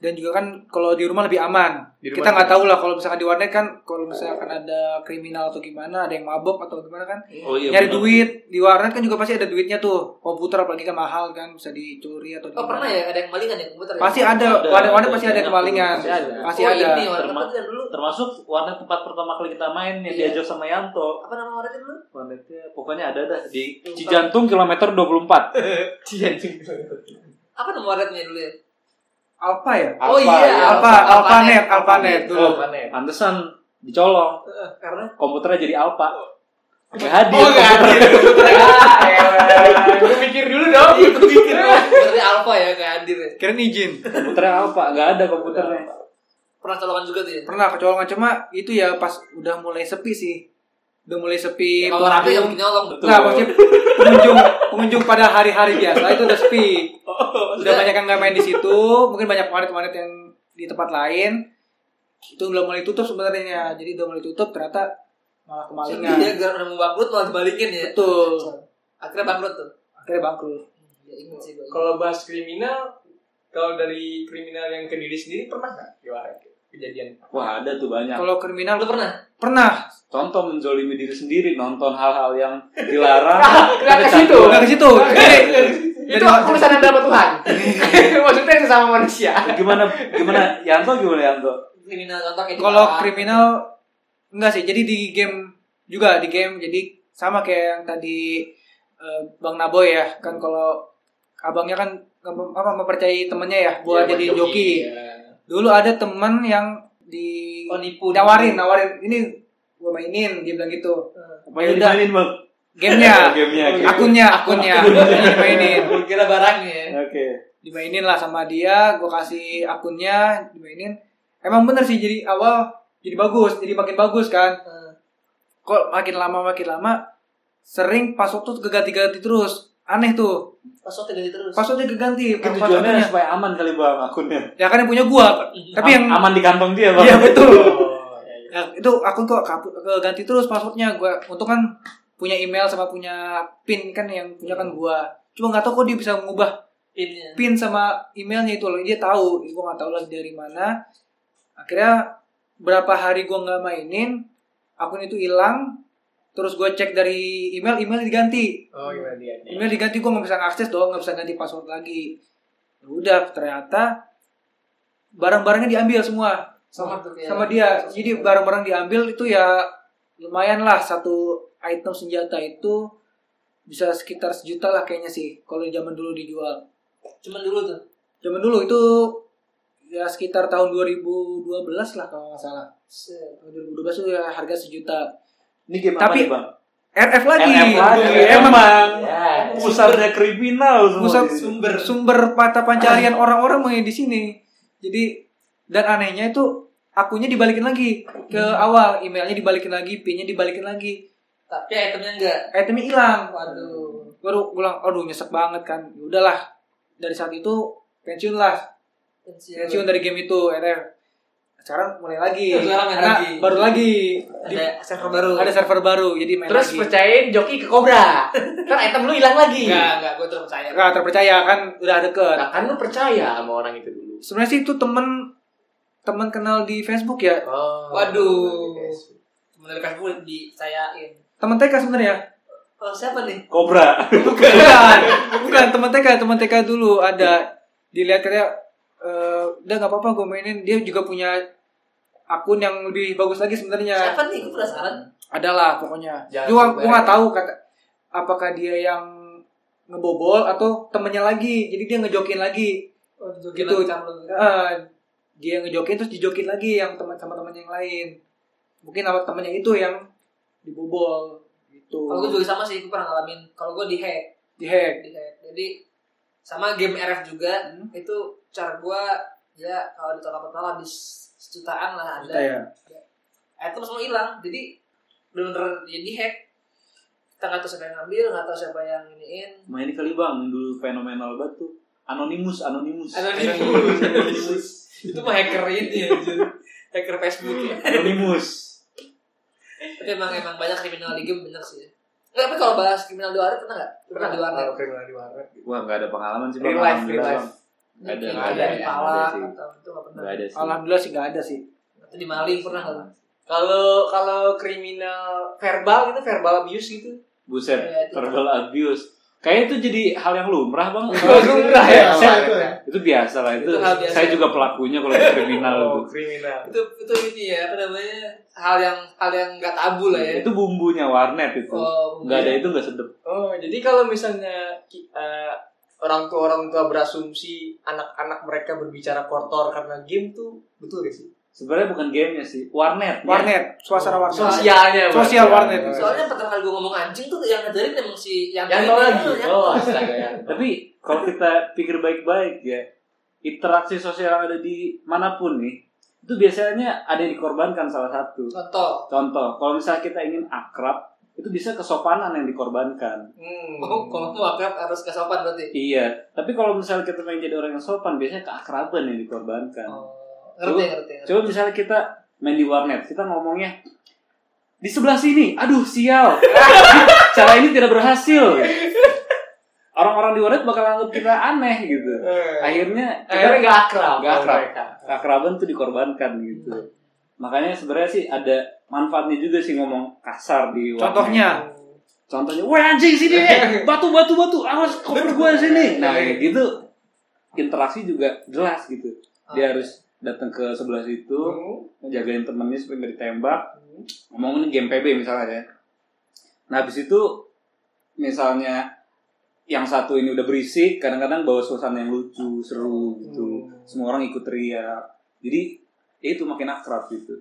[SPEAKER 5] Dan juga kan kalau di rumah lebih aman.
[SPEAKER 4] Di rumah
[SPEAKER 5] Kita nggak
[SPEAKER 4] lebih
[SPEAKER 5] tahu lah kalau misalkan di warnet kan kalau misalkan ada kriminal atau gimana, ada yang mabok atau gimana kan
[SPEAKER 3] Oh iya.
[SPEAKER 5] nyari
[SPEAKER 3] benar.
[SPEAKER 5] duit di warnet kan juga pasti ada duitnya tuh komputer apalagi kan mahal kan bisa dicuri atau
[SPEAKER 1] Oh pernah ya ada yang malingan ya komputer ya?
[SPEAKER 5] pasti ada
[SPEAKER 3] Ada,
[SPEAKER 5] warnet-warnet
[SPEAKER 3] ada,
[SPEAKER 5] pasti ada
[SPEAKER 3] ada.
[SPEAKER 5] kemalingan
[SPEAKER 3] Pasti ada.
[SPEAKER 5] pasti
[SPEAKER 1] oh,
[SPEAKER 5] ada
[SPEAKER 1] ini warnet apa
[SPEAKER 3] Termasuk-
[SPEAKER 1] tuh yang dulu?
[SPEAKER 3] Termasuk warnet tempat pertama kali kita main yang
[SPEAKER 1] Iya.
[SPEAKER 3] diajak sama Yanto.
[SPEAKER 1] Apa nama warnetnya dulu?
[SPEAKER 3] Warnetnya pokoknya ada dah di Cijantung kilometer 24.
[SPEAKER 1] Apa nama warnetnya dulu ya?
[SPEAKER 5] Alpha ya
[SPEAKER 1] Oh iya, Alpha-
[SPEAKER 5] Alpha
[SPEAKER 1] Alphanet,
[SPEAKER 5] Alphanet Alphanet
[SPEAKER 3] Oh,
[SPEAKER 5] tuh
[SPEAKER 4] Warnet.
[SPEAKER 3] Pantesan dicolong.
[SPEAKER 1] Karena
[SPEAKER 3] Komputernya jadi Alpa. Gak hadir.
[SPEAKER 1] Oh, nggak
[SPEAKER 3] komputer.
[SPEAKER 4] Lu mikir dulu dong.
[SPEAKER 5] Iya,
[SPEAKER 1] dari Alfa ya nggak hadir ya.
[SPEAKER 5] keren izin
[SPEAKER 3] Komputernya Alpa, nggak ada komputernya.
[SPEAKER 1] Pernah colongan juga tuh ya?
[SPEAKER 5] pernah kecolongan cuma itu ya pas udah mulai sepi sih udah mulai
[SPEAKER 1] Ya,
[SPEAKER 5] sepi
[SPEAKER 1] Kalau rapi nggak mungkin
[SPEAKER 5] pengunjung
[SPEAKER 1] nyolong.
[SPEAKER 5] nah maksudnya pengunjung pengunjung pada hari-hari biasa itu udah
[SPEAKER 1] <laughs>
[SPEAKER 5] sepi udah
[SPEAKER 1] Oh, maksudnya-
[SPEAKER 5] banyak yang nggak main di situ mungkin banyak warnet-warnet yang di tempat lain itu udah mulai tutup sebenarnya jadi udah mulai tutup ternyata malah kemalingan
[SPEAKER 1] Iya, gara udah mau bangkrut malah dibalikin ya.
[SPEAKER 5] Betul.
[SPEAKER 1] Akhirnya bangkrut tuh.
[SPEAKER 5] Akhirnya bangkrut.
[SPEAKER 1] Ya ingat sih gue.
[SPEAKER 4] Kalau bahas kriminal, kalau dari kriminal yang ke diri sendiri pernah nggak di warnet kejadian?
[SPEAKER 3] Wah ada tuh banyak.
[SPEAKER 5] Kalau kriminal
[SPEAKER 1] Nah. Lu pernah?
[SPEAKER 5] pernah?
[SPEAKER 3] Contoh menzolimi diri sendiri, nonton hal-hal yang
[SPEAKER 5] <laughs>
[SPEAKER 3] dilarang.
[SPEAKER 4] Nggak ke situ.
[SPEAKER 5] Enggak ke situ.
[SPEAKER 1] Nah,
[SPEAKER 4] Itu urusan anda sama <laughs> Tuhan. Maksudnya sesama manusia.
[SPEAKER 3] <laughs> Gimana gimana Yanto gimana Yanto?
[SPEAKER 1] Kriminal kan? contoh kayak
[SPEAKER 5] Kalau
[SPEAKER 1] apa?
[SPEAKER 5] kriminal enggak sih. Jadi di game juga di game jadi sama kayak yang tadi eh, Bang Naboy ya. Kan kalau abangnya kan mem- apa mempercayai temennya ya buat
[SPEAKER 4] Iya,
[SPEAKER 5] jadi
[SPEAKER 4] buat
[SPEAKER 5] joki.
[SPEAKER 4] joki,
[SPEAKER 5] Dulu ada temen yang di
[SPEAKER 1] Oh, nipu.
[SPEAKER 5] nawarin, nawarin ini gua mainin dia bilang gitu.
[SPEAKER 3] Apa yang
[SPEAKER 5] Udah.
[SPEAKER 3] dimainin bang?
[SPEAKER 5] <laughs> Gamenya,
[SPEAKER 3] <laughs> Gamenya. Oke.
[SPEAKER 5] akunnya, akunnya, dimainin.
[SPEAKER 1] Gua kira ya? barangnya.
[SPEAKER 3] Oke.
[SPEAKER 5] dimainin lah sama dia gue kasih akunnya dimainin emang bener sih jadi awal jadi bagus jadi makin bagus kan
[SPEAKER 1] Hmm.
[SPEAKER 5] kok makin lama makin lama sering password tuh keganti-ganti terus aneh tuh
[SPEAKER 1] Password ganti terus.
[SPEAKER 5] passwordnya keganti
[SPEAKER 4] Kan
[SPEAKER 3] Mungkin
[SPEAKER 5] password
[SPEAKER 3] tujuannya
[SPEAKER 5] akunnya.
[SPEAKER 3] supaya aman kali bang akunnya.
[SPEAKER 5] ya kan yang punya gua ya.
[SPEAKER 1] Hmm.
[SPEAKER 5] tapi
[SPEAKER 3] Am-
[SPEAKER 5] yang
[SPEAKER 3] aman di kantong dia bang.
[SPEAKER 5] iya betul
[SPEAKER 4] Oh, iya, iya.
[SPEAKER 5] Ya, itu akun kok kapu- keganti terus passwordnya gua untung kan punya email sama punya pin kan yang punya
[SPEAKER 1] Hmm.
[SPEAKER 5] kan gua cuma nggak tahu kok dia bisa mengubah
[SPEAKER 1] Pinnya.
[SPEAKER 5] pin sama emailnya itu loh dia tahu gue nggak tahu lagi dari mana akhirnya berapa hari gue nggak mainin akun itu hilang terus gue cek dari email email diganti
[SPEAKER 4] Oh, gimana dia?
[SPEAKER 5] email diganti gue nggak bisa akses dong nggak bisa ganti password lagi Ya udah ternyata barang-barangnya diambil semua
[SPEAKER 1] sama tuh kayak
[SPEAKER 5] sama dia jadi barang-barang diambil itu ya lumayan lah satu item senjata itu bisa sekitar sejuta lah kayaknya sih kalau zaman dulu dijual
[SPEAKER 1] cuman dulu tuh
[SPEAKER 5] zaman dulu itu ya sekitar tahun 2012 lah kalau nggak salah
[SPEAKER 1] Set.
[SPEAKER 5] tahun 2012 itu ya harga sejuta
[SPEAKER 3] Ini game apa
[SPEAKER 5] Tapi-
[SPEAKER 3] nih, Bang?
[SPEAKER 5] RF lagi
[SPEAKER 3] NF lagi,
[SPEAKER 5] Iya, emang
[SPEAKER 3] emang.
[SPEAKER 4] Ya.
[SPEAKER 3] Pusatnya kriminal semua.
[SPEAKER 5] pusat
[SPEAKER 3] di sini.
[SPEAKER 5] sumber sumber mata pencarian orang-orang mengenai di sini jadi dan anehnya itu akunya dibalikin lagi ke
[SPEAKER 1] Hmm.
[SPEAKER 5] awal emailnya dibalikin lagi pinnya dibalikin lagi
[SPEAKER 1] tapi itemnya enggak
[SPEAKER 5] itemnya hilang
[SPEAKER 1] waduh
[SPEAKER 5] baru pulang aduh nyesek banget kan Ya udahlah dari saat itu pensiun lah
[SPEAKER 1] Iya,
[SPEAKER 5] pensiun dari game itu RF sekarang mulai lagi
[SPEAKER 1] Sekarang main
[SPEAKER 5] Karena
[SPEAKER 1] lagi.
[SPEAKER 5] baru lagi
[SPEAKER 1] ada server baru
[SPEAKER 5] Di- ada server baru jadi main
[SPEAKER 4] Terus
[SPEAKER 5] lagi
[SPEAKER 4] percayain joki ke Cobra. kan item lu hilang lagi.
[SPEAKER 1] enggak enggak gue terpercaya
[SPEAKER 5] Nggak terpercaya kan udah deket
[SPEAKER 4] Nah, kan lu percaya sama orang itu dulu.
[SPEAKER 5] sebenarnya sih itu temen temen kenal di Facebook ya
[SPEAKER 4] Oh.
[SPEAKER 1] Waduh. temen dari Facebook dicayain
[SPEAKER 5] temen TK sebenarnya
[SPEAKER 1] oh siapa nih
[SPEAKER 3] Cobra.
[SPEAKER 5] <laughs> bukan bukan temen TK temen TK dulu ada dilihat katanya eh, udah nggak apa-apa gue mainin dia juga punya akun yang lebih bagus lagi sebenarnya
[SPEAKER 1] siapa nih gue penasaran
[SPEAKER 5] adalah pokoknya
[SPEAKER 4] Jangan
[SPEAKER 5] gua
[SPEAKER 4] sampai.
[SPEAKER 5] gua nggak tahu kata apakah dia yang ngebobol atau temennya lagi jadi dia ngejokin lagi
[SPEAKER 1] oh
[SPEAKER 5] jokin lagi Gitu. Eh, dia ngejokin terus dijokin lagi yang teman sama temannya yang lain mungkin apa temannya itu yang dibobol gitu
[SPEAKER 1] kalau gue juga sama sih gue pernah ngalamin kalau gue dihack
[SPEAKER 5] dihack
[SPEAKER 1] dihack. Jadi sama game RF juga
[SPEAKER 5] Hmm.
[SPEAKER 1] itu cara gua ya kalau di total total habis sejutaan lah
[SPEAKER 5] Kita
[SPEAKER 1] ada.
[SPEAKER 5] ya
[SPEAKER 1] Item semua hilang. Jadi bener-bener ya dihack. Kita nggak tahu siapa yang ngambil, nggak tahu siapa yang iniin.
[SPEAKER 3] Nah ini kali bang, dulu fenomenal banget tuh. Anonymous, Anonymous.
[SPEAKER 1] Anonymous.
[SPEAKER 3] Anonymous.
[SPEAKER 1] itu mah hacker ini anjir. hacker Facebook ya.
[SPEAKER 3] Anonymous.
[SPEAKER 1] Tapi emang emang banyak kriminal di game bener sih. Nggak, tapi kalau bahas kriminal di warnet pernah nggak? Pernah di warnet.
[SPEAKER 4] Kalau kriminal di warnet.
[SPEAKER 3] Wah nggak ada pengalaman sih bang.
[SPEAKER 4] Real life,
[SPEAKER 3] Alhamdulillah,
[SPEAKER 4] real
[SPEAKER 3] Bang. Nggak ada,
[SPEAKER 1] Mungkin
[SPEAKER 4] nggak ada
[SPEAKER 1] di
[SPEAKER 4] ya,
[SPEAKER 1] palak
[SPEAKER 3] nggak ada sih.
[SPEAKER 1] atau itu nggak pernah.
[SPEAKER 3] Nggak ada sih.
[SPEAKER 5] alhamdulillah sih nggak ada sih
[SPEAKER 1] Atau di maling pernah nggak?
[SPEAKER 4] Kalau kalau kriminal verbal itu verbal abuse gitu.
[SPEAKER 3] Buset,
[SPEAKER 1] Iya, itu.
[SPEAKER 3] verbal abuse. Kayaknya itu jadi hal yang lumrah
[SPEAKER 1] <laughs>
[SPEAKER 3] bang.
[SPEAKER 4] lumrah
[SPEAKER 2] ya?
[SPEAKER 3] Saya-
[SPEAKER 2] Itu ya?
[SPEAKER 3] Itu biasa lah. Itu,
[SPEAKER 1] Itu hal biasa. Oh,
[SPEAKER 3] saya juga pelakunya kalau di kriminal itu.
[SPEAKER 4] Oh, kriminal.
[SPEAKER 1] itu itu ini ya apa namanya hal yang hal yang nggak tabu lah ya
[SPEAKER 3] Itu bumbunya warnet itu.
[SPEAKER 1] oh
[SPEAKER 3] Nggak ada itu nggak sedep.
[SPEAKER 4] Oh, jadi kalau misalnya ki- eh, orang tua orang tua berasumsi anak-anak mereka berbicara kotor karena game tuh betul gak sih? Oh,
[SPEAKER 3] Sebenarnya bukan gamenya sih,
[SPEAKER 4] Iya.
[SPEAKER 3] warnet.
[SPEAKER 5] warnet suasana warnet
[SPEAKER 4] Sosialnya. Bang.
[SPEAKER 5] sosial warnet
[SPEAKER 4] Iya.
[SPEAKER 1] soalnya pertama kali gue ngomong anjing tuh yang ngajarin emang si yang ini, ya.
[SPEAKER 4] Yang tau lagi.
[SPEAKER 1] yang
[SPEAKER 4] Oh,
[SPEAKER 1] tau. <laughs>
[SPEAKER 4] astaga. yang tau.
[SPEAKER 3] Iya. Tapi kalau kita pikir baik-baik ya, interaksi sosial yang ada di manapun nih, itu biasanya ada yang dikorbankan
[SPEAKER 1] Oh,
[SPEAKER 3] salah satu.
[SPEAKER 1] contoh
[SPEAKER 3] Contoh, kalau misalnya kita ingin akrab, itu bisa kesopanan yang dikorbankan.
[SPEAKER 4] Hmm.
[SPEAKER 1] oh kalau mau akrab harus kesopan berarti
[SPEAKER 3] Iya, tapi kalau misalnya kita pengen jadi orang yang sopan, biasanya keakraban yang dikorbankan.
[SPEAKER 1] oh ngerti ngerti ngerti
[SPEAKER 3] Coba misalnya kita main di warnet, kita ngomongnya di sebelah sini, aduh sial, <laughs> cara ini tidak berhasil. Orang-orang di warnet bakal anggap kita aneh gitu.
[SPEAKER 1] Eh.
[SPEAKER 3] Akhirnya kita
[SPEAKER 4] Akhirnya nggak akrab.
[SPEAKER 3] Nggak
[SPEAKER 4] sama
[SPEAKER 3] akrab.
[SPEAKER 4] mereka.
[SPEAKER 3] keakraban tuh dikorbankan gitu. Makanya sebenarnya sih ada manfaatnya juga sih ngomong kasar di warnet.
[SPEAKER 4] <laughs>
[SPEAKER 5] contohnya
[SPEAKER 3] contohnya, weh anjing sini, eh! batu batu batu, awas koper gua sini. Nah kayak gitu interaksi juga jelas gitu. Dia harus datang ke sebelah situ,
[SPEAKER 4] Hmm.
[SPEAKER 3] jagain temennya supaya nggak ditembak ngomongin game PB misalnya ya nah habis itu misalnya yang satu ini udah berisik kadang-kadang bawa suasana yang lucu seru gitu semua orang ikut teriak jadi ya itu makin akrab gitu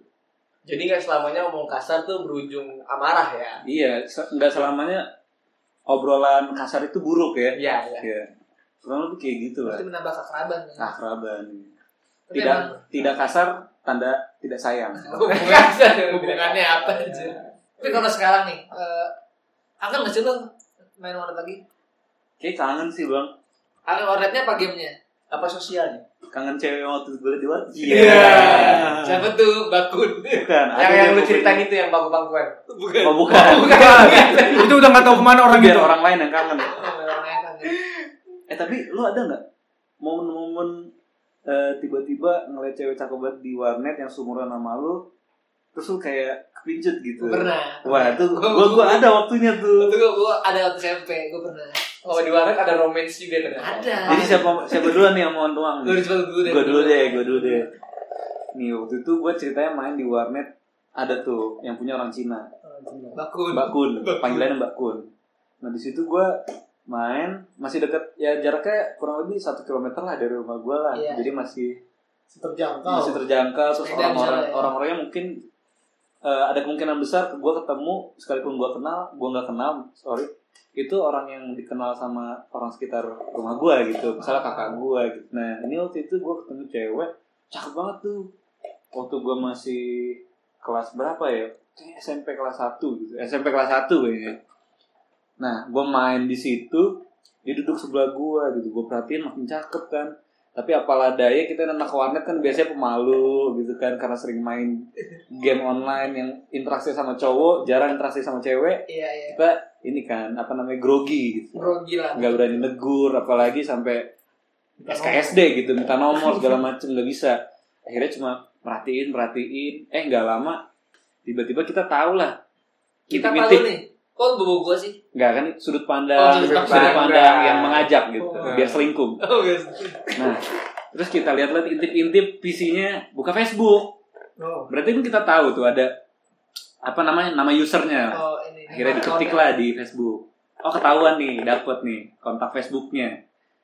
[SPEAKER 4] Jadi nggak selamanya ngomong kasar tuh berujung amarah ya.
[SPEAKER 3] iya se- nggak selamanya obrolan kasar itu buruk ya
[SPEAKER 4] Iya,
[SPEAKER 1] <laughs>
[SPEAKER 4] iya.
[SPEAKER 3] iya kurang lebih kayak gitu lah
[SPEAKER 1] itu menambah kekerabatan ya
[SPEAKER 3] akraban
[SPEAKER 1] Tapi emang
[SPEAKER 3] tidak tidak kasar tanda tidak sayang
[SPEAKER 1] hubungan hubungannya apa aja tapi kalau sekarang nih eh akan nggak sih lo main warnet lagi
[SPEAKER 3] kayak kangen sih bang
[SPEAKER 1] akan warnetnya apa gamenya
[SPEAKER 4] Apa sosialnya?
[SPEAKER 3] kangen cewek yang waktu gue lewat Ah.
[SPEAKER 1] siapa tuh bakun
[SPEAKER 3] bukan
[SPEAKER 4] yang
[SPEAKER 3] ada
[SPEAKER 4] yang lu
[SPEAKER 3] pokoknya.
[SPEAKER 4] ceritain itu yang bangku-bangkuan.
[SPEAKER 1] bukan
[SPEAKER 3] Oh bukan.
[SPEAKER 5] itu udah nggak tahu kemana orang
[SPEAKER 3] Biar
[SPEAKER 5] itu
[SPEAKER 3] orang lain yang kangen.
[SPEAKER 1] orangnya kan
[SPEAKER 3] Eh tapi lu ada nggak momen-momen eh, tiba-tiba ngeliat cewek cakep banget di warnet yang seumuran sama lu, terus lu kayak kepincut gitu.
[SPEAKER 1] pernah
[SPEAKER 3] Wah itu gua gua ada waktunya tuh.
[SPEAKER 1] Waktu gue, gue ada waktu SMP, gue pernah.
[SPEAKER 4] Oh, di warnet ada romance juga ternyata.
[SPEAKER 1] Ada.
[SPEAKER 3] Jadi siapa siapa duluan nih yang mau nuang?
[SPEAKER 1] Lu harus coba dulu deh.
[SPEAKER 3] Gua dulu deh, gua dulu deh. nih waktu itu gue ceritanya main di warnet ada tuh yang punya orang Cina
[SPEAKER 5] Bakun.
[SPEAKER 3] Mbak Kun, panggilannya Mbak Kun. Nah di situ gue main masih deket ya jaraknya kurang lebih satu kilometer lah dari rumah gue lah.
[SPEAKER 1] Iya.
[SPEAKER 3] Jadi masih
[SPEAKER 2] terjangkau
[SPEAKER 3] masih terjangkau terus
[SPEAKER 1] Sepeda
[SPEAKER 3] orang-orang
[SPEAKER 1] bisa lah ya.
[SPEAKER 3] orang-orangnya mungkin eh, ada kemungkinan besar gue ketemu sekalipun gue kenal gue nggak kenal sorry itu orang yang dikenal sama orang sekitar rumah gue gitu misalnya kakak gue gitu nah ini waktu itu gue ketemu cewek cakep banget tuh waktu gue masih kelas berapa ya Kayak SMP kelas 1 gitu SMP kelas 1 kayaknya nah gue main di situ dia duduk sebelah gue gitu gue perhatiin makin cakep kan tapi apalah daya kita anak warnet kan biasanya pemalu gitu kan karena sering main game online yang interaksi sama cowok jarang interaksi sama cewek
[SPEAKER 1] Iya iya.
[SPEAKER 3] kita ini kan apa namanya grogi gitu
[SPEAKER 1] Grogi lah.
[SPEAKER 3] nggak berani negur apalagi sampai SKSD gitu minta nomor segala macem nggak bisa akhirnya cuma merhatiin merhatiin eh nggak lama tiba-tiba kita tahu lah
[SPEAKER 1] Kita
[SPEAKER 3] Intip-intip.
[SPEAKER 1] palu nih. Kok bobo gua sih? <laughs>
[SPEAKER 3] nggak kan sudut
[SPEAKER 1] Oh,
[SPEAKER 3] pandang
[SPEAKER 1] sudut
[SPEAKER 3] sudut
[SPEAKER 1] pandang.
[SPEAKER 3] pandang yang mengajak gitu
[SPEAKER 6] Oh.
[SPEAKER 3] biar selingkuh
[SPEAKER 1] Oh guys.
[SPEAKER 3] Nah, terus kita lihat-lihat intip-intip PC-nya buka Facebook. Berarti kan kita tahu tuh ada apa namanya nama usernya.
[SPEAKER 1] Oh ini.
[SPEAKER 3] Akhirnya diketik lah di Facebook. Oh ketahuan nih, dapet nih kontak Facebooknya.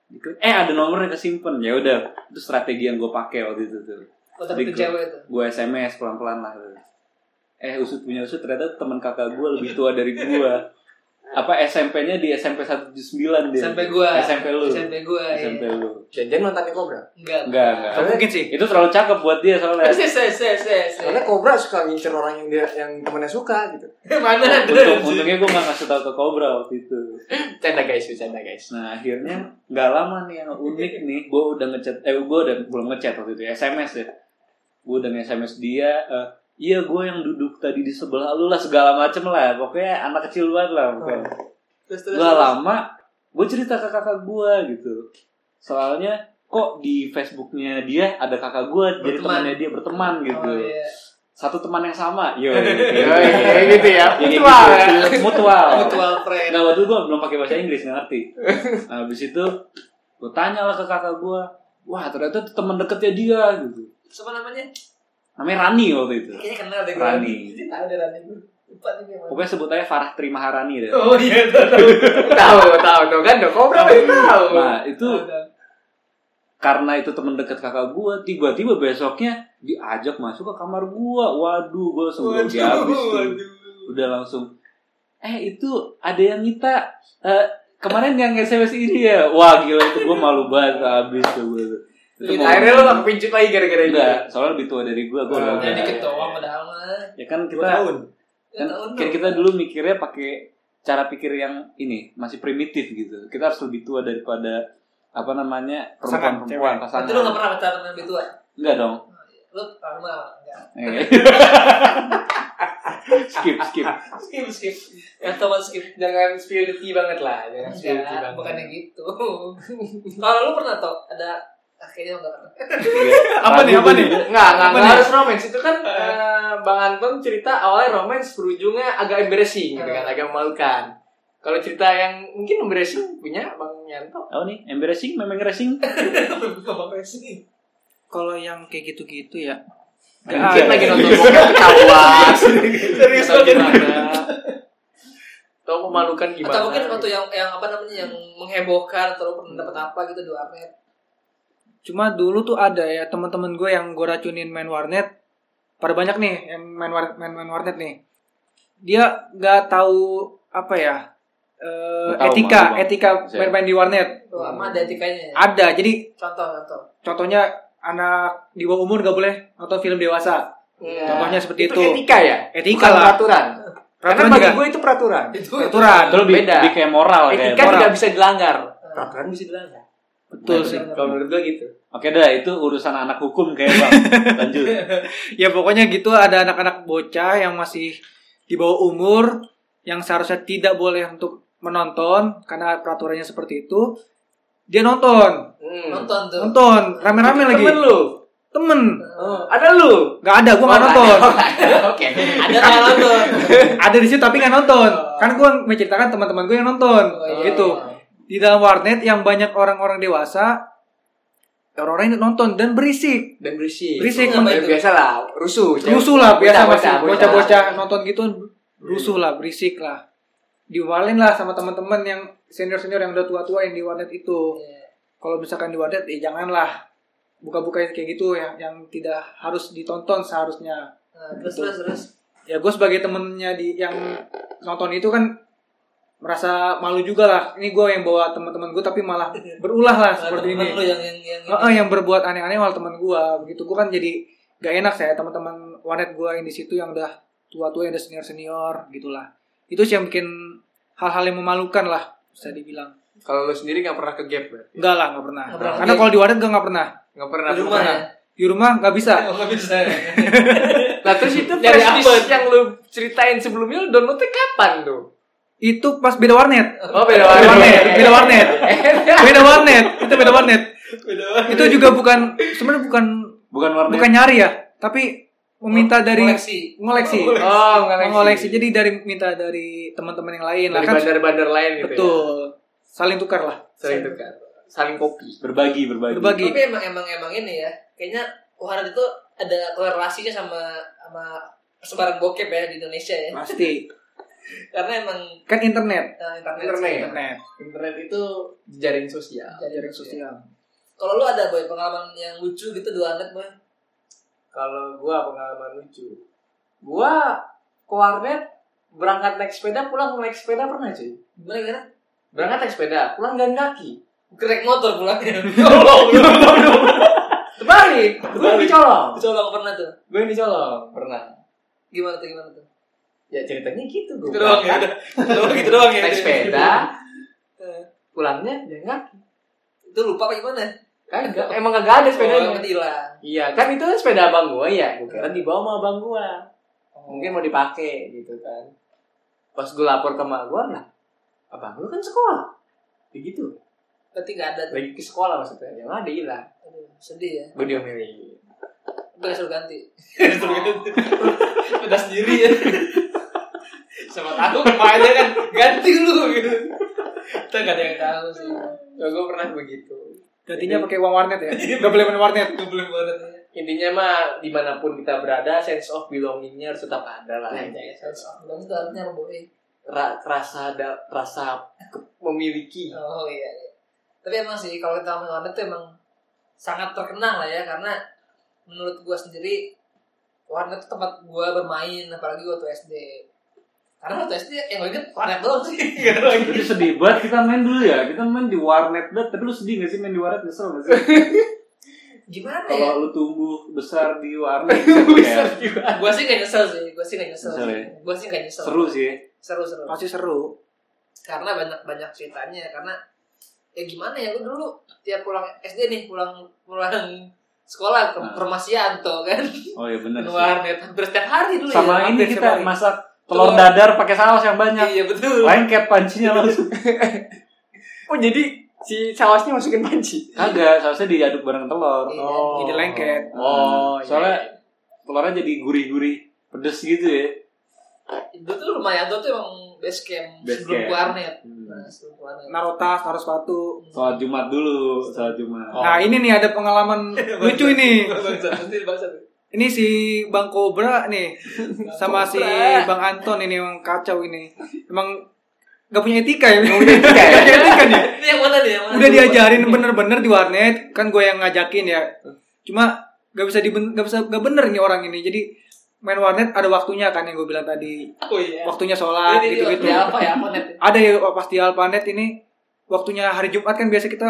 [SPEAKER 3] Diklik, eh ada nomornya kesimpan. Ya udah, itu strategi yang gue pakai waktu itu tuh.
[SPEAKER 1] Oh, tapi itu cewek itu.
[SPEAKER 3] Gue SMS pelan-pelan lah. Eh usut punya usut ternyata teman kakak gue lebih tua dari gue. Apa SMP-nya di SMP 179 dia.
[SPEAKER 1] SMP gua.
[SPEAKER 3] SMP lu. SMP,
[SPEAKER 1] SMP gua. iya.
[SPEAKER 3] lu.
[SPEAKER 4] Janjian mantannya Cobra.
[SPEAKER 1] Enggak.
[SPEAKER 3] Enggak,
[SPEAKER 1] <laughs>
[SPEAKER 3] enggak.
[SPEAKER 6] Nggak mungkin sih.
[SPEAKER 3] Itu terlalu cakep buat dia soalnya.
[SPEAKER 1] Se se se se se.
[SPEAKER 7] Karena Cobra suka ngincer orang yang dia yang temennya suka gitu.
[SPEAKER 1] <laughs> Mana ada?
[SPEAKER 3] Untung, untungnya gue gak ngasih tau ke Cobra waktu itu
[SPEAKER 4] Canda guys, bercanda guys.
[SPEAKER 3] Nah akhirnya gak lama nih yang unik nih Gue udah ngechat, eh gue udah belum ngechat waktu itu SMS ya Gue udah nge-SMS dia eh, Iya gue yang duduk tadi di sebelah lu lah segala macem lah Pokoknya anak kecil banget lah pokoknya
[SPEAKER 1] Terus Oh. terus. Oh,
[SPEAKER 3] Gak lama gue cerita ke kakak gue gitu Soalnya kok di Facebooknya dia ada kakak gue Jadi
[SPEAKER 1] Berteman.
[SPEAKER 3] temannya dia berteman gitu
[SPEAKER 1] Oh iya.
[SPEAKER 3] Satu teman yang sama
[SPEAKER 1] <laughs>
[SPEAKER 3] Yo,
[SPEAKER 4] Yoi,
[SPEAKER 5] <laughs>
[SPEAKER 4] kayak gitu ya.
[SPEAKER 3] Kayak gitu.
[SPEAKER 4] Mutual ya.
[SPEAKER 3] Mutual
[SPEAKER 1] <laughs> Mutual friend.
[SPEAKER 3] Enggak waktu itu gue belum pakai bahasa Inggris nggak ngerti. Nah, habis itu gue tanya lah ke kakak gue, wah ternyata itu teman deketnya dia gitu.
[SPEAKER 1] Siapa namanya?
[SPEAKER 3] Namanya Rani waktu itu.
[SPEAKER 1] Kayaknya kenal deh gua.
[SPEAKER 3] Rani.
[SPEAKER 1] Jadi tahu deh Rani gua. Lupa nih dia mana.
[SPEAKER 3] Pokoknya sebut aja Farah Terima Harani deh.
[SPEAKER 1] Oh iya <laughs> tahu. tahu,
[SPEAKER 4] tahu, tahu tuh kan dong. Cobra pasti tahu.
[SPEAKER 3] Nah itu
[SPEAKER 1] tahu, tahu.
[SPEAKER 3] karena itu teman dekat kakak gue, tiba-tiba besoknya diajak masuk ke kamar gue. Waduh, gue sebelum dia habis tuh. Udah langsung, eh itu ada yang minta eh, kemarin yang SMS ini ya. Wah gila itu gue malu banget habis tuh gue. tuh. Itu
[SPEAKER 5] Iya,
[SPEAKER 3] momen-
[SPEAKER 4] Gitu. Akhirnya lo gak kepincut lagi gara-gara itu.
[SPEAKER 5] Nah.
[SPEAKER 3] Enggak, soalnya lebih tua dari gua, gua udah
[SPEAKER 1] Ya
[SPEAKER 3] udah.
[SPEAKER 1] dikit doang padahal mah.
[SPEAKER 3] Ya kan
[SPEAKER 2] dua
[SPEAKER 3] kita
[SPEAKER 2] tahun
[SPEAKER 1] Ya,
[SPEAKER 3] kan
[SPEAKER 1] tahun
[SPEAKER 3] kayak
[SPEAKER 1] dong.
[SPEAKER 3] kita dulu mikirnya pakai cara pikir yang ini masih primitif gitu. Kita harus lebih tua daripada apa namanya
[SPEAKER 6] Pasangan,
[SPEAKER 3] perempuan-perempuan
[SPEAKER 1] Berarti lu
[SPEAKER 3] pasangan.
[SPEAKER 1] gak pernah pacaran sama lebih tua?
[SPEAKER 3] Enggak dong.
[SPEAKER 1] iya. Lu pernah enggak?
[SPEAKER 3] Eh. skip skip.
[SPEAKER 1] Skip, skip. Ya teman skip.
[SPEAKER 4] Jangan spiritual banget lah, jangan spiritual
[SPEAKER 1] Enggak,
[SPEAKER 4] banget.
[SPEAKER 1] bukan yang gitu. <laughs> Kalau lu pernah tau ada ah, kayaknya enggak pernah.
[SPEAKER 3] Iya.
[SPEAKER 6] Apa nih, apa nih?
[SPEAKER 4] Enggak,
[SPEAKER 6] Apa
[SPEAKER 4] enggak, enggak
[SPEAKER 6] nih?
[SPEAKER 4] harus romance. Itu kan eh, Bang Anton cerita awalnya romance berujungnya agak embarrassing gitu kan, agak memalukan. Kalau cerita yang mungkin embarrassing punya Bang Yanto.
[SPEAKER 3] Oh nih, embarrassing, memang racing.
[SPEAKER 1] Ngomong racing.
[SPEAKER 5] Kalau yang kayak gitu-gitu ya.
[SPEAKER 3] Iya.
[SPEAKER 4] Mungkin
[SPEAKER 5] ada.
[SPEAKER 4] lagi nonton bokep ketawa.
[SPEAKER 1] Serius
[SPEAKER 4] Atau gimana? Atau memalukan gimana?
[SPEAKER 1] Atau mungkin waktu yang yang apa namanya yang menghebohkan atau lu pernah dapat apa gitu di warnet.
[SPEAKER 5] Cuma dulu tuh ada ya teman-teman gue yang gue racunin main warnet. Pada banyak nih yang main warnet, main, main warnet nih. Dia nggak tahu apa ya eh,
[SPEAKER 3] Nggak tahu,
[SPEAKER 5] etika
[SPEAKER 3] malu, Bang.
[SPEAKER 5] etika
[SPEAKER 4] ya?
[SPEAKER 3] Saya.
[SPEAKER 5] bermain di warnet.
[SPEAKER 1] Tuh, sama ada etikanya. ya.
[SPEAKER 5] Ada. Jadi
[SPEAKER 1] Contoh, contoh.
[SPEAKER 5] contohnya anak di bawah umur gak boleh nonton film dewasa.
[SPEAKER 4] Ya.
[SPEAKER 5] Contohnya Iya, seperti
[SPEAKER 4] itu
[SPEAKER 5] itu.
[SPEAKER 4] etika ya?
[SPEAKER 5] Etika
[SPEAKER 4] Bukan
[SPEAKER 5] lah.
[SPEAKER 4] peraturan. Karena
[SPEAKER 5] Peraturan
[SPEAKER 4] bagi
[SPEAKER 5] juga.
[SPEAKER 4] gue itu peraturan.
[SPEAKER 1] Itu
[SPEAKER 5] Peraturan.
[SPEAKER 3] Itu lebih,
[SPEAKER 4] Beda. Eh, kan-
[SPEAKER 3] lebih kayak moral kayak
[SPEAKER 4] Etika
[SPEAKER 3] moral.
[SPEAKER 4] tidak bisa dilanggar.
[SPEAKER 1] Nah,
[SPEAKER 4] Peraturan bisa dilanggar.
[SPEAKER 5] Betul
[SPEAKER 1] sih.
[SPEAKER 4] Kalau menurut gue gitu.
[SPEAKER 3] Oke dah, itu urusan anak hukum kayak Bang. Lanjut.
[SPEAKER 5] Ya pokoknya gitu ada anak-anak bocah yang masih di bawah umur yang seharusnya tidak boleh untuk menonton karena peraturannya seperti itu. Dia nonton,
[SPEAKER 1] Nonton tuh.
[SPEAKER 5] nonton rame-rame
[SPEAKER 4] Itu
[SPEAKER 5] lagi.
[SPEAKER 4] Hmm. Temen lu.
[SPEAKER 5] Temen,
[SPEAKER 4] Oh, ada lu.
[SPEAKER 5] nggak ada, gua nggak
[SPEAKER 4] Oh,
[SPEAKER 5] nonton.
[SPEAKER 4] <laughs> Oke.
[SPEAKER 1] Ada kayak nonton.
[SPEAKER 5] ada di situ tapi nggak nonton.
[SPEAKER 4] Oh.
[SPEAKER 5] Kan gua menceritakan teman-teman gue yang nonton,
[SPEAKER 1] Oh, iya,
[SPEAKER 5] gitu.
[SPEAKER 1] iya.
[SPEAKER 5] Di dalam warnet yang banyak orang-orang dewasa, orang-orang yang nonton dan berisik
[SPEAKER 4] dan berisik
[SPEAKER 5] Berisik,
[SPEAKER 4] Ya,
[SPEAKER 5] men-
[SPEAKER 4] biasa lah rusuh cewek.
[SPEAKER 5] rusuh lah biasa masih
[SPEAKER 4] Bocah-bocah,
[SPEAKER 5] bocah-bocah nonton gitu rusuh lah berisik lah diwalin lah sama teman-teman yang senior-senior yang udah tua-tua yang di warnet itu
[SPEAKER 1] Iya.
[SPEAKER 5] kalau misalkan di warnet eh janganlah buka-bukain kayak gitu yang yang tidak harus ditonton seharusnya
[SPEAKER 1] Nah, terus terus terus
[SPEAKER 5] ya gue sebagai temennya di yang nonton itu kan merasa malu juga lah ini gue yang bawa teman-teman gue tapi
[SPEAKER 1] <laughs>
[SPEAKER 5] malah berulah lah seperti
[SPEAKER 1] Temen
[SPEAKER 5] ini
[SPEAKER 1] lu yang yang yang
[SPEAKER 5] Heeh, yang berbuat aneh-aneh malah teman gue begitu gue kan jadi gak enak saya teman-teman warnet gue yang di situ yang udah tua-tua yang udah senior-senior gitulah itu sih yang bikin hal-hal yang memalukan lah bisa dibilang
[SPEAKER 4] kalau lu sendiri nggak pernah ke gap Bro.
[SPEAKER 5] enggak lah nggak pernah
[SPEAKER 1] Nggak pernah.
[SPEAKER 5] karena kalau di warnet gue nggak pernah
[SPEAKER 4] nggak pernah
[SPEAKER 1] di rumah ya.
[SPEAKER 5] di rumah nggak bisa
[SPEAKER 1] Oh, nggak bisa.
[SPEAKER 4] nah terus itu
[SPEAKER 1] Nyari
[SPEAKER 4] flashdisk
[SPEAKER 1] apa?
[SPEAKER 4] yang lu ceritain sebelumnya lu downloadnya kapan tuh
[SPEAKER 5] itu pas beda warnet
[SPEAKER 4] oh beda
[SPEAKER 5] beda warnet
[SPEAKER 4] warnet
[SPEAKER 5] beda warnet
[SPEAKER 1] <laughs>
[SPEAKER 5] beda warnet itu beda warnet
[SPEAKER 1] Beda
[SPEAKER 5] itu juga bukan sebenarnya bukan
[SPEAKER 3] Bukan warnet.
[SPEAKER 5] bukan nyari ya tapi meminta dari
[SPEAKER 1] koleksi.
[SPEAKER 5] ngoleksi
[SPEAKER 4] oh ngoleksi
[SPEAKER 5] ngoleksi jadi dari minta dari teman-teman yang lain lah
[SPEAKER 4] dari
[SPEAKER 5] kan
[SPEAKER 4] bandar-bandar lain gitu ya
[SPEAKER 5] betul saling tukar lah
[SPEAKER 4] saling tukar saling kopi
[SPEAKER 3] Berbagi, berbagi.
[SPEAKER 5] berbagi
[SPEAKER 1] Tapi emang emang emang ini ya. Kayaknya Waharat itu ada korelasinya sama sama sebarang bokep ya di Indonesia ya.
[SPEAKER 5] pasti
[SPEAKER 1] Karena emang
[SPEAKER 5] kan internet
[SPEAKER 1] eh, internet,
[SPEAKER 4] Internet.
[SPEAKER 5] internet ya?
[SPEAKER 4] internet itu jaring sosial Iya.
[SPEAKER 5] jaringan sosial
[SPEAKER 1] Kalau lu ada boy pengalaman yang lucu gitu di warnet boy?
[SPEAKER 4] kalau gua pengalaman lucu gua ke warnet berangkat naik sepeda pulang naik sepeda pernah cuy
[SPEAKER 1] Gimana gimana?
[SPEAKER 4] berangkat naik sepeda pulang jalan kaki
[SPEAKER 1] Gerek motor <laughs> pulangnya.
[SPEAKER 4] terbalik gua yang dicolong
[SPEAKER 1] Colong pernah tuh.
[SPEAKER 4] gua yang dicolong pernah
[SPEAKER 1] Gimana tuh gimana tuh?
[SPEAKER 4] ya ceritanya gitu gua
[SPEAKER 1] Gitu doang ya
[SPEAKER 4] berangkat,
[SPEAKER 1] udah. Doang gitu doang ya.
[SPEAKER 4] naik sepeda
[SPEAKER 1] Eh,
[SPEAKER 4] pulangnya jalan kaki
[SPEAKER 1] Itu lupa apa gimana?
[SPEAKER 4] kagak emang kagak ada sepeda
[SPEAKER 1] Oh, Iya. emang hilang.
[SPEAKER 4] iya kan itu sepeda abang gua ya gua kira dibawa sama abang gua
[SPEAKER 1] Oh.
[SPEAKER 4] mungkin mau dipakai gitu kan pas gua lapor ke emak gua lah abang lu kan sekolah begitu
[SPEAKER 1] Berarti nggak ada tuh.
[SPEAKER 4] lagi ke sekolah maksudnya yang ada hilang
[SPEAKER 1] Aduh, sedih ya.
[SPEAKER 4] gue diomelin
[SPEAKER 1] Udah suruh ganti. suruh ganti. Udah sendiri ya. <laughs> Sama tahu kepalanya kan ganti lu gitu. Kita nggak ada yang tahu sih.
[SPEAKER 4] Nah, gue pernah begitu
[SPEAKER 5] gantinya pakai uang warnet
[SPEAKER 4] <laughs>
[SPEAKER 5] ya nggak boleh main warnet
[SPEAKER 1] Gue belum banget.
[SPEAKER 4] intinya mah dimanapun kita berada sense of belongingnya harus tetap ada
[SPEAKER 1] Ah,
[SPEAKER 4] lah
[SPEAKER 1] iya, Belum tuh artinya boy.
[SPEAKER 4] Ra- rasa ada rasa ke- memiliki
[SPEAKER 1] Oh iya. iya. Tapi emang sih kalau kita ngomongin warnet tuh emang sangat terkenang lah ya karena menurut gua sendiri warnet itu tempat gua bermain apalagi waktu SD. Karena waktu SD yang gue inget warnet doang <laughs> sih. Gak ada lagi.
[SPEAKER 3] Itu sedih banget kita main dulu ya. Kita main di warnet dah. Tapi lu sedih gak sih main di warnet? Nyesel gak sih?
[SPEAKER 1] Gimana ya?
[SPEAKER 3] Kalau lu tumbuh besar di warnet gitu ya.
[SPEAKER 1] gue sih gak nyesel sih gue sih gak nyesel,
[SPEAKER 3] Nyesel ya?
[SPEAKER 1] gue sih gak nyesel
[SPEAKER 3] Seru sih.
[SPEAKER 1] seru seru
[SPEAKER 5] pasti seru
[SPEAKER 1] karena banyak banyak ceritanya karena ya gimana ya gue dulu tiap pulang SD nih pulang pulang sekolah ke
[SPEAKER 3] Ah.
[SPEAKER 1] rumah Sianto kan
[SPEAKER 3] Oh iya bener
[SPEAKER 1] ke
[SPEAKER 3] sih.
[SPEAKER 1] warnet hampir setiap hari dulu ya
[SPEAKER 3] Sama
[SPEAKER 5] Iya,
[SPEAKER 3] ini
[SPEAKER 5] hampir
[SPEAKER 3] kita
[SPEAKER 5] setiap hari.
[SPEAKER 3] masak telur dadar pakai saus yang banyak.
[SPEAKER 1] iya betul
[SPEAKER 3] Lengket pancinya langsung.
[SPEAKER 4] oh jadi si sausnya masukin panci
[SPEAKER 3] Kagak, sausnya diaduk bareng telur.
[SPEAKER 1] Iya,
[SPEAKER 5] jadi lengket.
[SPEAKER 3] Oh,
[SPEAKER 4] iya.
[SPEAKER 3] soalnya telurnya jadi gurih-gurih, pedes gitu ya.
[SPEAKER 1] dulu tuh rumah Sianto tuh emang base camp
[SPEAKER 3] Base
[SPEAKER 1] sebelum
[SPEAKER 3] camp.
[SPEAKER 1] ke warnet
[SPEAKER 3] Hmm.
[SPEAKER 1] nah, sebelum ke warnet
[SPEAKER 5] naruh tas naruh sepatu
[SPEAKER 3] Sholat Jumat dulu, sholat Jumat.
[SPEAKER 4] Oh.
[SPEAKER 5] nah ini nih ada
[SPEAKER 4] <laughs>
[SPEAKER 5] pengalaman lucu ini
[SPEAKER 1] Bangsa, nanti bangsa.
[SPEAKER 5] ini si Bang Cobra nih sama si
[SPEAKER 1] Cobra.
[SPEAKER 5] Bang Anton ini yang kacau ini emang gak punya etika ya <laughs>
[SPEAKER 4] ya?
[SPEAKER 5] Gak punya etika nih
[SPEAKER 1] <laughs> ini yang mana nih yang mana
[SPEAKER 5] udah diajarin bener-bener di warnet kan gue yang ngajakin ya cuma gak bisa di gak bisa gak bener nih orang ini jadi main warnet ada waktunya kan yang gue bilang tadi
[SPEAKER 1] oh iya
[SPEAKER 5] waktunya sholat
[SPEAKER 1] Ini- ini
[SPEAKER 5] gitu gitu
[SPEAKER 1] waktunya apa ya apa net
[SPEAKER 5] ada ya pasti alpanet ini waktunya hari Jumat kan biasa kita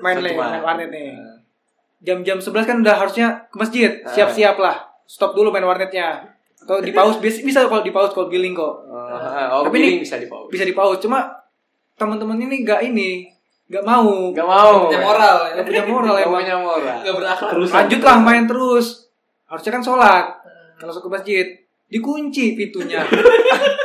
[SPEAKER 5] main
[SPEAKER 3] Sholat
[SPEAKER 5] lane,
[SPEAKER 3] Jumat.
[SPEAKER 5] main warnet nih jam-jam 11 kan udah harusnya ke masjid
[SPEAKER 1] Iya.
[SPEAKER 5] siap-siap lah stop dulu main warnetnya atau di
[SPEAKER 1] <laughs>
[SPEAKER 5] pause bisa, bisa kalau di pause kalau billing kok
[SPEAKER 4] Oh,
[SPEAKER 5] Tapi
[SPEAKER 4] tapi
[SPEAKER 5] ini-
[SPEAKER 4] ini bisa dipaus.
[SPEAKER 5] bisa di pause cuma teman-teman ini gak ini gak mau
[SPEAKER 4] Gak
[SPEAKER 3] Oh,
[SPEAKER 4] mau.
[SPEAKER 3] iya.
[SPEAKER 1] punya moral ya
[SPEAKER 5] gak punya moral
[SPEAKER 4] Gak
[SPEAKER 5] emang
[SPEAKER 4] punya moral.
[SPEAKER 1] <laughs> nggak berakhlak
[SPEAKER 3] Terus
[SPEAKER 5] lanjut lah main terus harusnya kan sholat kalau masuk ke masjid dikunci pintunya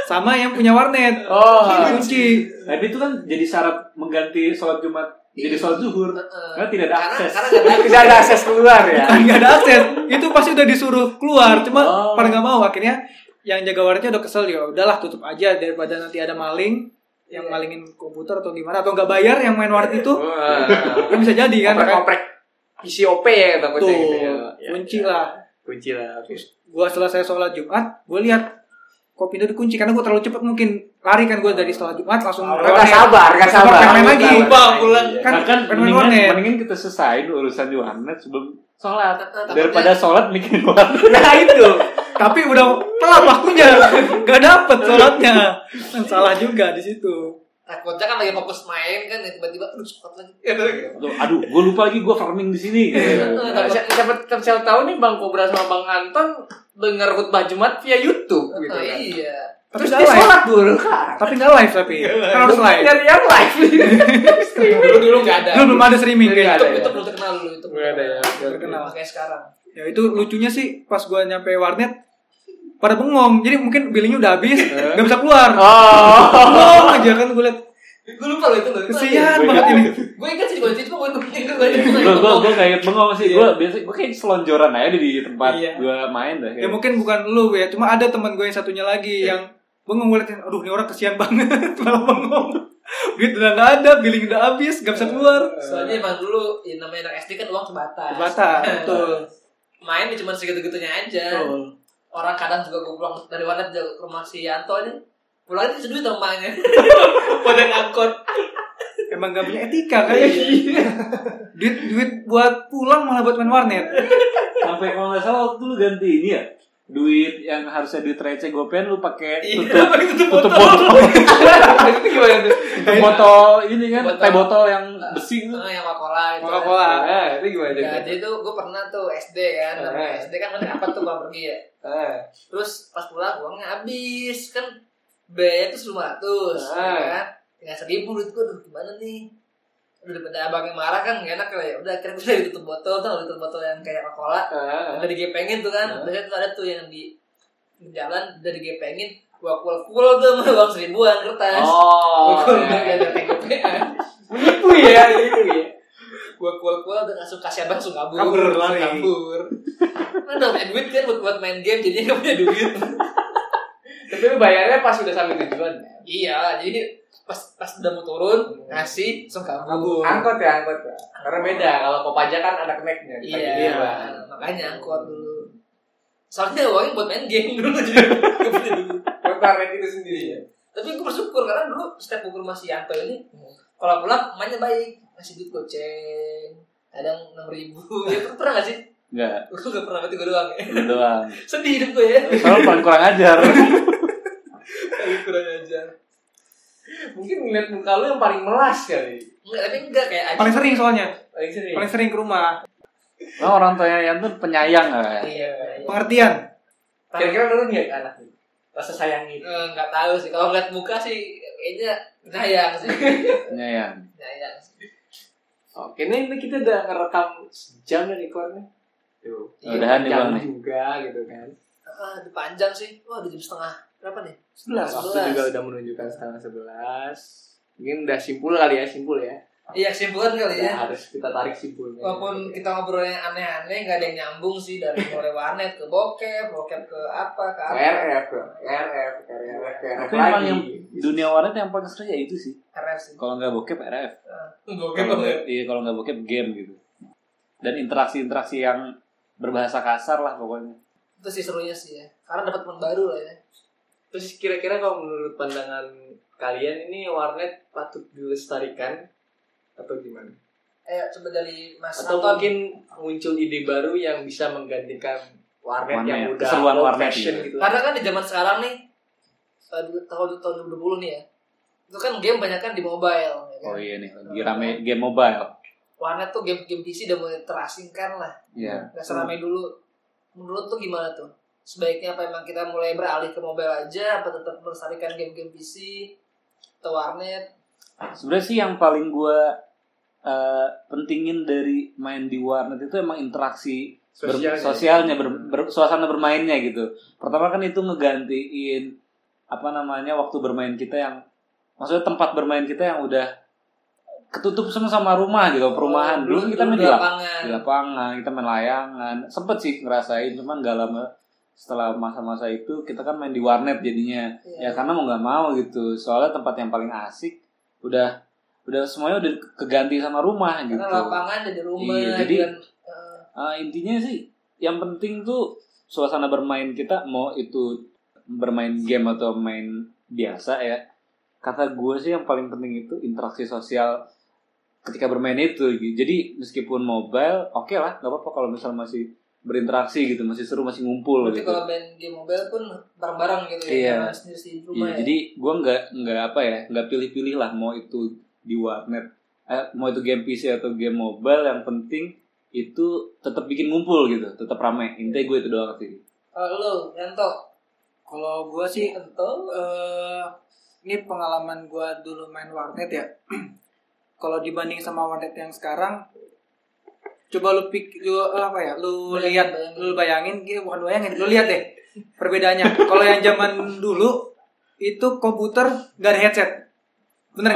[SPEAKER 5] sama yang punya warnet
[SPEAKER 4] Oh,
[SPEAKER 5] dikunci
[SPEAKER 3] Tapi itu kan jadi syarat mengganti sholat Jumat jadi sholat zuhur. Karena tidak
[SPEAKER 1] Eh,
[SPEAKER 3] ada
[SPEAKER 1] karena
[SPEAKER 3] akses.
[SPEAKER 1] karena nggak ada
[SPEAKER 4] tidak ada akses keluar ya.
[SPEAKER 5] nggak ada akses itu pasti udah disuruh keluar cuma
[SPEAKER 3] Oh.
[SPEAKER 5] pada nggak mau akhirnya yang jaga warnetnya udah kesel ya udahlah tutup aja daripada nanti ada maling yang
[SPEAKER 4] Oh, ah,
[SPEAKER 5] malingin komputer atau gimana atau nggak bayar yang main warnet itu kan bisa jadi kan
[SPEAKER 4] Komprek-komprek. isi OP ya kata
[SPEAKER 5] Tuh,
[SPEAKER 4] coachnya gitu ya. Ya,
[SPEAKER 5] kunci
[SPEAKER 4] ya.
[SPEAKER 5] lah.
[SPEAKER 4] kunci lah oke.
[SPEAKER 5] Gua selesai sholat Jumat, gua lihat kok pintu dikunci karena gua terlalu cepet mungkin lari kan gua dari sholat Jumat langsung
[SPEAKER 2] Oh,
[SPEAKER 5] warnet.
[SPEAKER 4] Gak sabar, gak sabar.
[SPEAKER 5] Pengen main lagi.
[SPEAKER 4] Bang, pulang.
[SPEAKER 3] Iya.
[SPEAKER 5] Kan
[SPEAKER 3] Bahkan
[SPEAKER 5] permen
[SPEAKER 3] mendingan,
[SPEAKER 5] warnet.
[SPEAKER 3] mendingan kita selesai dulu urusan di warnet sebelum
[SPEAKER 1] Sholat.
[SPEAKER 3] daripada sholat bikin warnet.
[SPEAKER 5] Nah itu. Tapi udah telat waktunya, gak dapet sholatnya. Kan salah juga di situ.
[SPEAKER 1] takutnya kan lagi fokus main kan ya, tiba-tiba aduh sholat lagi.
[SPEAKER 4] Ya,
[SPEAKER 3] Aduh, Aduh, gue lupa lagi gue farming di sini.
[SPEAKER 1] Iya,
[SPEAKER 3] Iya.
[SPEAKER 4] Nah,
[SPEAKER 1] Takut-
[SPEAKER 4] siapa siapa- siapa tahu nih Bang Kobra sama Bang Anton denger khutbah Jumat via YouTube gitu
[SPEAKER 1] Oh,
[SPEAKER 4] kan.
[SPEAKER 1] iya.
[SPEAKER 5] Tapi
[SPEAKER 4] Terus
[SPEAKER 5] gak
[SPEAKER 4] dia
[SPEAKER 5] live.
[SPEAKER 4] sholat dulu kan.
[SPEAKER 5] Tapi gak live tapi. Kan harus live.
[SPEAKER 4] Nyari yang live.
[SPEAKER 1] Dulu dulu nggak ada.
[SPEAKER 5] Lu belum ada streaming
[SPEAKER 4] Dulu
[SPEAKER 5] kayak
[SPEAKER 4] nggak
[SPEAKER 1] itu
[SPEAKER 5] gitu.
[SPEAKER 1] itu
[SPEAKER 4] ada ya?
[SPEAKER 1] belum terkenal dulu itu.
[SPEAKER 4] Nggak ada ya, oke, oke.
[SPEAKER 1] Terkenal kayak sekarang.
[SPEAKER 5] Ya itu lucunya sih pas gua nyampe warnet pada bengong. Jadi mungkin billingnya udah habis, gak bisa keluar.
[SPEAKER 4] Eh. Oh. Iya,
[SPEAKER 5] Bengong aja kan gue liat
[SPEAKER 1] Gue lupa loh itu loh.
[SPEAKER 5] kesian banget ini.
[SPEAKER 1] Gue ingat sih kunci cuma gue kunci gue
[SPEAKER 3] Gue gue gue kayak bengong sih.
[SPEAKER 1] Iya.
[SPEAKER 3] Gue biasa gue kayak selonjoran aja di tempat
[SPEAKER 5] Iya.
[SPEAKER 3] gue main dah.
[SPEAKER 5] Ya mungkin bukan lu ya, cuma ada teman gue yang satunya lagi
[SPEAKER 4] Ya.
[SPEAKER 5] yang bengong gue liatin, aduh ini orang kesian banget, <laughs> malah bengong. Duit udah gak ada, billing udah habis, gak
[SPEAKER 4] Ya.
[SPEAKER 5] bisa keluar.
[SPEAKER 1] Soalnya emang dulu ya, namanya anak SD kan uang sebatas.
[SPEAKER 5] Batak, betul.
[SPEAKER 1] Main ya cuma segitu-gitunya aja.
[SPEAKER 5] Betul.
[SPEAKER 1] Orang kadang juga gue pulang dari warnet ke rumah si Yanto aja. Pulangnya itu seduit rumahnya. Pada ngangkut.
[SPEAKER 5] Emang gak punya etika kan?
[SPEAKER 4] Iya.
[SPEAKER 5] <laughs> duit duit buat pulang malah buat main warnet.
[SPEAKER 3] Sampai kalau nggak salah waktu lu ganti ini ya duit yang harusnya duit receh gopen lu pakai
[SPEAKER 1] Iya.
[SPEAKER 5] <laughs>
[SPEAKER 3] tutup
[SPEAKER 1] <laughs>
[SPEAKER 3] tutup botol
[SPEAKER 4] Iya. <laughs> Itu gimana tuh?
[SPEAKER 3] tutup botol ini kan
[SPEAKER 1] Iya. Botol.
[SPEAKER 3] teh botol yang besi itu
[SPEAKER 1] Oh, yang Coca-Cola itu.
[SPEAKER 5] Coca-Cola.
[SPEAKER 4] Ah, itu
[SPEAKER 5] iya,
[SPEAKER 4] gimana tuh?
[SPEAKER 1] Ya, jadi tuh gue pernah tuh SD kan,
[SPEAKER 4] Eh.
[SPEAKER 1] namanya SD kan kan apa tuh gue pergi ya.
[SPEAKER 4] Ah.
[SPEAKER 1] Terus pas pulang uangnya habis kan biaya tuh seribu ratus,
[SPEAKER 4] Eh.
[SPEAKER 1] kan? Tinggal seribu duit gue, aduh gimana nih? Udah daripada abangnya marah kan gak enak lah ya. Udah akhirnya <laughs> gue dari tutup botol, tuh tutup botol yang kayak Coca-Cola.
[SPEAKER 4] Ah.
[SPEAKER 1] Udah digepengin tuh kan,
[SPEAKER 4] Eh.
[SPEAKER 1] biasanya tuh ada tuh yang di di jalan udah digepengin, gua kual kual tuh sama <laughs> uang seribuan kertas.
[SPEAKER 4] Oh.
[SPEAKER 1] Gua udah
[SPEAKER 4] ya.
[SPEAKER 1] gak ada gitu tanggapan.
[SPEAKER 4] Menipu ya, itu ya.
[SPEAKER 1] gue kual kual dan langsung kasih abang langsung kabur
[SPEAKER 2] Kabur,
[SPEAKER 1] Langsung
[SPEAKER 2] lari.
[SPEAKER 1] kabur mana udah punya duit kan buat buat main game jadinya gak punya duit
[SPEAKER 4] Tapi lu bayarnya pas udah sampai tujuan. ya?
[SPEAKER 1] iya jadi pas pas udah mau turun
[SPEAKER 4] Hmm.
[SPEAKER 1] ngasih langsung kabur,
[SPEAKER 4] Angkot ya, angkot ya. Karena beda, kalau mau pajak kan ada keneknya.
[SPEAKER 1] iya
[SPEAKER 4] Iya.
[SPEAKER 1] makanya angkot dulu soalnya uangnya buat main game
[SPEAKER 4] <laughs>
[SPEAKER 1] dulu jadi gak punya duit
[SPEAKER 4] Buat target itu sendiri ya.
[SPEAKER 1] tapi gue bersyukur karena dulu setiap gue ke rumah si Yanto ini kalau pulang mainnya baik ngasih duit goceng kadang enam
[SPEAKER 4] <laughs>
[SPEAKER 1] ribu ya pernah- pernah gak sih
[SPEAKER 3] enggak
[SPEAKER 1] gue gak pernah berarti gue doang ya <laughs>
[SPEAKER 3] lu doang
[SPEAKER 1] sedih hidup gue ya
[SPEAKER 3] kalau paling kurang
[SPEAKER 1] <laughs>
[SPEAKER 3] ajar
[SPEAKER 1] Tapi kurang ajar
[SPEAKER 4] Mungkin ngeliat muka lu yang paling melas kali.
[SPEAKER 1] Enggak, tapi enggak kayak aja.
[SPEAKER 5] Paling sering soalnya,
[SPEAKER 4] Paling sering.
[SPEAKER 5] paling sering ke rumah.
[SPEAKER 3] Nah, orang tuanya yang tuh penyayang ya.
[SPEAKER 1] Iya. iya.
[SPEAKER 5] Pengertian.
[SPEAKER 4] Kira-kira lu ngeliat anak lu? Rasa sayang itu.
[SPEAKER 1] Eh, Enggak tahu sih. Kalau ngeliat muka sih kayaknya
[SPEAKER 4] Nah.
[SPEAKER 1] penyayang sih.
[SPEAKER 3] Penyayang.
[SPEAKER 1] Penyayang. sih.
[SPEAKER 4] Oke, ini, ini kita udah ngerekam sejam ya recordnya. Tuh.
[SPEAKER 1] Iya,
[SPEAKER 3] Mudahan nih, Bang,
[SPEAKER 4] Jam
[SPEAKER 3] nih.
[SPEAKER 4] juga gitu kan.
[SPEAKER 1] Ah, aduh, panjang sih. Wah, udah jam setengah. Berapa nih?
[SPEAKER 5] Sebelas.
[SPEAKER 4] Waktu juga udah menunjukkan setengah sebelas. Mungkin udah simpul kali ya, simpul ya.
[SPEAKER 1] Iya, kesimpulan kali ya.
[SPEAKER 4] Udah harus kita tarik simpulnya.
[SPEAKER 1] Walaupun kita ngobrolnya aneh-aneh, nggak ada yang nyambung sih dari mulai warnet ke bokep, bokep ke apa, ke apa.
[SPEAKER 4] RF, RF, RF, RF
[SPEAKER 3] Tapi emang
[SPEAKER 4] lagi.
[SPEAKER 3] yang dunia warnet yang paling seru ya itu sih.
[SPEAKER 1] Keren sih.
[SPEAKER 3] Kalau nggak bokep RF.
[SPEAKER 1] Bokep
[SPEAKER 3] Kalau nggak- Iya kalau nggak bokep game gitu. Dan interaksi-interaksi yang berbahasa kasar lah pokoknya.
[SPEAKER 1] Itu sih serunya sih ya. Karena dapat teman baru lah ya.
[SPEAKER 4] Terus kira-kira kalau menurut pandangan kalian ini warnet patut dilestarikan atau gimana?
[SPEAKER 1] Eh, coba dari Mas
[SPEAKER 4] Atau
[SPEAKER 1] Anton.
[SPEAKER 4] mungkin muncul ide baru yang bisa menggantikan warnet,
[SPEAKER 3] Warnet,
[SPEAKER 4] yang udah
[SPEAKER 3] keseruan
[SPEAKER 4] old
[SPEAKER 3] warnet iya.
[SPEAKER 4] fashion gitu.
[SPEAKER 1] Karena kan di zaman sekarang nih eh, di tahun tahun 2020 nih ya. Itu kan game banyak kan di mobile ya kan?
[SPEAKER 3] Oh iya nih, lagi rame game mobile.
[SPEAKER 1] Warnet tuh game-game PC udah mulai terasingkan lah.
[SPEAKER 3] Iya.
[SPEAKER 1] Gak seramai dulu. Menurut tuh gimana tuh? Sebaiknya apa emang kita mulai beralih ke mobile aja apa tetap melestarikan game-game PC atau warnet?
[SPEAKER 3] Sebenarnya sih yang paling gua eh, pentingin dari main di warnet itu emang interaksi ber-
[SPEAKER 4] Sosialnya.
[SPEAKER 3] sosialnya, ber- ber- suasana bermainnya gitu. Pertama kan itu ngegantiin apa namanya waktu bermain kita yang maksudnya tempat bermain kita yang udah ketutup semua sama rumah gitu perumahan. Dulu kita main di, lap-
[SPEAKER 1] Oh, lapangan.
[SPEAKER 3] di lapangan, Iya. kita main layangan. Sempet sih ngerasain, cuman gak lama setelah masa-masa itu kita kan main di warnet jadinya
[SPEAKER 1] Iya.
[SPEAKER 3] ya karena mau nggak mau gitu soalnya tempat yang paling asik udah udah semuanya udah keganti sama rumah gitu
[SPEAKER 1] Karena lapangan jadi rumah gitu kan.
[SPEAKER 3] Iya, jadi-
[SPEAKER 1] dan
[SPEAKER 3] Eh, intinya sih yang penting tuh suasana bermain kita mau itu bermain game atau main biasa ya kata gue sih yang paling penting itu interaksi sosial ketika bermain itu gitu. jadi meskipun mobile oke lah nggak apa-apa kalau misal masih berinteraksi gitu masih seru masih ngumpul
[SPEAKER 1] Berarti
[SPEAKER 3] gitu
[SPEAKER 1] kalau main game mobile pun bareng-bareng gitu
[SPEAKER 3] Iya.
[SPEAKER 1] ya. Karena sendiri-sendiri di rumah
[SPEAKER 3] Iya,
[SPEAKER 1] ya.
[SPEAKER 3] jadi gue nggak nggak apa ya nggak pilih-pilih lah mau itu di warnet eh, mau itu game PC atau game mobile yang penting itu tetap bikin ngumpul gitu tetap ramai intinya gue itu doang sih
[SPEAKER 1] Kalau lo, Yanto,
[SPEAKER 5] Kalau gua sih
[SPEAKER 1] Yanto,
[SPEAKER 5] eh ini pengalaman gua dulu main warnet ya. <clears throat> Kalau dibanding sama warnet yang sekarang, coba lu pik, lu eh, apa ya, lu
[SPEAKER 1] Bayangin,
[SPEAKER 5] lihat,
[SPEAKER 1] bayangin.
[SPEAKER 5] lu bayangin, eh, bukan bayangin, lu lihat deh perbedaannya. Kalau yang zaman dulu itu komputer gak ada headset, bener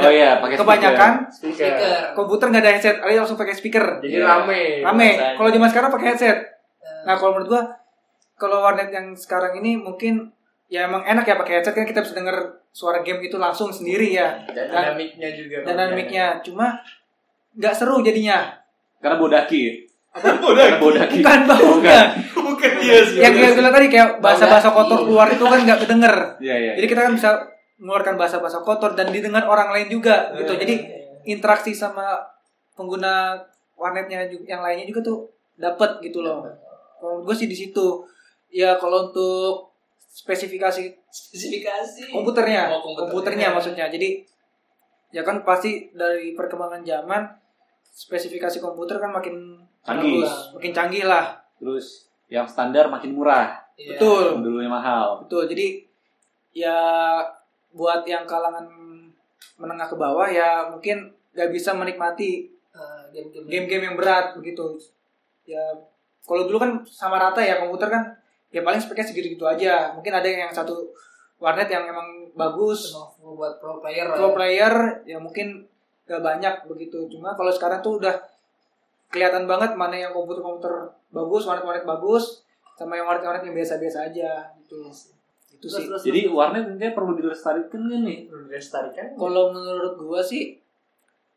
[SPEAKER 3] oh
[SPEAKER 5] nggak?
[SPEAKER 3] iya pakai
[SPEAKER 5] Kebanyakan
[SPEAKER 4] Speaker.
[SPEAKER 1] speaker.
[SPEAKER 5] komputer gak ada headset, alias langsung pakai speaker.
[SPEAKER 4] Jadi
[SPEAKER 3] Iya.
[SPEAKER 4] rame.
[SPEAKER 5] Rame.
[SPEAKER 4] rasanya.
[SPEAKER 5] Kalau zaman sekarang pakai headset. Nah
[SPEAKER 1] Nah,
[SPEAKER 5] kalau menurut gua kalau warnet yang sekarang ini mungkin ya emang enak ya pakai headset kan kita bisa denger suara game itu langsung sendiri ya
[SPEAKER 4] dan dinamiknya juga.
[SPEAKER 5] dan dinamiknya cuma nggak seru jadinya
[SPEAKER 3] speaker. karena bodaki ya? <laughs>
[SPEAKER 6] Udah,
[SPEAKER 3] karena bodaki
[SPEAKER 5] bukan bau
[SPEAKER 3] Bukan.
[SPEAKER 5] nggak.
[SPEAKER 6] bukan dia sih.
[SPEAKER 5] yang kayak bilang tadi kayak bahasa bahasa kotor keluar itu kan nggak kedenger
[SPEAKER 3] Iya, iya.
[SPEAKER 5] jadi kita kan bisa mengeluarkan bahasa bahasa kotor dan didengar orang lain juga gitu jadi interaksi sama pengguna warnetnya ju- yang lainnya juga tuh dapat gitu loh kalau gue sih di situ ya kalau untuk spesifikasi
[SPEAKER 1] spesifikasi.
[SPEAKER 5] komputernya,
[SPEAKER 1] Oh,
[SPEAKER 5] komputernya, maksudnya. Jadi ya kan pasti dari perkembangan zaman spesifikasi komputer kan makin
[SPEAKER 3] Canggih.
[SPEAKER 5] bagus, makin canggih lah.
[SPEAKER 3] terus yang standar makin murah
[SPEAKER 1] Iya.
[SPEAKER 3] yang
[SPEAKER 5] Betul.
[SPEAKER 3] dulunya mahal
[SPEAKER 5] Betul. Jadi ya buat yang kalangan menengah ke bawah ya mungkin nggak bisa menikmati
[SPEAKER 1] Eh, game-game.
[SPEAKER 5] game-game yang berat begitu. Ya kalau dulu kan sama rata ya komputer kan ya paling speknya segitu-gitu aja. Mungkin ada yang satu warnet yang emang bagus,
[SPEAKER 1] Cuma buat pro player. lah
[SPEAKER 5] pro
[SPEAKER 1] ya.
[SPEAKER 5] player ya mungkin gak banyak begitu cuma kalau sekarang tuh udah kelihatan banget mana yang komputer-komputer bagus warnet-warnet bagus sama yang warnet-warnet yang biasa-biasa aja gitu itu
[SPEAKER 1] Terus,
[SPEAKER 5] sih
[SPEAKER 1] terus,
[SPEAKER 3] jadi warnet intinya perlu dilestarikan kan nih
[SPEAKER 7] Perlu dilestarikan.
[SPEAKER 5] kalau menurut gua sih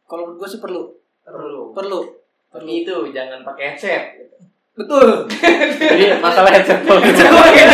[SPEAKER 5] kalau menurut gua sih perlu
[SPEAKER 7] Perlu.
[SPEAKER 5] perlu
[SPEAKER 7] Tapi itu jangan
[SPEAKER 1] <laughs>
[SPEAKER 7] pakai headset.
[SPEAKER 5] betul <laughs>
[SPEAKER 3] jadi masalah headset doang.
[SPEAKER 1] Oh, iya.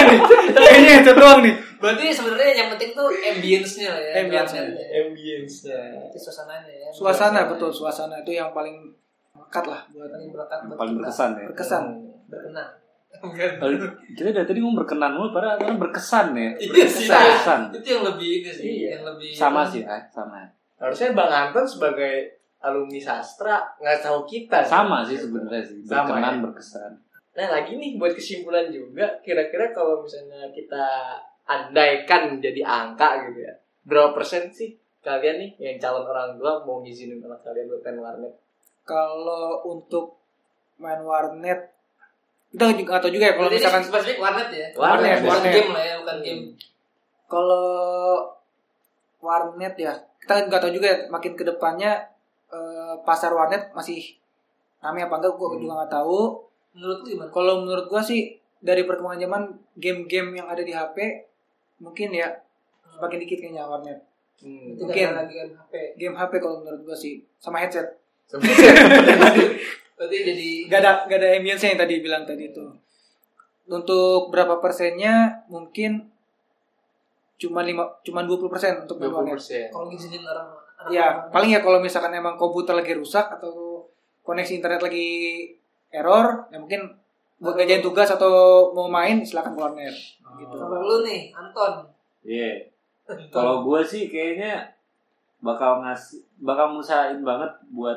[SPEAKER 6] Kayaknya headset doang nih.
[SPEAKER 1] Berarti sebenarnya yang penting tuh ambience-nya lah ya.
[SPEAKER 5] Ambience-nya.
[SPEAKER 1] warnetnya.
[SPEAKER 7] Ambience-nya.
[SPEAKER 1] Berarti suasananya ya.
[SPEAKER 5] suasana betul suasana itu yang paling lekat lah buat
[SPEAKER 1] Paling berkat
[SPEAKER 3] Yang paling berkesan ya
[SPEAKER 5] berkesan
[SPEAKER 1] berkenan.
[SPEAKER 3] Kalau kita dari tadi ngomong berkenan mulu padahal kan berkesan ya
[SPEAKER 1] <laughs> Iya sih.
[SPEAKER 3] berkesan
[SPEAKER 1] Itu yang lebih ini sih,
[SPEAKER 4] Iya.
[SPEAKER 1] yang lebih
[SPEAKER 3] sama sih ah sama
[SPEAKER 7] Harusnya Bang Anton sebagai alumni sastra nggak tahu kita.
[SPEAKER 3] sama sih sebenarnya sih
[SPEAKER 7] Sama,
[SPEAKER 3] berkenan
[SPEAKER 7] ya?
[SPEAKER 3] berkesan
[SPEAKER 7] Nah lagi nih buat kesimpulan juga, kira-kira kalau misalnya kita andaikan jadi angka gitu ya, berapa persen sih kalian nih yang calon orang tua mau ngizinin anak kalian buat main warnet?
[SPEAKER 5] kalau untuk main warnet kita juga atau juga ya kalau
[SPEAKER 1] Berarti ini
[SPEAKER 5] misalkan
[SPEAKER 1] spesifik warnet ya.
[SPEAKER 7] Warnet,
[SPEAKER 1] bukan
[SPEAKER 5] warnet.
[SPEAKER 1] game lah ya, bukan game.
[SPEAKER 5] Kalau warnet ya, kita nggak tahu juga ya, makin ke depannya eh, pasar warnet masih ramai apa enggak, gue juga nggak tahu.
[SPEAKER 1] Menurut lu gimana?
[SPEAKER 5] Kalau menurut gue sih dari perkembangan zaman game-game yang ada di HP mungkin ya makin dikit kayaknya warnet.
[SPEAKER 7] Hmm.
[SPEAKER 1] Tidak
[SPEAKER 5] Mungkin.
[SPEAKER 1] ada lagi kan HP.
[SPEAKER 5] Game HP kalau menurut gue sih sama headset.
[SPEAKER 1] Berarti jadi
[SPEAKER 5] Gak ada gak ada ambience yang tadi bilang tadi itu. Untuk berapa persennya mungkin cuma lima cuman 20% untuk main warnet.
[SPEAKER 7] 20%.
[SPEAKER 1] kalau ngizinin orang anak
[SPEAKER 5] Ya,
[SPEAKER 1] orang-
[SPEAKER 5] paling ya kalau misalkan emang komputer lagi rusak atau koneksi internet lagi error, ya mungkin buat ngerjain tugas atau mau main silakan keluar net. Gitu.
[SPEAKER 1] Kalau lu nih, Anton.
[SPEAKER 3] iya kalau gue sih kayaknya bakal ngasih bakal ngusahain banget buat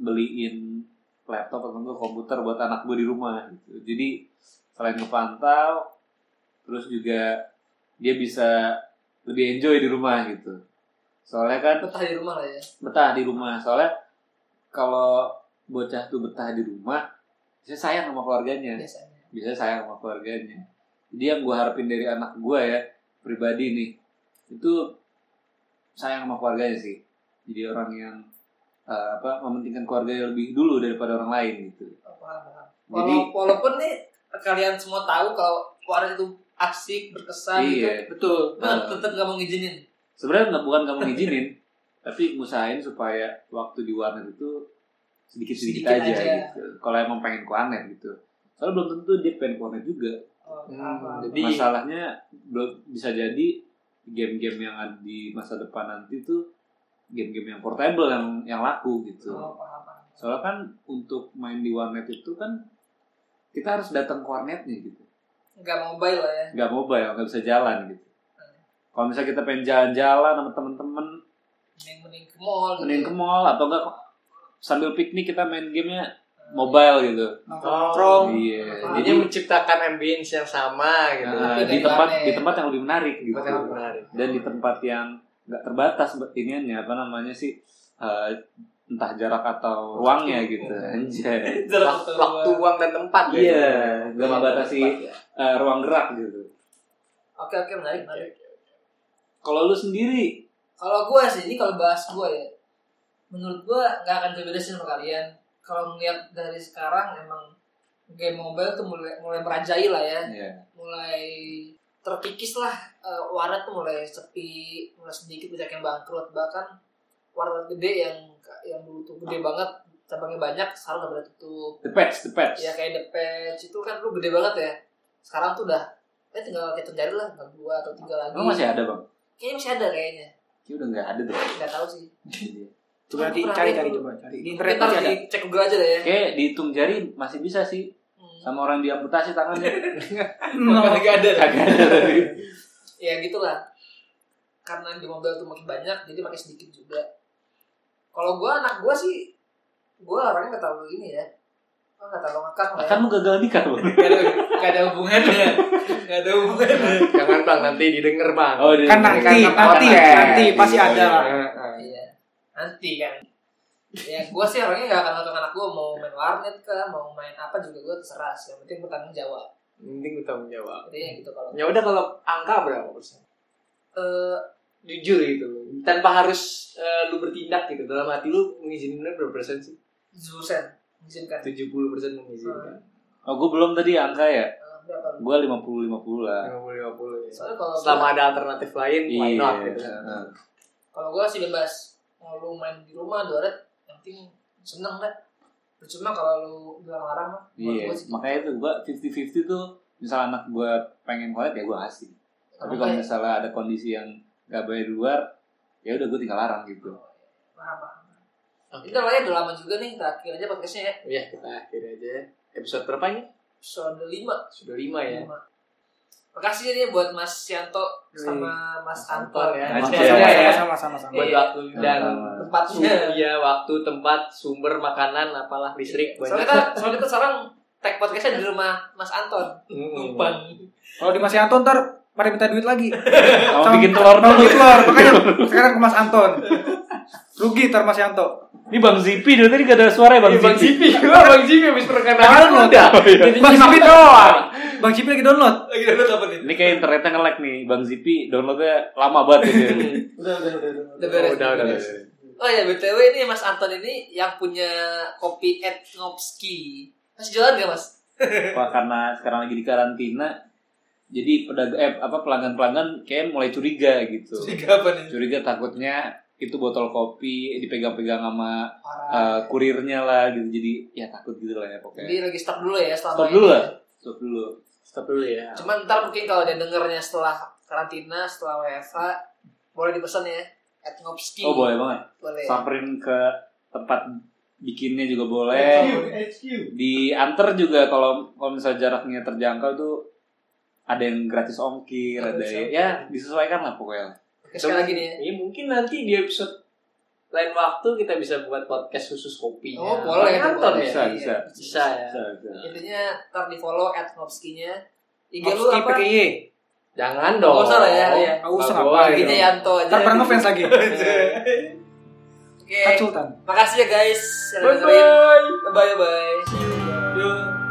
[SPEAKER 3] beliin laptop atau enggak komputer buat anak gue di rumah gitu. jadi selain ngepantau terus juga dia bisa lebih enjoy di rumah gitu soalnya kan
[SPEAKER 1] betah di rumah lah ya.
[SPEAKER 3] betah di rumah soalnya kalau bocah tuh betah di rumah bisa sayang sama keluarganya
[SPEAKER 1] Biasanya.
[SPEAKER 3] bisa sayang sama keluarganya. Jadi yang gue harapin dari anak gue ya pribadi nih itu sayang sama keluarganya sih. Jadi orang yang eh, apa mementingkan keluarganya lebih dulu daripada orang lain gitu.
[SPEAKER 1] Paham, paham.
[SPEAKER 3] Jadi
[SPEAKER 1] Walau- walaupun nih kalian semua tahu kalau warnet itu asik, berkesan
[SPEAKER 3] iya
[SPEAKER 1] gitu. Betul.
[SPEAKER 3] Nah.
[SPEAKER 1] tetap gak mau ngizinin.
[SPEAKER 3] <laughs> sebenarnya nggak bukan kamu ngizinin tapi ngusahain supaya waktu di warnet itu sedikit-sedikit
[SPEAKER 1] Sedikit
[SPEAKER 3] aja,
[SPEAKER 1] aja.
[SPEAKER 3] gitu. Kalau emang pengen ke warnet gitu. Soalnya belum tentu dia pengen ke warnet juga.
[SPEAKER 1] Oh,
[SPEAKER 4] Hmm,
[SPEAKER 1] apa?
[SPEAKER 4] jadi
[SPEAKER 3] Masalahnya belum bisa jadi game-game yang ada di masa depan nanti tuh game-game yang portable yang yang laku gitu.
[SPEAKER 1] Oh, paham, paham.
[SPEAKER 3] Soalnya kan untuk main di warnet itu kan kita harus datang ke warnetnya gitu.
[SPEAKER 1] Nggak mobile lah ya.
[SPEAKER 3] Nggak mobile, nggak bisa jalan gitu. Kalau misalnya kita pengen jalan-jalan sama temen-temen,
[SPEAKER 1] Mending mending ke mall gitu.
[SPEAKER 3] mending ke mall atau enggak sambil piknik kita main gamenya mobile gitu.
[SPEAKER 2] Nongkrong.
[SPEAKER 3] Iya. Jadi
[SPEAKER 7] Jadinya menciptakan ambience yang sama gitu.
[SPEAKER 3] nah,
[SPEAKER 1] Tapi
[SPEAKER 3] di
[SPEAKER 1] dari
[SPEAKER 3] tempat
[SPEAKER 1] warnet.
[SPEAKER 3] di tempat yang lebih menarik gitu.
[SPEAKER 7] Tempat yang menarik.
[SPEAKER 3] Dan di tempat yang nggak terbatas iniannya apa namanya sih eh, entah jarak atau ruangnya gitu. Anjay.
[SPEAKER 1] Jalan
[SPEAKER 7] Waktu,
[SPEAKER 1] keluar.
[SPEAKER 7] waktu uang dan tempat gitu.
[SPEAKER 3] <laughs> Iya, nggak membatasi
[SPEAKER 7] Tempat, ya.
[SPEAKER 3] eh, ruang gerak gitu.
[SPEAKER 1] Oke oke menarik menarik.
[SPEAKER 3] Kalau lu sendiri,
[SPEAKER 1] Kalau gue sih ini kalau bahas gue ya, menurut gue nggak akan berbeda sih sama kalian. Kalau melihat dari sekarang emang game mobile tuh mulai mulai merajai lah ya,
[SPEAKER 3] ya,
[SPEAKER 1] mulai terkikis lah eh, warnet tuh mulai sepi, mulai sedikit banyak yang bangkrut bahkan warnet gede yang yang dulu tuh gede banget cabangnya banyak sekarang udah pada tutup.
[SPEAKER 3] the patch, the patch.
[SPEAKER 7] Iya.
[SPEAKER 1] ya kayak The Patch itu kan lu gede banget ya sekarang tuh udah ya tinggal kita cari lah tinggal dua atau tiga lagi
[SPEAKER 5] Oh,
[SPEAKER 3] Emang masih ada bang?
[SPEAKER 1] kayaknya masih ada kayaknya
[SPEAKER 3] Kayaknya udah nggak ada deh.
[SPEAKER 1] nggak tahu sih
[SPEAKER 5] Coba nanti
[SPEAKER 1] Kurang
[SPEAKER 5] cari
[SPEAKER 1] itu.
[SPEAKER 5] cari coba cari. <laughs> Di internet
[SPEAKER 1] kita
[SPEAKER 5] pasti
[SPEAKER 1] harus
[SPEAKER 5] ada.
[SPEAKER 1] di- cek Google aja deh ya
[SPEAKER 3] <laughs> Kayak dihitung jari masih bisa sih
[SPEAKER 1] Hmm.
[SPEAKER 3] sama orang diamputasi tangannya. <laughs>
[SPEAKER 1] Makanya nggak ada
[SPEAKER 3] Kagak ada tadi.
[SPEAKER 1] ya gitulah karena di mobil tuh makin banyak jadi makin sedikit juga kalau gua anak gua sih gua orangnya nggak terlalu ini ya gua nggak terlalu ngakak lah ya
[SPEAKER 3] Kan lu gagal nikah bang.
[SPEAKER 1] nggak ada nggak ada hubungannya nggak ada hubungannya
[SPEAKER 7] Jangan bang, nanti didengar bang.
[SPEAKER 3] Oh, dia-
[SPEAKER 5] Kan nanti,
[SPEAKER 3] Kan- kan-
[SPEAKER 5] nanti,
[SPEAKER 7] ya.
[SPEAKER 3] kan-
[SPEAKER 5] nanti
[SPEAKER 3] kan-
[SPEAKER 5] pasti
[SPEAKER 3] kan-
[SPEAKER 5] ada lah.
[SPEAKER 1] Iya. Nanti kan. Ya, gue sih orangnya gak akan ngatur anak gue mau main warnet kah, mau main apa juga gue terserah. sih. Yang penting bertanggung jawab.
[SPEAKER 7] Mending gue tanggung jawab.
[SPEAKER 1] Jadi ya gitu kalau.
[SPEAKER 7] Ya udah kalau angka berapa persen?
[SPEAKER 1] Eh,
[SPEAKER 7] Jujur gitu. Tanpa harus eh, lu bertindak gitu. Dalam hati lu mengizinkan berapa persen sih?
[SPEAKER 1] Zusen, izinkan.
[SPEAKER 3] Iya.
[SPEAKER 7] 70 persen mengizinkan.
[SPEAKER 3] Oh, gue belum tadi angka
[SPEAKER 1] Eh,
[SPEAKER 3] ya.
[SPEAKER 1] berapa lu?
[SPEAKER 3] Gue 50-50 lah.
[SPEAKER 7] 50-50 ya.
[SPEAKER 1] Soalnya kalau
[SPEAKER 7] Selama ada alternatif lain,
[SPEAKER 3] Iya.
[SPEAKER 7] why not gitu.
[SPEAKER 3] heeh.
[SPEAKER 1] kalau gue sih bebas. Mau lu main di rumah, di warnet, yang penting seneng deh. Percuma kalau lu dilarang-larang mah. buat
[SPEAKER 3] Iya,
[SPEAKER 1] gua sih. gitu.
[SPEAKER 3] makanya tuh gue 50-50 tuh misal anak gue pengen kolet ya gue kasih. Tapi kalau
[SPEAKER 1] Makanya-
[SPEAKER 3] misalnya ada kondisi yang gak bayar di luar, ya udah gue tinggal larang gitu.
[SPEAKER 1] Paham, paham.
[SPEAKER 7] Oke.
[SPEAKER 1] Udah lah ya, udah lama juga nih. Terakhir aja podcastnya ya.
[SPEAKER 7] Ya, kita akhiri aja ya. Episode berapa ini?
[SPEAKER 1] Episode 5.
[SPEAKER 7] Sudah 5 ya.
[SPEAKER 3] Iya.
[SPEAKER 1] Terima Iya. Makasih nih buat Mas Yanto sama Mas Anton
[SPEAKER 7] Anton ya.
[SPEAKER 3] Anton
[SPEAKER 7] Maksudnya ya.
[SPEAKER 5] Sama sama sama.
[SPEAKER 7] Buat
[SPEAKER 1] Iya.
[SPEAKER 7] waktu dan
[SPEAKER 3] Sama-sama.
[SPEAKER 1] tempatnya.
[SPEAKER 7] sumber ya waktu tempat sumber makanan apalah listrik banyak
[SPEAKER 1] Soalnya kita, soalnya kita sekarang tag podcastnya di rumah Mas Anton.
[SPEAKER 7] numpang
[SPEAKER 1] Numpang.
[SPEAKER 5] Kalau di Mas Anton ntar pada minta duit
[SPEAKER 1] <laughs>
[SPEAKER 5] lagi.
[SPEAKER 3] Kalau
[SPEAKER 5] Sama-
[SPEAKER 3] bikin telur
[SPEAKER 5] Kalau
[SPEAKER 3] dulu.
[SPEAKER 5] duit keluar, makanya sekarang ke Mas Anton. Rugi ntar Mas Yanto.
[SPEAKER 3] Ini Bang Zipi dari tadi gak ada suara ya Bang
[SPEAKER 5] Iya,
[SPEAKER 7] Iya, Bang
[SPEAKER 3] Zipi.
[SPEAKER 7] Zipi, <laughs> gua Bang Zipi habis perkenalan
[SPEAKER 5] Download.
[SPEAKER 7] udah.
[SPEAKER 5] Bang Cipi doang. Bang Cipi lagi download.
[SPEAKER 1] Lagi download apa nih?
[SPEAKER 3] Ini kayak internetnya nge-lag nih. Bang Zipi downloadnya lama banget ya.
[SPEAKER 2] Udah, udah, udah. udah.
[SPEAKER 1] Udah beres.
[SPEAKER 7] Udah, udah, udah.
[SPEAKER 1] Oh ya BTW ini Mas Anton ini yang punya kopi at Ngopski. Masih jalan gak Mas?
[SPEAKER 3] Wah, karena sekarang lagi di karantina, jadi pedagang eh, apa pelanggan-pelanggan kayak mulai curiga gitu.
[SPEAKER 1] Tiga apa nih?
[SPEAKER 3] curiga takutnya itu botol kopi dipegang-pegang sama
[SPEAKER 1] Parah.
[SPEAKER 3] uh, kurirnya lah gitu jadi ya takut gitu lah ya
[SPEAKER 1] Jadi
[SPEAKER 3] pokoknya
[SPEAKER 1] lagi stop dulu ya selama
[SPEAKER 3] stop
[SPEAKER 1] ini.
[SPEAKER 3] dulu lah stop dulu
[SPEAKER 7] Stop dulu ya.
[SPEAKER 1] Cuman ntar mungkin kalau dia dengernya setelah karantina, setelah WFH, boleh dipesan ya at Ngopski.
[SPEAKER 3] oh boleh banget
[SPEAKER 1] Boleh.
[SPEAKER 3] samperin ke tempat bikinnya juga
[SPEAKER 2] HQ,
[SPEAKER 3] boleh
[SPEAKER 2] HQ.
[SPEAKER 3] diantar juga kalau kalau misalnya jaraknya terjangkau tuh ada yang gratis ongkir ada yang, ya disesuaikan lah pokoknya
[SPEAKER 1] Sekali lagi nih ya.
[SPEAKER 7] Iya, mungkin nanti di episode lain waktu kita bisa buat podcast khusus kopi.
[SPEAKER 1] Oh, boleh,
[SPEAKER 7] Bang Anton ya.
[SPEAKER 1] boleh.
[SPEAKER 3] bisa
[SPEAKER 1] iya.
[SPEAKER 3] bisa
[SPEAKER 7] Bisa ya.
[SPEAKER 3] bisa, bisa.
[SPEAKER 1] intinya ntar di follow at Ngopskinya IG Iya, lu
[SPEAKER 5] Ngopski
[SPEAKER 1] apa?
[SPEAKER 5] PKY.
[SPEAKER 7] Jangan dong.
[SPEAKER 1] Nggak usah lah ya, iya.
[SPEAKER 5] Nggak usah,
[SPEAKER 7] Nggak
[SPEAKER 5] ngapain.
[SPEAKER 7] boleh
[SPEAKER 1] IG-nya
[SPEAKER 7] dong.
[SPEAKER 1] Yanto aja.
[SPEAKER 5] Ntar bareng ngefans
[SPEAKER 1] <laughs>
[SPEAKER 5] lagi.
[SPEAKER 1] Oke,
[SPEAKER 5] Kan Sultan.
[SPEAKER 1] makasih ya guys. Bye
[SPEAKER 7] Bye-bye.
[SPEAKER 1] Bye bye.
[SPEAKER 7] Yuk.